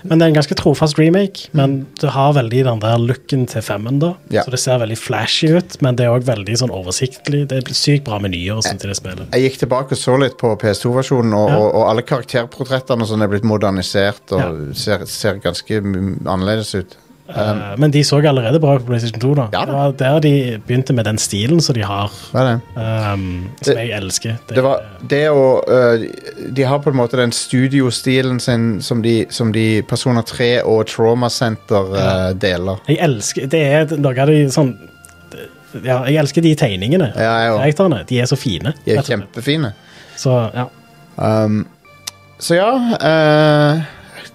S2: Men det er en ganske trofast remake, men det har veldig den der looken til femmen, da.
S1: Ja.
S2: Så det ser veldig flashy ut, men det er òg veldig sånn oversiktlig. Det er sykt bra menyer og sånt til det spillet.
S1: Jeg gikk tilbake og så litt på PS2-versjonen, og,
S2: Ja.
S1: og, og alle karakterportrettene og sånn er blitt modernisert og
S2: Ja.
S1: ser, ser ganske mm, annerledes ut.
S2: Eh, men de så allerede bra ut på PlayStation 2, da.
S1: Ja da.
S2: Det var der de begynte med den stilen som de har,
S1: Hva er det?
S2: ehm, som jeg elsker.
S1: Det var det å øh, De har på en måte den studiostilen sin som de, som de Personer 3 og Trauma Center øh, deler.
S2: Jeg elsker Det er noe av de sånn Ja, jeg elsker de tegningene.
S1: Ja, jeg òg.
S2: Karakterene. De er så fine.
S1: De er
S2: rett og slett.
S1: kjempefine. Um,
S2: Så ja.
S1: Så ja øh, eh,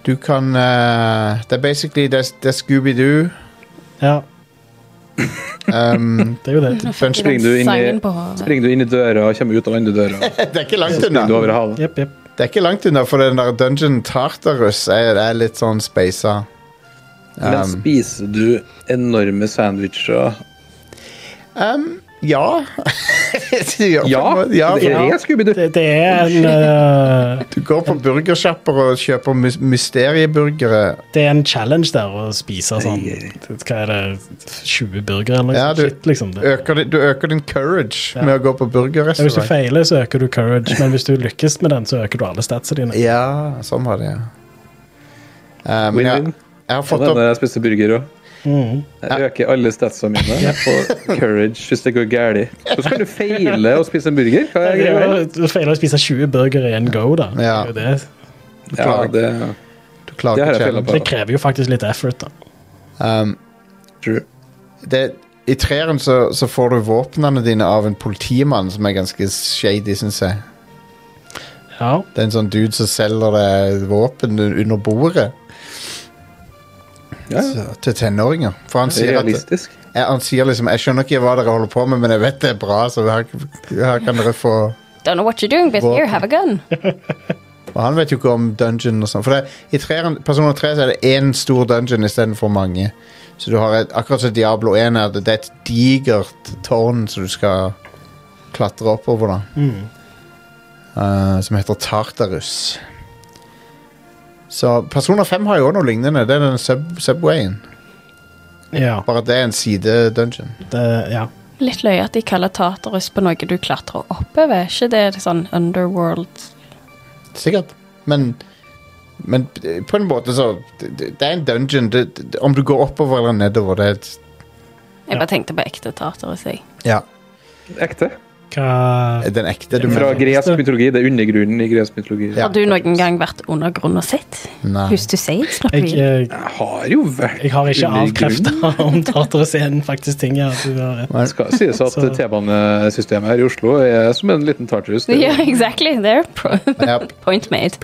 S1: Du kan øh, Det er basically det, det er Scooby-Doo
S2: ja.
S1: Um,
S2: Det er jo det.
S3: Fikk
S1: bunch,
S3: jeg den
S4: Springer du, inn i,
S3: sangen på hodet.
S4: springer du inn i døra og kommer ut av andre døra.
S1: det er ikke langt
S4: Springer du
S1: unna.
S4: over havet.
S2: Jepp, jepp.
S1: Det er ikke langt unna, for den der Dungeon Tartarus er, er litt sånn speisa.
S4: Men spiser du enorme sandwicher?
S1: Um, ja. ja,
S4: Ja!
S1: ja,
S4: det
S1: ja.
S4: er Scooby-Doo.
S2: Det, det er en eh,
S1: Du går på burgersjapper og kjøper mys mysterieburgere.
S2: Det er en challenge der å spise sånn Hva er det, 20 burgere eller noe
S1: Ja,
S2: sånt
S1: du
S2: shit, liksom. Det.
S1: Øker din- du øker din courage
S2: Ja.
S1: med å gå på
S2: Ja, Hvis du
S1: burgerrestaurant.
S2: feiler, så øker du courage, men hvis du lykkes med den, så øker du alle statsene dine.
S1: Ja, sånn var det, ja. Um,
S4: Win-win.
S1: jeg, jeg har fått
S4: Det er
S1: opp Mm.
S4: når jeg spiser burger òg. Jeg øker alle statsa mine på courage hvis det går galt. Så skal du feile å spise en burger. Hva er
S2: Det er
S4: greia? her?
S2: jo- Du feiler å spise 20 burgere i en go, da. Det,
S1: Ja.
S2: er jo det.
S4: Ja, det
S1: Du klarer
S4: det har
S1: ikke
S4: jeg feilet
S1: challenge.
S4: på.
S2: det krever jo faktisk litt effort, da.
S1: Um,
S4: true.
S1: det, I treeren så, så får du våpnene dine av en politimann som er ganske shady, syns jeg.
S2: Ja,
S1: Det er en sånn dude som selger deg våpen un- under bordet
S4: Ja,
S1: så, til tenåringer. For han
S4: det er
S1: sier, at,
S4: realistisk.
S1: jeg, han sier liksom 'Jeg skjønner ikke hva dere holder på med, men jeg vet det er bra', så her, her kan dere få
S3: Don't know what you're doing, but here, have a gun.
S1: Og han vet jo ikke om dungeon og sånn. For det, i treeren, Persona 3 så er det én stor dungeon istedenfor mange. Så du har et, akkurat som Diablo 1 er det, det er et digert tårn som du skal klatre oppover, da.
S4: Mm.
S1: Eh, som heter Tartarus. Så Persona 5 har jo også noe lignende. Det er den sub Subwayen.
S2: ja,
S1: Bare at det er en side-dungeon.
S2: det, ja.
S3: Litt løye at de kaller Tartarus på noe du klatrer oppover. Er ikke det et sånn underworld
S1: Sikkert. Men, men øh, på en måte så Det, det er en dungeon. Det, det, om du går oppover eller nedover, det er et
S3: Jeg bare tenkte på ekte Tartarus, jeg.
S1: Ja.
S4: Ekte.
S2: Hva
S1: Den ekte du
S4: Fra
S1: mener?
S4: gresk mytologi. Det er undergrunnen i gresk mytologi.
S1: Ja.
S3: Har du noen gang vært undergrunn og sett?
S1: Nei.
S3: Who's to say? Snakker
S2: jeg,
S3: vi
S2: jeg,
S4: Jeg har jo vært
S2: jeg har ikke
S4: undergrunnen.
S2: avkrefta om Tartarus-scenen faktisk ting her. Du har rett.
S4: Det skal sies at
S2: Så-
S4: T-banesystemet her i Oslo er som en liten tartarus. Det er jo-
S3: Yeah, exactly. There.
S1: Ja,
S3: Point made.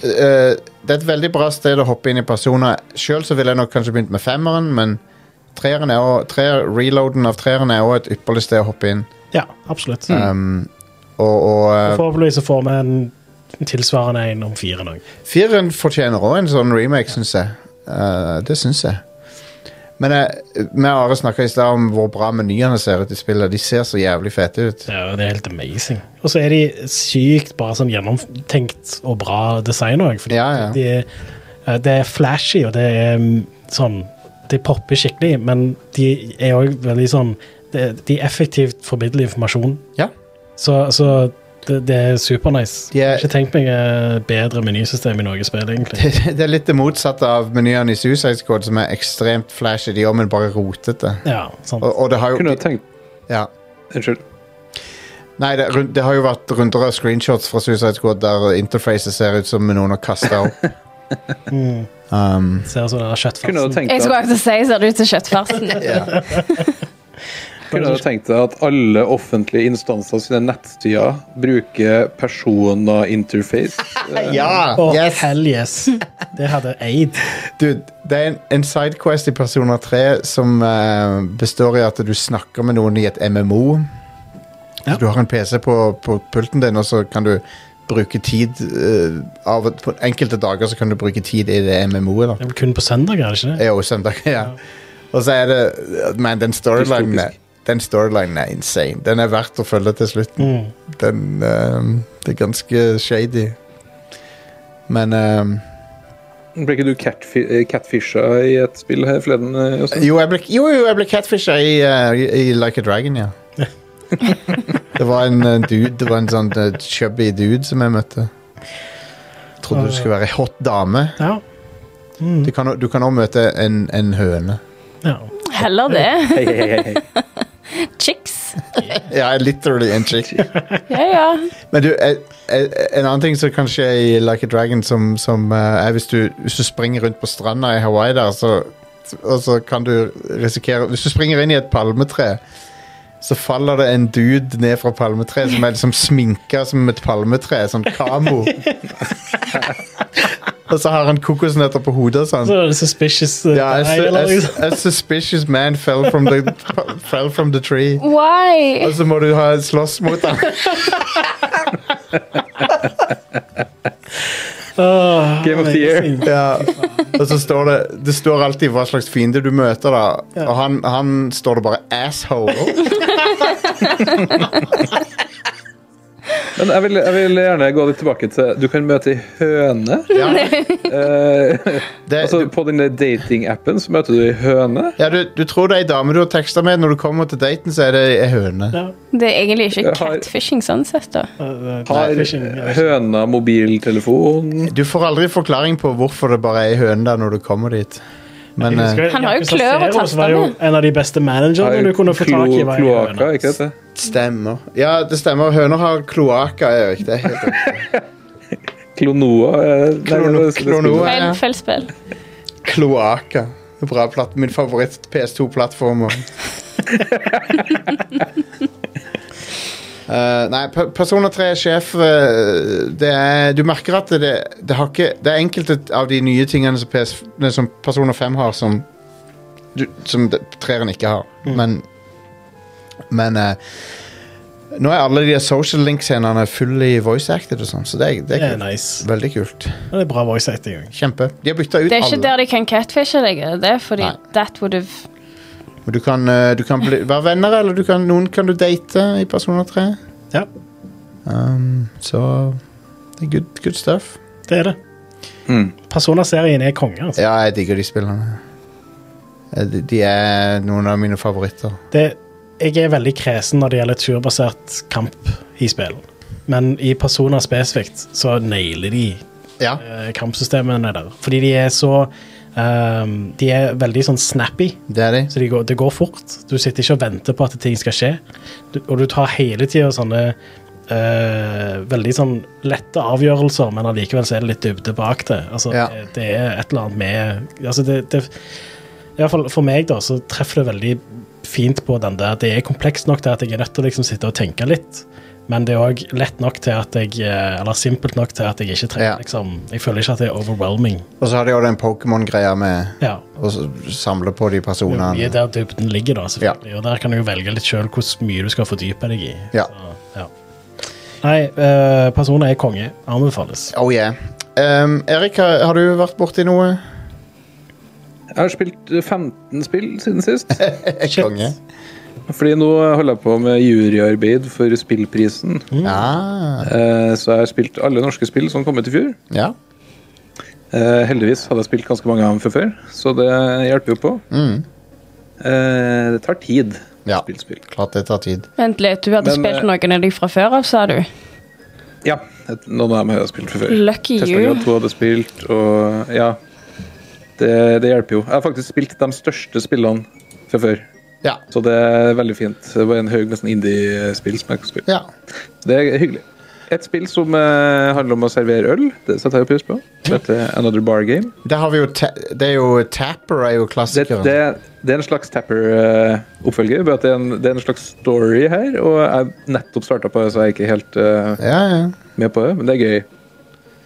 S1: eh, det er et veldig bra sted å hoppe inn i personer. Sjøl ville jeg nok kanskje begynt med femmeren, men treeren er også, treer, reloaden av treeren er òg et ypperlig sted å hoppe inn.
S2: Ja, absolutt.
S1: Um, og og eh,
S2: Forhåpentligvis så får vi en tilsvarende en om fire nå.
S1: fireren fortjener òg en sånn remake, syns jeg. Eh, det syns jeg. Men jeg, vi og Are snakka i stad om hvor bra menyene ser ut i spillet. De ser så jævlig fete ut.
S2: Ja, det er helt amazing. Og så er de sykt bare sånn gjennomtenkt og bra design òg.
S1: Ja, ja.
S2: de, er- det er flashy, og det er mm, sånn De popper skikkelig, men de er òg veldig sånn De de effektivt formidler informasjon.
S1: Ja.
S2: Så, så det, det er supernice.
S1: De er-
S2: Ikke tenkt meg eh, bedre menysystem i noe spill, egentlig.
S1: Det er litt det motsatte av menyene i Suicide Squad, som er ekstremt flashy, de òg, men bare rotete.
S2: Ja, sant.
S1: Og, og det har jo
S4: Kunne jo tenkt
S1: Ja.
S4: Unnskyld.
S1: Nei, det, er rund- det har jo vært runder av screenshots fra Suicide Squad der interfacet ser ut som noen har kasta opp. um,
S2: Ser sånn der
S4: Kunne jo
S2: kjøttfarsen.
S4: tenkt
S3: Jeg skulle
S4: at,
S3: akkurat si ser det ut som kjøttfarsen.
S1: ja.
S4: kunne jo tenkt deg at alle offentlige instanser sine nettsider bruker persona-interface.
S1: ja!
S2: Å,
S1: Yes!
S2: hell yes! Det hadde eid.
S1: Dude, det er en, en sidequest i Persona 3 som eh, består i at du snakker med noen i et MMO.
S2: Ja.
S1: Så Du har en PC på, på pulten din, og så kan du bruke tid eh, av, På enkelte dager så kan du bruke tid i det MMO-et. da.
S2: Det er vel kun på søndag, er det ikke det?
S1: Jo, søndag, ja. Og så er det Men den storylinen er-
S4: Dystopisk.
S1: Den storylinen er insane. Den er verdt å følge til slutten.
S2: Mm.
S1: Den ehm, Det er ganske shady. Men ehm,
S4: Ble ikke du catfi- eh, catfisha i et spill her forleden? eh, Jostein?
S1: Jo, jeg ble, jo, jo, jeg ble catfisha i, eh, i, i Like a Dragon, ja. det var en eh, dude Det var en sånn eh, chubby dude som jeg møtte. Trodde du skulle være ei hot dame.
S2: Ja.
S1: Du kan o- Du kan òg møte en, en høne.
S2: ja.
S3: Heller det.
S4: Hei, hei, hei, hei.
S3: Chicks.
S1: Ja, literally en chick.
S3: Ja, ja.
S1: Men du, eh, eh, en annen ting som kan skje i Like a Dragon, som, som eh, er hvis du, hvis du springer rundt på stranda i Hawaii der, så, og så kan du risikere Hvis du springer inn i et palmetre, så faller det en dude ned fra palmetreet som er liksom sminka som et palmetre, sånn kamo. Og så har han kokosnøtter på hodet og sånn.
S2: Så er det suspicious eh,
S1: Ja, a,
S2: guy,
S1: su-
S2: eller
S1: a,
S2: noe
S1: su-
S2: sånt.
S1: a suspicious man fell from the, fell from the tree.
S3: Why?
S1: Og så må du ha slåss mot ham.
S2: Åh,
S4: Game of the year.
S2: amazing.
S1: Ja. Og så står det Det står alltid hva slags fiende du møter, da. Og han, han står det bare 'asshole'.
S4: Men jeg vil, jeg vil gjerne gå litt tilbake til Du kan møte ei høne.
S1: Ja.
S4: Eh,
S1: Det,
S4: altså,
S1: du,
S4: på den der datingappen så møter du ei høne.
S1: ja, du, du tror det er ei dame du har teksta med, når du kommer til daten, så er det ei høne.
S2: Ja,
S3: Det er egentlig ikke
S4: Jeg har-
S3: catfishing sånn sett, da.
S2: eh, det er
S4: Har
S2: fishing, ja.
S4: høna mobiltelefon?
S1: Du får aldri forklaring på hvorfor det bare er ei høne der når du kommer dit. Men
S2: Jeg
S1: eh,
S2: husker
S3: Han har jo
S2: Jakob
S3: klør og
S2: Sasero, så var jo En av de beste managerne du kunne få tak i. var i
S4: Kloakka,
S2: høna.
S4: ikke det?
S1: stemmer. Ja, det stemmer. Høner har kloakker, Erik. Det er helt riktig.
S4: Klonoa? eh, nei,
S1: Klono-
S4: det er- det er-
S1: klonoa.
S3: Feil,
S1: ja.
S3: feil spill.
S1: kloakker. Det er Bra platt, min favoritt PS2-plattform. Eh, nei, Pe- Persona 3 Sjef eh, det er, Du merker at det, det har ikke Det er enkelte av de nye tingene som, PS, nei, som Persona 5 har, som du, Som det- treeren ikke har. Men Men eh, Nå er alle de social link-scenene fully voice-acted, og sånn, så det er, det
S2: Det
S1: er
S2: er
S1: kult.
S2: nice.
S1: Veldig kult.
S2: Det er bra voice acting òg.
S1: Kjempe. De har bytta ut alle.
S3: Det er ikke der de kan catfishe deg, er det det? Fordi
S1: Nei.
S3: that would have
S1: Men Du kan, eh, du kan bli, være venner, eller du kan, noen kan du date i Persona 3.
S2: Ja,
S1: Um, så det er good, good stuff.
S2: det er det.
S4: Mm.
S2: Persona-serien er konge. Altså.
S1: Ja, jeg digger de spillene. Eh, De, de er noen av mine favoritter.
S2: Det, jeg er veldig kresen når det gjelder turbasert kamp i spill. Men i Persona spesifikt så nailer de
S1: Ja.
S2: eh, kampsystemene der. Fordi de er så ehm, De er veldig sånn snappy.
S1: Det er de.
S2: Så de går, det går fort. Du sitter ikke og venter på at ting skal skje. Du, og du tar hele tida sånne eh, veldig sånn lette avgjørelser, men allikevel så er det litt dybde bak det. Altså,
S1: Ja.
S2: det, det er et eller annet med altså det, det, i hvert fall For meg da, så treffer det veldig fint på den der. Det er komplekst nok til at jeg er nødt til å liksom sitte og tenke litt. Men det er òg lett nok til at jeg eh, Eller simpelt nok til at jeg ikke trenger
S1: Ja.
S2: liksom, Jeg føler ikke at det er overwhelming.
S1: Og så har de jo den Pokémon-greia med
S2: Ja.
S1: å s- samle på de
S2: Det er mye
S1: personene.
S2: der dybden ligger, da, selvfølgelig. Og der kan du jo velge litt sjøl hvor mye du skal fordype deg i.
S1: Ja.
S2: Så, ja. Nei, eh, personer er konge. Anbefales.
S1: Oh yeah. Um, Erik, har, har du vært borti noe?
S4: Jeg har spilt eh, 15 spill siden sist.
S2: Shit.
S1: Konge.
S4: Fordi nå holder jeg på med juryarbeid for spillprisen.
S1: Ah,
S4: Eh, Så jeg har spilt alle norske spill som kom ut i fjor.
S1: ja.
S4: Eh, Heldigvis hadde jeg spilt ganske mange av dem fra før, så det hjelper jo på.
S1: Mm.
S4: Eh, Det tar tid
S1: Ja.
S4: å spille spill.
S1: Klart det tar tid.
S3: Vent litt, du hadde
S4: Men,
S3: spilt
S4: eh,
S3: noen av de fra før av, sa du?
S4: Ja, et- noen av dem har jeg spilt fra før.
S3: Lucky you.
S4: Testagrad 2 hadde spilt, og ja. Det, det hjelper jo. Jeg har faktisk spilt de største spillene fra før,
S1: Ja.
S4: så det er veldig fint. Det var en haug med sånne indie-spill som jeg kan spille.
S1: ja.
S4: Det er hyggelig. Et spill som eh, handler om å servere øl, det setter jeg jo pris på. Det heter Another Bar Game.
S1: Der har vi jo, ta det er jo Tapper er jo
S4: det,
S1: klassikeren.
S4: det, det er en slags Tapper-oppfølger. bare at det, er en- det er en slags story her, og jeg nettopp starta på det, så jeg er ikke helt eh,
S1: Ja, ja.
S4: med på det, men det er gøy.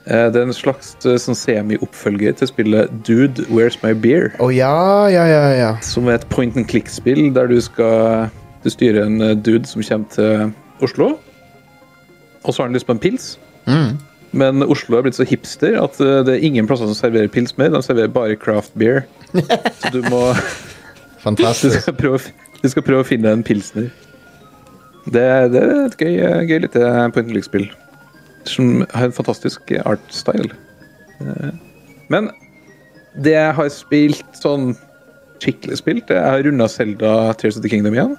S4: Eh, det er en slags eh, sånn semi-oppfølger til spillet Dude, Where's My Beer?
S1: Å ja, ja, ja, ja.
S4: Som er et point and click-spill der du skal Du styrer en eh, dude som kommer til Oslo, og så har han lyst på en pils.
S1: Mm.
S4: Men Oslo er blitt så hipster at eh, det er ingen plasser som serverer pils mer. De serverer bare craft beer. Så du må Du
S1: Fantastisk.
S4: skal prøve, å fi- du skal prøve å finne en pilsner. Det, det er et gøy, eh, gøy lite point and click-spill. Som har en fantastisk art-style. Eh, Men det jeg har spilt sånn skikkelig spilt Jeg har runda Selda Tears of the Kingdom igjen.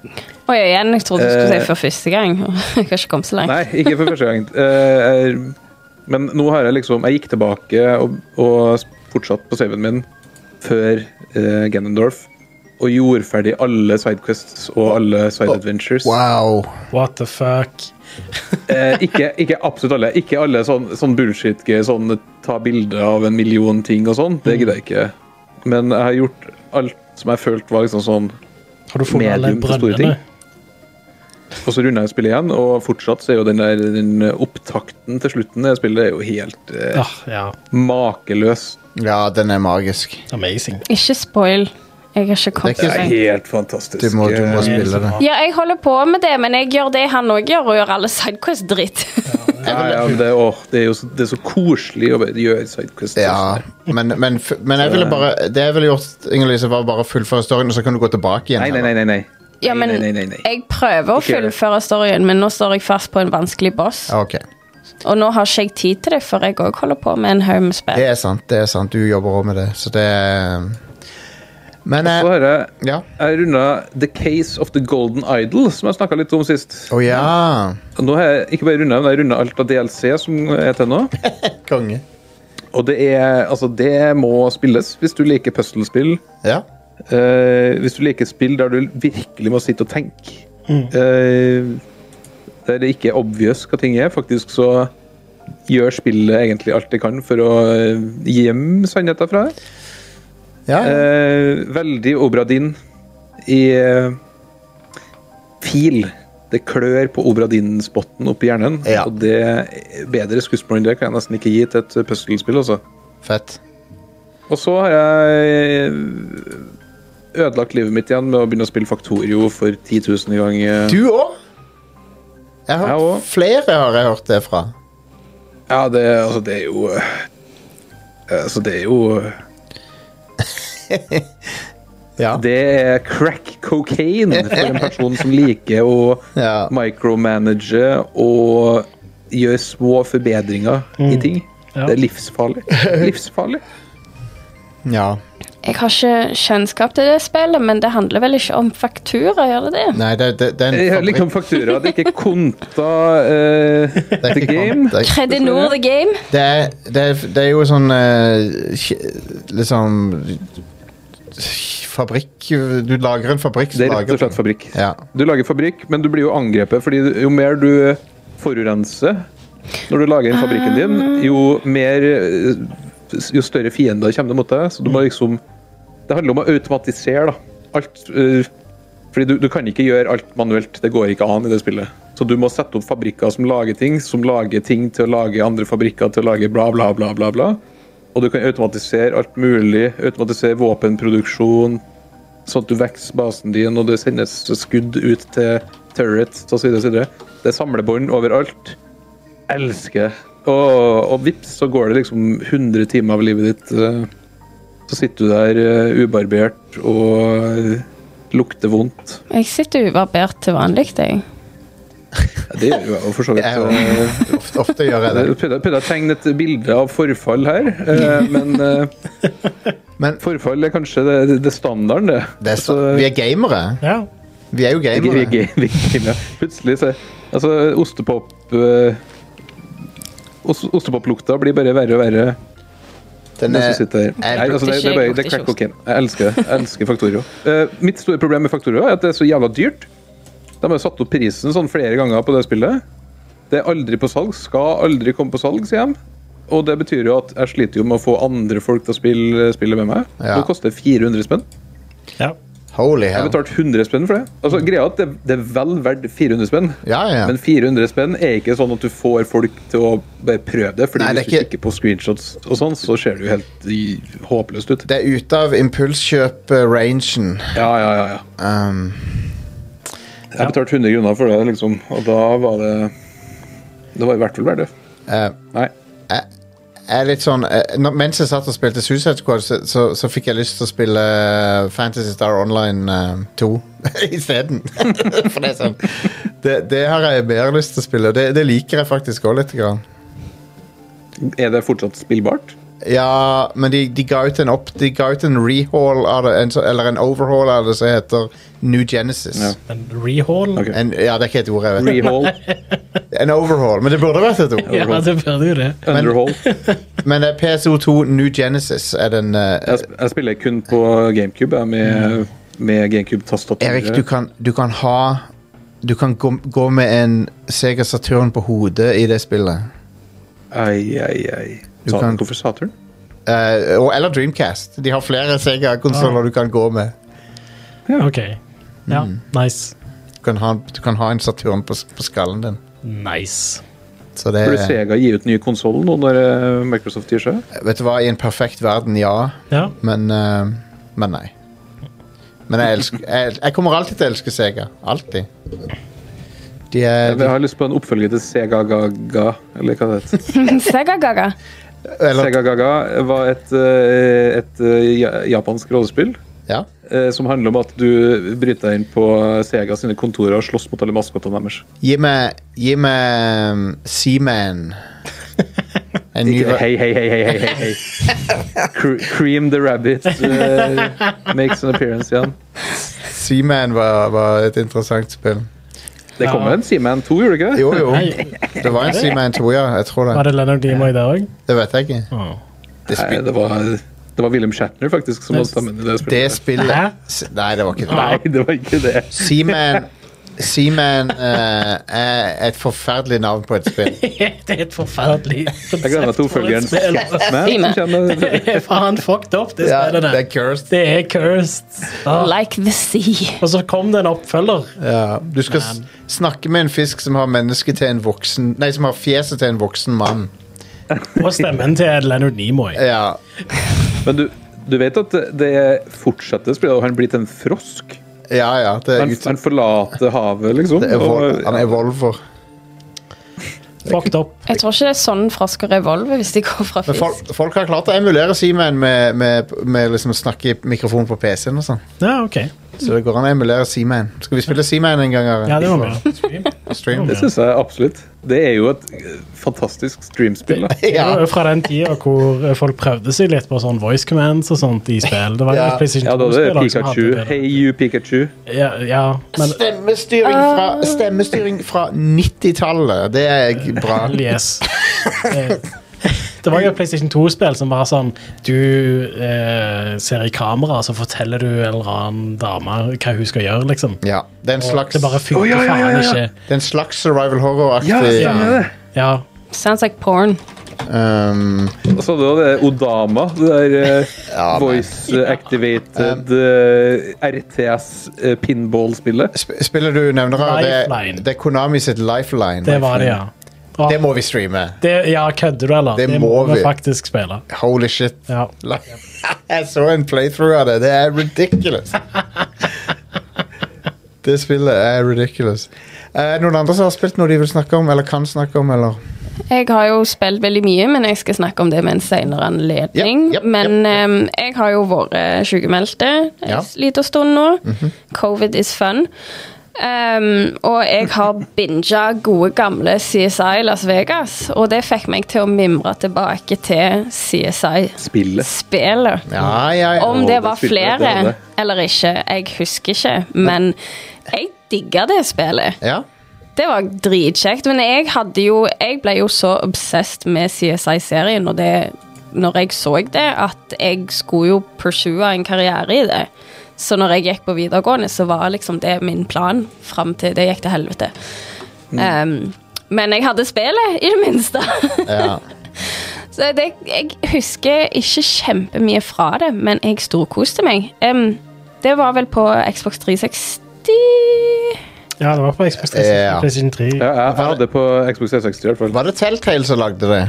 S3: Oi, igjen, jeg trodde du skulle
S4: Eh,
S3: si for første gang. Jeg har ikke kommet så langt.
S4: Nei, ikke for første gang. Eh, jeg- Men nå har jeg liksom Jeg gikk tilbake og, og fortsatte på saven min før eh, Ganondorf. Og gjorde ferdig alle sidequests og alle side adventures.
S1: Wow.
S2: What the fuck?
S4: Eh, ikke, ikke absolutt alle. Ikke alle sånn, sånn bullshit gøy, sånn ta bilde av en million ting og sånn. Det gidder jeg ikke. Men jeg har gjort alt som jeg følte var liksom sånn
S2: Har du funnet alle
S4: Medium til store
S2: brønnene?
S4: Og så runda jeg spillet igjen, og fortsatt så er jo den der den opptakten til slutten i spillet er jo helt eh,
S2: Ja, Ah, ja.
S4: makeløs.
S1: Ja, den er magisk.
S2: Amazing.
S3: Ikke spoil. Jeg har ikke kommet
S1: Det er ikke
S4: Det er
S3: meg.
S4: helt fantastisk.
S1: Du må, du må
S4: Eh,
S1: spille det.
S3: Ja, jeg holder på med det, men jeg gjør det han òg gjør, og gjør alle sidequests dritt.
S4: Ja, Eh, ja, men det, åh, det er jo så, det er så koselig å bare gjøre sidequests.
S1: Ja, men, men, f- men jeg ville bare Det jeg ville gjort, Inger-Lise, var bare å fullføre storyen, og så kan du gå tilbake igjen.
S4: Nei,
S1: her,
S4: nei,
S1: da.
S4: nei, nei. nei.
S3: Ja, men
S4: nei, nei, nei, nei.
S3: jeg prøver å
S4: Ikke gjør det.
S3: fullføre storyen, men nå står jeg fast på en vanskelig boss.
S1: Ja, Ok.
S3: Og nå har ikke jeg tid til det, for jeg òg holder på med en haug med spill.
S1: Det er sant, det er sant. Du jobber òg med det, så det Men
S4: Så
S1: eh,
S4: har jeg,
S1: Ja.
S4: jeg runda The Case of the Golden Idol, som jeg snakka litt om sist.
S1: Å ja.
S4: Og Nå har jeg ikke bare runda, men jeg har runda alt av DLC som er til nå.
S1: Konge.
S4: Og det er Altså, det må spilles hvis du liker puzzle-spill.
S1: Ja.
S4: Eh, hvis du liker spill der du virkelig må sitte og tenke. Eh, der det ikke er obvious hva ting er. Faktisk så gjør spillet egentlig alt det kan for å eh, gjemme sannheten fra deg.
S1: ja. ja.
S4: Eh, veldig Obradin i eh, fil. Det klør på Obradin-spotten oppi hjernen.
S1: Ja.
S4: Og det bedre skuespill enn det kan jeg nesten ikke gi til et puslespill. Altså.
S1: Fett.
S4: Og så har jeg eh, ødelagt livet mitt igjen med å begynne å spille Faktorio for 10 000 ganger.
S1: Du òg? Jeg har
S4: Jeg
S1: hørt
S4: også.
S1: flere har jeg hørt det fra.
S4: Ja, det, altså, det er jo eh, Altså, det er jo
S1: Ja.
S4: Det er crack cocaine for en person som liker å
S1: Ja.
S4: micromanage og gjøre små forbedringer i ting.
S2: Ja.
S4: Det er livsfarlig. Livsfarlig.
S1: ja.
S3: Jeg har ikke kjennskap til det spillet, men det handler vel ikke om faktura, gjør det det?
S1: Nei, det, det, det er en
S4: Jeg har
S1: fabrikk-
S4: liksom faktura. Det er ikke konta eh,
S1: det er
S4: the
S1: ikke
S4: game.
S1: kommet- det er-
S3: Kredinor the game?
S1: Det er, det, er, det er jo sånn eh, kje- Liksom Fabrikk Du lager en fabrikk,
S4: Det er rett og slett
S1: du
S4: fabrikk.
S1: Ja.
S4: Du lager fabrikk, men du blir jo angrepet, fordi jo mer du eh, forurenser når du lager inn fabrikken din, jo mer eh, Jo større fiender kommer det mot deg, så du må liksom Det handler om å automatisere, da. Alt eh, Fordi du, du kan ikke gjøre alt manuelt. Det går ikke an i det spillet. Så du må sette opp fabrikker som lager ting, som lager ting til å lage andre fabrikker til å lage bla, bla, bla, bla. bla. Og du kan automatisere alt mulig. Automatisere våpenproduksjon, sånn at du vokser basen din, og det sendes skudd ut til turret og så videre. og så videre. Det er samlebånd overalt. Elsker det. Og, og vips, så går det liksom 100 timer av livet ditt. eh, Så sitter du der eh, ubarbert og eh, lukter vondt.
S3: Jeg sitter ubarbert til vanlig, jeg.
S4: Ja, Det gjør jo jeg jo for så vidt.
S1: Jeg jo.
S4: eh,
S1: ofte, ofte gjør jeg det.
S4: Jeg prøvde prøvde å tegne et bilde av forfall her, eh, men eh,
S1: Men
S4: forfall er kanskje det, det- det standarden, det.
S1: det er, så-
S4: Altså,
S1: vi er gamere.
S2: Ja.
S1: Vi er jo
S4: Vi- vi-
S1: gamere.
S4: vi- vi- vi- Plutselig så Altså, ostepop eh, os- Ostepoplukta blir bare verre og verre.
S1: Den
S4: mens
S1: er,
S4: du sitter her.
S1: eh, jeg
S4: Nei, altså, det, det, er bare, det er crack cocaine. Jeg elsker det. Jeg elsker Factorio. Eh, mitt store problem med Factorio er at det er så jævla dyrt. De har jo satt opp prisen sånn flere ganger på det spillet. Det er aldri på salg. Skal aldri komme på salg, sier de. Og det betyr jo at jeg sliter jo med å få andre folk til å spille spillet med meg.
S1: Ja.
S4: Nå koster det 400 spenn.
S2: ja.
S1: holy
S4: Jeg
S1: hell.
S4: betalte 100 spenn for det. Altså, greia er at det, det er vel verdt 400 spenn,
S1: Mm. Ja, ja.
S4: men 400 spenn er ikke sånn at du får folk til å bare prøve det. Fordi
S1: Nei, det er
S4: hvis du
S1: ikke-
S4: kikker på screenshots og sånn, så ser det jo helt i- håpløst ut.
S1: Det er ute av impulskjøp-rangen.
S4: Ja, ja, ja. ja.
S1: Um,
S2: Ja.
S4: Jeg betalte 100 kroner for det, liksom, og da var det Det var i hvert fall verdt det.
S1: eh,
S4: Nei.
S1: jeg er litt sånn eh, når, Mens jeg satt og spilte Suicide Squad, så, så, så fikk jeg lyst til å spille eh, Fantasy Star Online eh, 2 isteden. For det er sånn det, det har jeg mer lyst til å spille, og det, det liker jeg faktisk òg litt. Grann.
S4: Er det fortsatt spillbart?
S1: Ja, men de, de ga ut en opp De ga ut en rehaul av det, en, så- eller en overhaul av det, som heter New Genesis.
S4: Ja.
S2: En rehaul?
S4: Ok.
S1: En, ja, det er ikke et ord jeg vet.
S4: Rehold?
S1: En overhaul, men det burde vært et ord.
S2: Ja, det burde jo det.
S4: Underhold?
S1: Men det er PSO2 New Genesis er den eh,
S4: Jeg, sp- jeg spiller kun på GameCube, jeg, med, med GameCube-tastatur.
S1: Erik, du kan, du kan ha Du kan gå, gå med en Sega Saturn på hodet i det spillet.
S4: Ai, ai, ai.
S1: Du
S4: Saturn,
S1: kan-
S4: Hvorfor Saturn?
S1: Eh, og, eller Dreamcast. De har flere Sega-konsoller du kan gå med.
S2: OK. Ja, nice.
S1: Du kan ha, du kan ha en Saturn på, s- på skallen din.
S2: Nice.
S1: Så det
S4: Burde Sega gi ut ny konsoll nå når eh, Microsoft gir seg?
S1: Vet du hva, i en perfekt verden, ja.
S2: Ja.
S1: Men, eh, men nei. Men jeg elsker jeg, jeg kommer alltid til å elske Sega. Alltid. De er
S4: Jeg har lyst på en oppfølger til Sega Gaga, eller hva det heter.
S3: Sega-gaga.
S1: Eller
S4: Sega Gaga var et, eh, et eh, ja- japansk rollespill
S1: Ja.
S4: eh, som handler om at du bryter deg inn på Sega sine kontorer og slåss mot alle maskotene deres.
S1: Gi meg Gi meg um, Seaman. En ny
S4: Ikke
S1: ver-
S4: hei, hei, hei, hei, hei, hei, hei. Cre Cream the Rabbit eh, makes an appearance igjen.
S1: Seaman var, var et interessant spill.
S4: Det kom
S2: Ja.
S4: en Seaman 2, gjorde det ikke det?
S1: Jo, jo.
S2: Hei.
S1: Det var en Seaman 2, ja. Jeg tror
S2: Var
S1: det.
S2: det Leonard Nimoy der òg?
S1: Det vet jeg ikke. Det,
S4: Nei,
S1: spi
S4: det var, det var William Shatner faktisk som hadde stemmen i det
S1: det
S4: spillet.
S1: spillet
S2: Hæ?
S1: S- Nei, det var ikke det.
S4: Nei, det var ikke det.
S1: Seaman Seaman eh, er et forferdelig navn på et spill.
S2: det er et forferdelig konsept
S4: Jeg glemmer at oppfølgeren
S2: for et spill.
S4: Seaman som kommer.
S2: Det er faen fucked up, det
S1: Ja, det
S2: spillet der.
S1: er cursed.
S2: Det er cursed. Ah.
S3: Like the sea.
S2: Og så kom det en oppfølger.
S1: Ja, du skal s- snakke med en fisk som har mennesket til en voksen Nei, som har fjeset til en voksen mann.
S2: Og stemmen til Leonard Nimoy.
S1: Ja,
S4: Men du, du vet at det- det fortsetter spillet, og han blir til en frosk?
S1: ja. ja det er
S4: Han,
S1: ut,
S4: han forlater havet, liksom?
S1: det er evol- han
S4: Og,
S1: evolver.
S2: Fucked up.
S3: Jeg tror ikke det er sånn frosker revolver hvis de går fra
S1: Men
S3: fisk.
S1: folk, folk har klart å emulere Seaman med, med, med liksom å snakke i mikrofon på PC-en og sånn.
S2: Ja, ok.
S1: Så det går an å emulere Seaman. Skal vi spille Seaman en gang? Are?
S2: Ja, det var bra.
S1: På stream?
S4: det syns jeg absolutt. Det er jo et eh, fantastisk streamspill. da.
S2: Det var
S1: Ja.
S2: jo fra den tida hvor folk prøvde seg litt på sånn voice commands og sånt i spill. Det var jo
S1: Ja.
S2: PlayStation
S4: Ja, da er det
S2: 2-spillere som hadde
S4: Pikachu.
S2: det. da.
S4: Hey you, Pikachu.
S2: Ja, ja, men
S1: Stemmestyring fra, stemmestyring fra 90-tallet. Det er g- bra.
S2: yes. Eh, Det var jo et PlayStation 2-spill som var sånn Du eh, ser i kamera, så forteller du en eller annen dame hva hun skal gjøre, liksom.
S1: Ja. Det er en
S2: Og
S1: slags,
S2: det bare funker
S4: Å, ja, ja, ja,
S2: faen
S4: ja.
S2: ikke.
S1: det er en slags survival horror-aktig
S2: Ja.
S4: stemmer det.
S2: Ja.
S3: Sounds like porn.
S1: um,
S4: Og så hadde du det Odama, det der eh,
S1: Ja, men-
S4: voice eh, activated eh, RTS eh, pinball-spillet.
S1: sp- Spillet du nevner, Are, det, er-
S2: Lifeline.
S1: det er Konami sitt Lifeline.
S2: Det var det, ja. Og
S1: Det må vi streame.
S2: det, ja, kødder du, eller?
S1: Det må vi.
S2: faktisk spille.
S1: Holy shit.
S2: Ja.
S1: Li- Jeg så en playthrough av det. Det er ridiculous. Det spillet er ridiculous. Er det noen andre som har spilt noe de vil snakke om, eller kan snakke om, eller?
S3: Jeg har jo spilt veldig mye, men jeg skal snakke om det med en senere anledning.
S1: Ja, ja,
S3: men
S1: ja,
S3: em, jeg har jo vært eh, sykemeldte en
S1: Ja. Mhm.
S3: liten stund nå. Covid is fun. Em, og jeg har binga gode gamle CSI Las Vegas, og det fikk meg til å mimre tilbake til CSI-spelet.
S4: Spillet.
S1: Ja, ja, ja.
S3: Om
S4: Å,
S3: det
S4: det
S3: var
S4: spilte jeg til
S3: flere
S4: det.
S3: eller ikke, jeg husker ikke, men jeg digga det spillet.
S1: ja.
S3: Det var dritkjekt, men jeg hadde jo Jeg ble jo så obsessed med CSI-serien og det når jeg så det, at jeg skulle jo pursue en karriere i det. Så når jeg gikk på videregående, så var liksom det min plan fram til det gikk til helvete. Um, men jeg hadde spillet, i det minste.
S1: ja.
S3: så det, jeg husker ikke kjempemye fra det, men jeg storkoste meg. Um, det var vel på Xbox 360
S2: Ja, det var på Xbox 3,
S1: Ja.
S2: PlayStation 3.
S4: Ja, jeg, jeg hadde det på Xbox 360 i hvert fall.
S1: Var det Telltale som lagde det?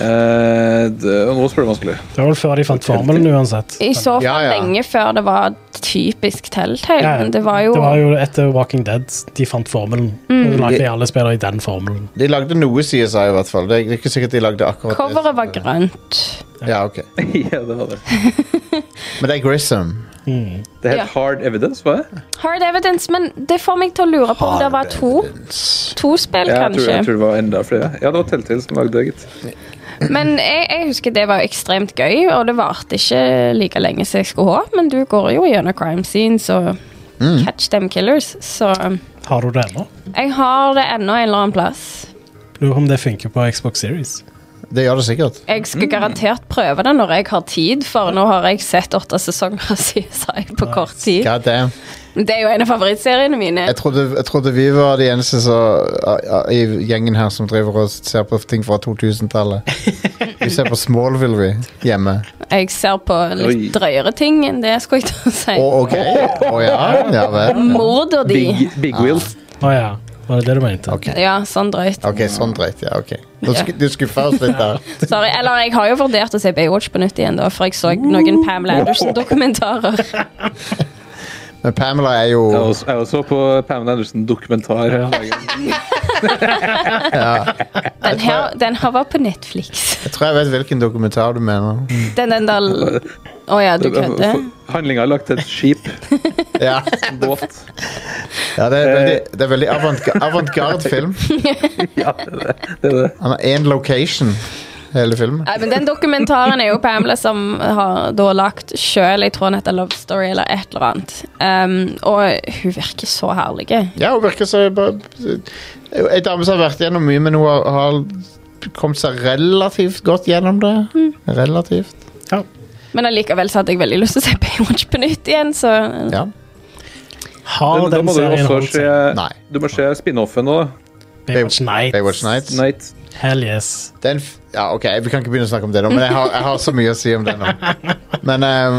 S4: Eh, det, og nå spør du vanskelig.
S2: Det var vel før de fant formelen uansett.
S3: I så fall
S1: Ja, ja.
S3: lenge før det var typisk Telltale.
S2: Ja,
S3: men det var jo, Mm.
S2: det var jo etter Walking Dead de fant formelen. Og lagde alle spillere i den formelen.
S1: De lagde noe CSI, i hvert fall. Det er ikke sikkert de lagde akkurat det.
S3: Coveret var grønt.
S1: Ja, ok.
S4: ja, det var det.
S1: Men det er Grissom.
S4: Det het
S3: Ja.
S4: Hard Evidence, var det?
S3: Hard evidence, men det får meg til å lure på om det var to, to spill,
S4: Ja, jeg, tror,
S3: kanskje.
S4: jeg tror det var enda flere. Ja, det var Telltale som lagde det, gitt.
S3: Men jeg, jeg husker det var ekstremt gøy, og det varte ikke like lenge som jeg skulle ha. Men du går jo gjennom crime scenes og
S4: Mm.
S3: catch them killers, så
S2: Har du det ennå?
S3: jeg har det ennå en eller annen plass.
S2: Lurer på om det funker på Xbox Series.
S1: Det gjør det sikkert.
S3: Jeg skal garantert prøve det når jeg har tid, for nå har jeg sett åtte sesonger av CSI på kort tid.
S1: God damn.
S6: Men Det er jo en av favorittseriene mine.
S1: Jeg trodde, jeg trodde vi var de eneste så, a- a- i gjengen her som driver og ser på ting fra 2000-tallet. Vi ser på Smallville vi, hjemme.
S6: Jeg ser på litt
S4: Oi.
S6: drøyere ting enn det, skulle jeg til å si.
S1: Å, ok. Å ja, ja vel.
S6: Morder de.
S4: Big, big
S3: Ah.
S4: Wheel.
S2: Å ja. Var det det du mente?
S1: Ok,
S6: Ja, sånn drøyt.
S1: Ok, sånn dreit. Ja, ok. Du, sk du skuffa oss litt der.
S6: Sorry. Eller jeg har jo vurdert å se Baywatch på nytt igjen, da, for jeg så
S1: Mm.
S6: noen Pamela Anderson-dokumentarer.
S1: Men Pamela er jo
S4: Jeg også- jeg også på Pamela Andersen-dokumentar. her om dagen.
S6: Den her, den her var på Netflix.
S1: Jeg tror jeg vet hvilken dokumentar du mener.
S6: Den, den der Å ja, du kødder?
S4: Handlinga er lagt til et skip.
S1: Ja,
S4: En båt.
S1: ja det er veldig, det er veldig avantga- avantgarde film.
S4: Eh. Ja, det er det. det, er det.
S1: Han har én location hele filmen.
S6: Nei, men Den dokumentaren er jo Pamela som har da lagt sjøl. Jeg tror han heter Love Story eller et eller annet. Um, og hun virker så herlig.
S1: Ja, hun virker så bare- Ei dame som har vært gjennom mye, men hun har, har kommet seg relativt godt gjennom det. Relativt.
S6: Men allikevel så hadde jeg veldig lyst til å se Baywatch på nytt igjen, så
S1: Ja.
S2: Har
S4: Men da
S2: den
S4: må du
S2: serien
S4: også
S2: holdt
S4: se,
S2: seg?
S1: Nei.
S4: du må se spin-offen nå. da.
S2: Baywatch Nights.
S1: Baywatch Nights.
S4: Night.
S2: Hell yes.
S1: Den f ja, ok, vi kan ikke begynne å snakke om det nå, men jeg har, jeg har så mye å si om det nå. Men, eh,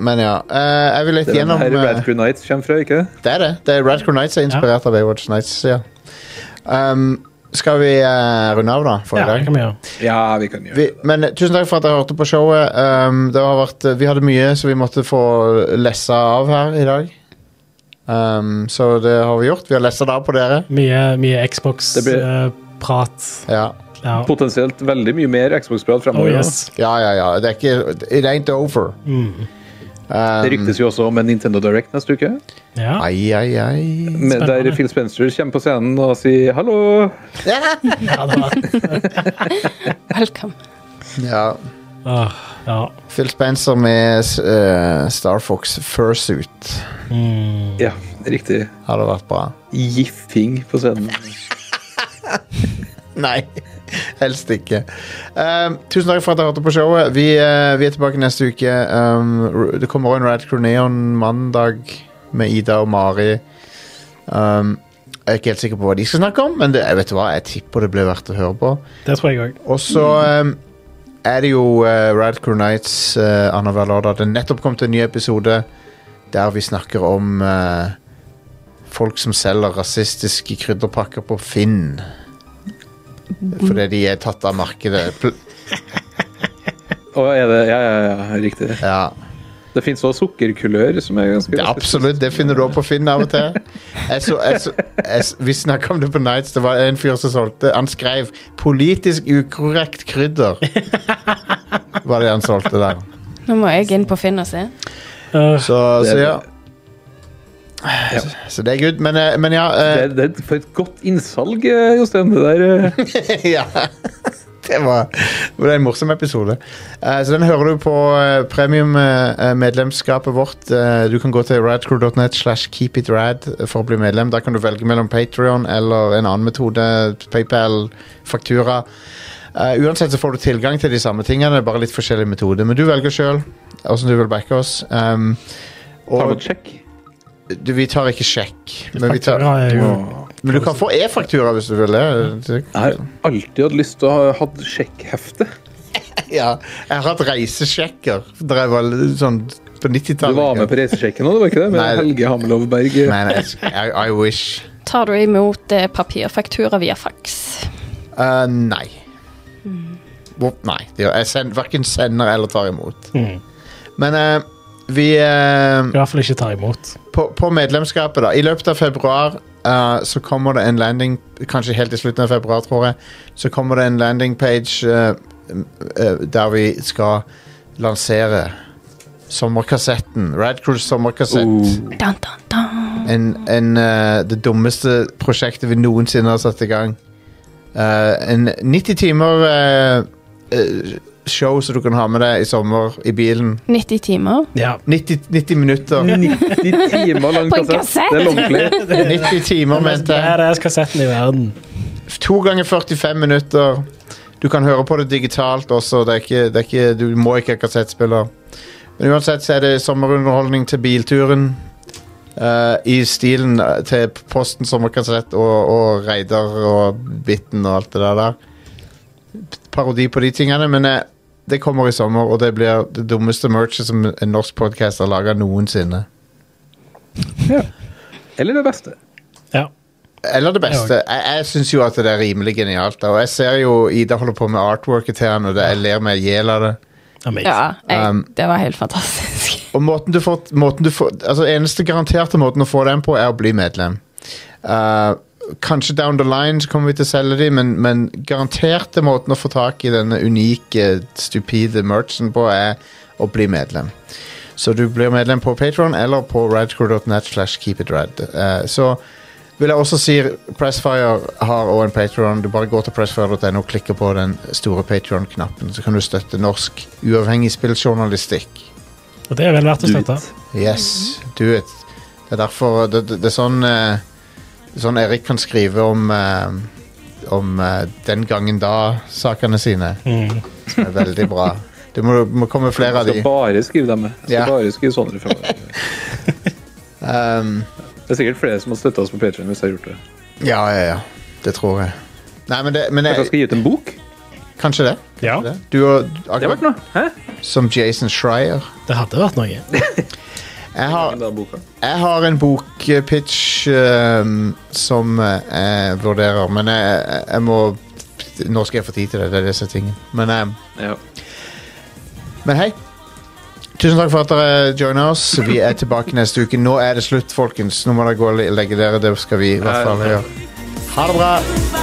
S1: men ja. eh, jeg vil litt
S4: Det er den
S1: gjennom
S4: her
S1: eh,
S4: Red Crew Nights kommer fra, ikke det?
S1: Det er det. det er Red Crew Nights er inspirert av Baywatch Nights. Ja. Um, skal vi eh, runde av, da? For
S2: Ja,
S1: i dag?
S2: det kan vi gjøre.
S4: Ja, vi kan gjøre
S1: Vi, men eh, tusen takk for at dere hørte på showet. Um, det har vært, eh, vi hadde mye så vi måtte få lessa av her i dag. Um, så det har vi gjort. Vi har lessa det av på dere.
S2: Mye, mye
S4: Det blir-
S2: Xbox-prat.
S1: Ja,
S2: ja.
S4: Potensielt veldig mye mer Xbox-prat
S2: Oh
S4: fremover.
S2: yes.
S1: ja, ja. ja. Det er ikke, it ain't over.
S4: da. Det ryktes jo også om en Nintendo Direct neste uke.
S2: Ja.
S1: Ai, ai, ai.
S4: Med der
S2: Spennende.
S4: Phil Spencer kommer på scenen og sier 'hallo'.
S2: ja, det var
S6: velkommen.
S1: Ja.
S2: Åh, Ah, ja.
S1: Phil Spencer med eh, Star Fox Fursuit
S2: Mm.
S4: Ja, riktig.
S1: hadde vært bra.
S4: Giffing på scenen.
S1: Nei, helst ikke. Um, tusen takk for at dere hørte på showet. Vi, eh, vi er tilbake neste uke. Um, r- det kommer også en Rad Croneon mandag med Ida og Mari. Um, jeg er ikke helt sikker på hva de skal snakke om, men det, jeg vet du hva, jeg tipper det blir verdt å høre på.
S2: Det tror jeg òg.
S1: Og så um, er det jo uh, Rad Crew Nights uh, annenhver lørdag. Det er nettopp kommet en ny episode der vi snakker om eh, folk som selger rasistiske krydderpakker på Finn. Fordi de er tatt av markedet. Pl
S4: Og er det Ja, ja, ja, riktig.
S1: ja,
S4: Det fins også sukkerkulør, som er ganske
S1: det er absolutt. Det finner du også på Finn av og til. Jeg så, jeg så, jeg, s- vi snakka om det på Nights. Det var en fyr som solgte Han skrev 'politisk ukorrekt krydder'. Var det han solgte der.
S6: Nå må jeg inn på Finn og se.
S2: Øh,
S1: Så, så
S4: Det-
S1: ja.
S4: Ja.
S1: Så, så det er good. Men, eh, men ja,
S4: Det
S1: eh,
S4: er, det er for et godt innsalg, eh, Jostein. Det der eh.
S1: ja. Det var, det var en morsom episode. Eh, så den hører du på uh, premium-medlemskapet eh, vårt. Eh, du kan gå til radcrew.net slash keepitrad eh, for å bli medlem. Der kan du velge mellom Patrion eller en annen metode. PayPal, faktura. Eh, uansett så får du tilgang til de samme tingene, bare litt forskjellig metode. Men du velger sjøl åssen du vil backe oss. Um,
S4: Tar
S1: og
S4: du et sjekk?
S1: du, vi tar ikke sjekk, men, vi tar,
S2: Faktura er jo
S1: men du kan få e-faktura hvis du vil det. det.
S4: Jeg har alltid hatt lyst til å ha hatt sjekkhefte.
S1: Ja, jeg har hatt reisesjekker da jeg var litt sånn på
S4: Du
S1: 90-tallet.
S4: var med på reisesjekken òg, var ikke det? Med
S1: Nei.
S4: Helge eh, Hamlov Berg.
S1: Man, I, I wish.
S6: Tar du imot eh, papirfaktura via fax?
S1: Eh, nei. Hvor- nei. det gjør- Jeg send, verken sender eller tar imot.
S2: Mhm.
S1: Men eh, vi eh,
S2: I hvert fall ikke ta imot.
S1: på, på medlemskapet, da. I løpet av februar eh, så kommer det en landing Kanskje helt i slutten av februar, tror jeg. Så kommer det en landing page eh, eh, der vi skal lansere sommerkassetten. Radcruise sommerkassett.
S2: Uh.
S6: Dun, dun, dun.
S1: En, en, eh, det dummeste prosjektet vi noensinne har satt i gang. Eh, en 90 timer eh, eh, show som du kan ha med deg i sommer i bilen.
S6: 90 timer.
S2: Ja.
S1: 90, 90 minutter.
S4: 90 timer lang
S6: På en
S4: kassett! Det er lovlig.
S1: 90 timer, mente jeg.
S2: Det er kassetten i verden.
S1: To ganger 45 minutter. Du kan høre på det digitalt også. Det er ikke, det er ikke, du må ikke ha kassettspiller. Men uansett så er det sommerunderholdning til bilturen. eh, i stilen eh, til Posten Sommerkonsert og, og Reidar og Bitten og alt det der der. Parodi på de tingene, men eh, det kommer i sommer, og det blir det dummeste merchet som en norsk podkast har laga noensinne.
S4: Eller det beste.
S2: Ja.
S1: Eller det beste. Jeg, jeg syns jo at det er rimelig genialt. da, Og jeg ser jo Ida holder på med artworket til han, og det, jeg ler meg i hjel av det.
S2: Amazing.
S6: Ja, jeg,
S1: Um,
S6: det var helt fantastisk.
S1: Og måten du får, måten du får Altså eneste garanterte måten å få den på Er å bli medlem Eh, Kanskje down the line så kommer vi til å selge de Men, men garanterte måten å få tak i Denne unike, stupide merchen på Er å bli medlem Så du blir medlem på Patreon Eller på radcrew.net slash keepitred Eh, Så vil jeg også si Pressfire har også en Patreon Du bare går til pressfire.no og klikker på den store Patreon-knappen Så kan du støtte norsk uavhengig spilljournalistikk
S2: Og det er vel verdt å
S4: Do
S2: støtte.
S4: it.
S1: Yes, do it. Det er derfor Det, det, det er sånn eh, Sånn Erik kan skrive om eh, Om eh, den gangen da-sakene sine. Som er veldig bra. Det må, må komme flere
S4: Jeg
S1: av de.
S4: skal bare skrive dem med. Jeg skal
S1: Ja.
S4: bare skrive sånne fremover.
S1: Um,
S4: Det er sikkert flere som har støtta oss på Patreon hvis jeg har gjort det.
S1: ja, ja, ja. Det tror jeg. Nei, men, det, men
S4: Kanskje jeg
S1: jeg,
S4: skal gi ut en bok?
S1: kanskje det.
S2: Ja,
S1: det. Du og
S4: Det har vært noe. Hæ?
S1: Som Jason Schreier.
S2: det hadde vært noe.
S1: Jeg har,
S4: Den boka.
S1: Jeg har en bokpitch ehm, som eh, jeg vurderer, men jeg, jeg- jeg må Når skal jeg få tid til det? Det er disse tingene. Men, ehm,
S4: Ja.
S1: men hei. Tusen takk for at dere joina oss. Vi er tilbake neste uke. Nå er det slutt, folkens. Nå må dere gå og le- legge dere. Det skal vi i hvert fall gjøre. Ha det bra.
S7: Bye.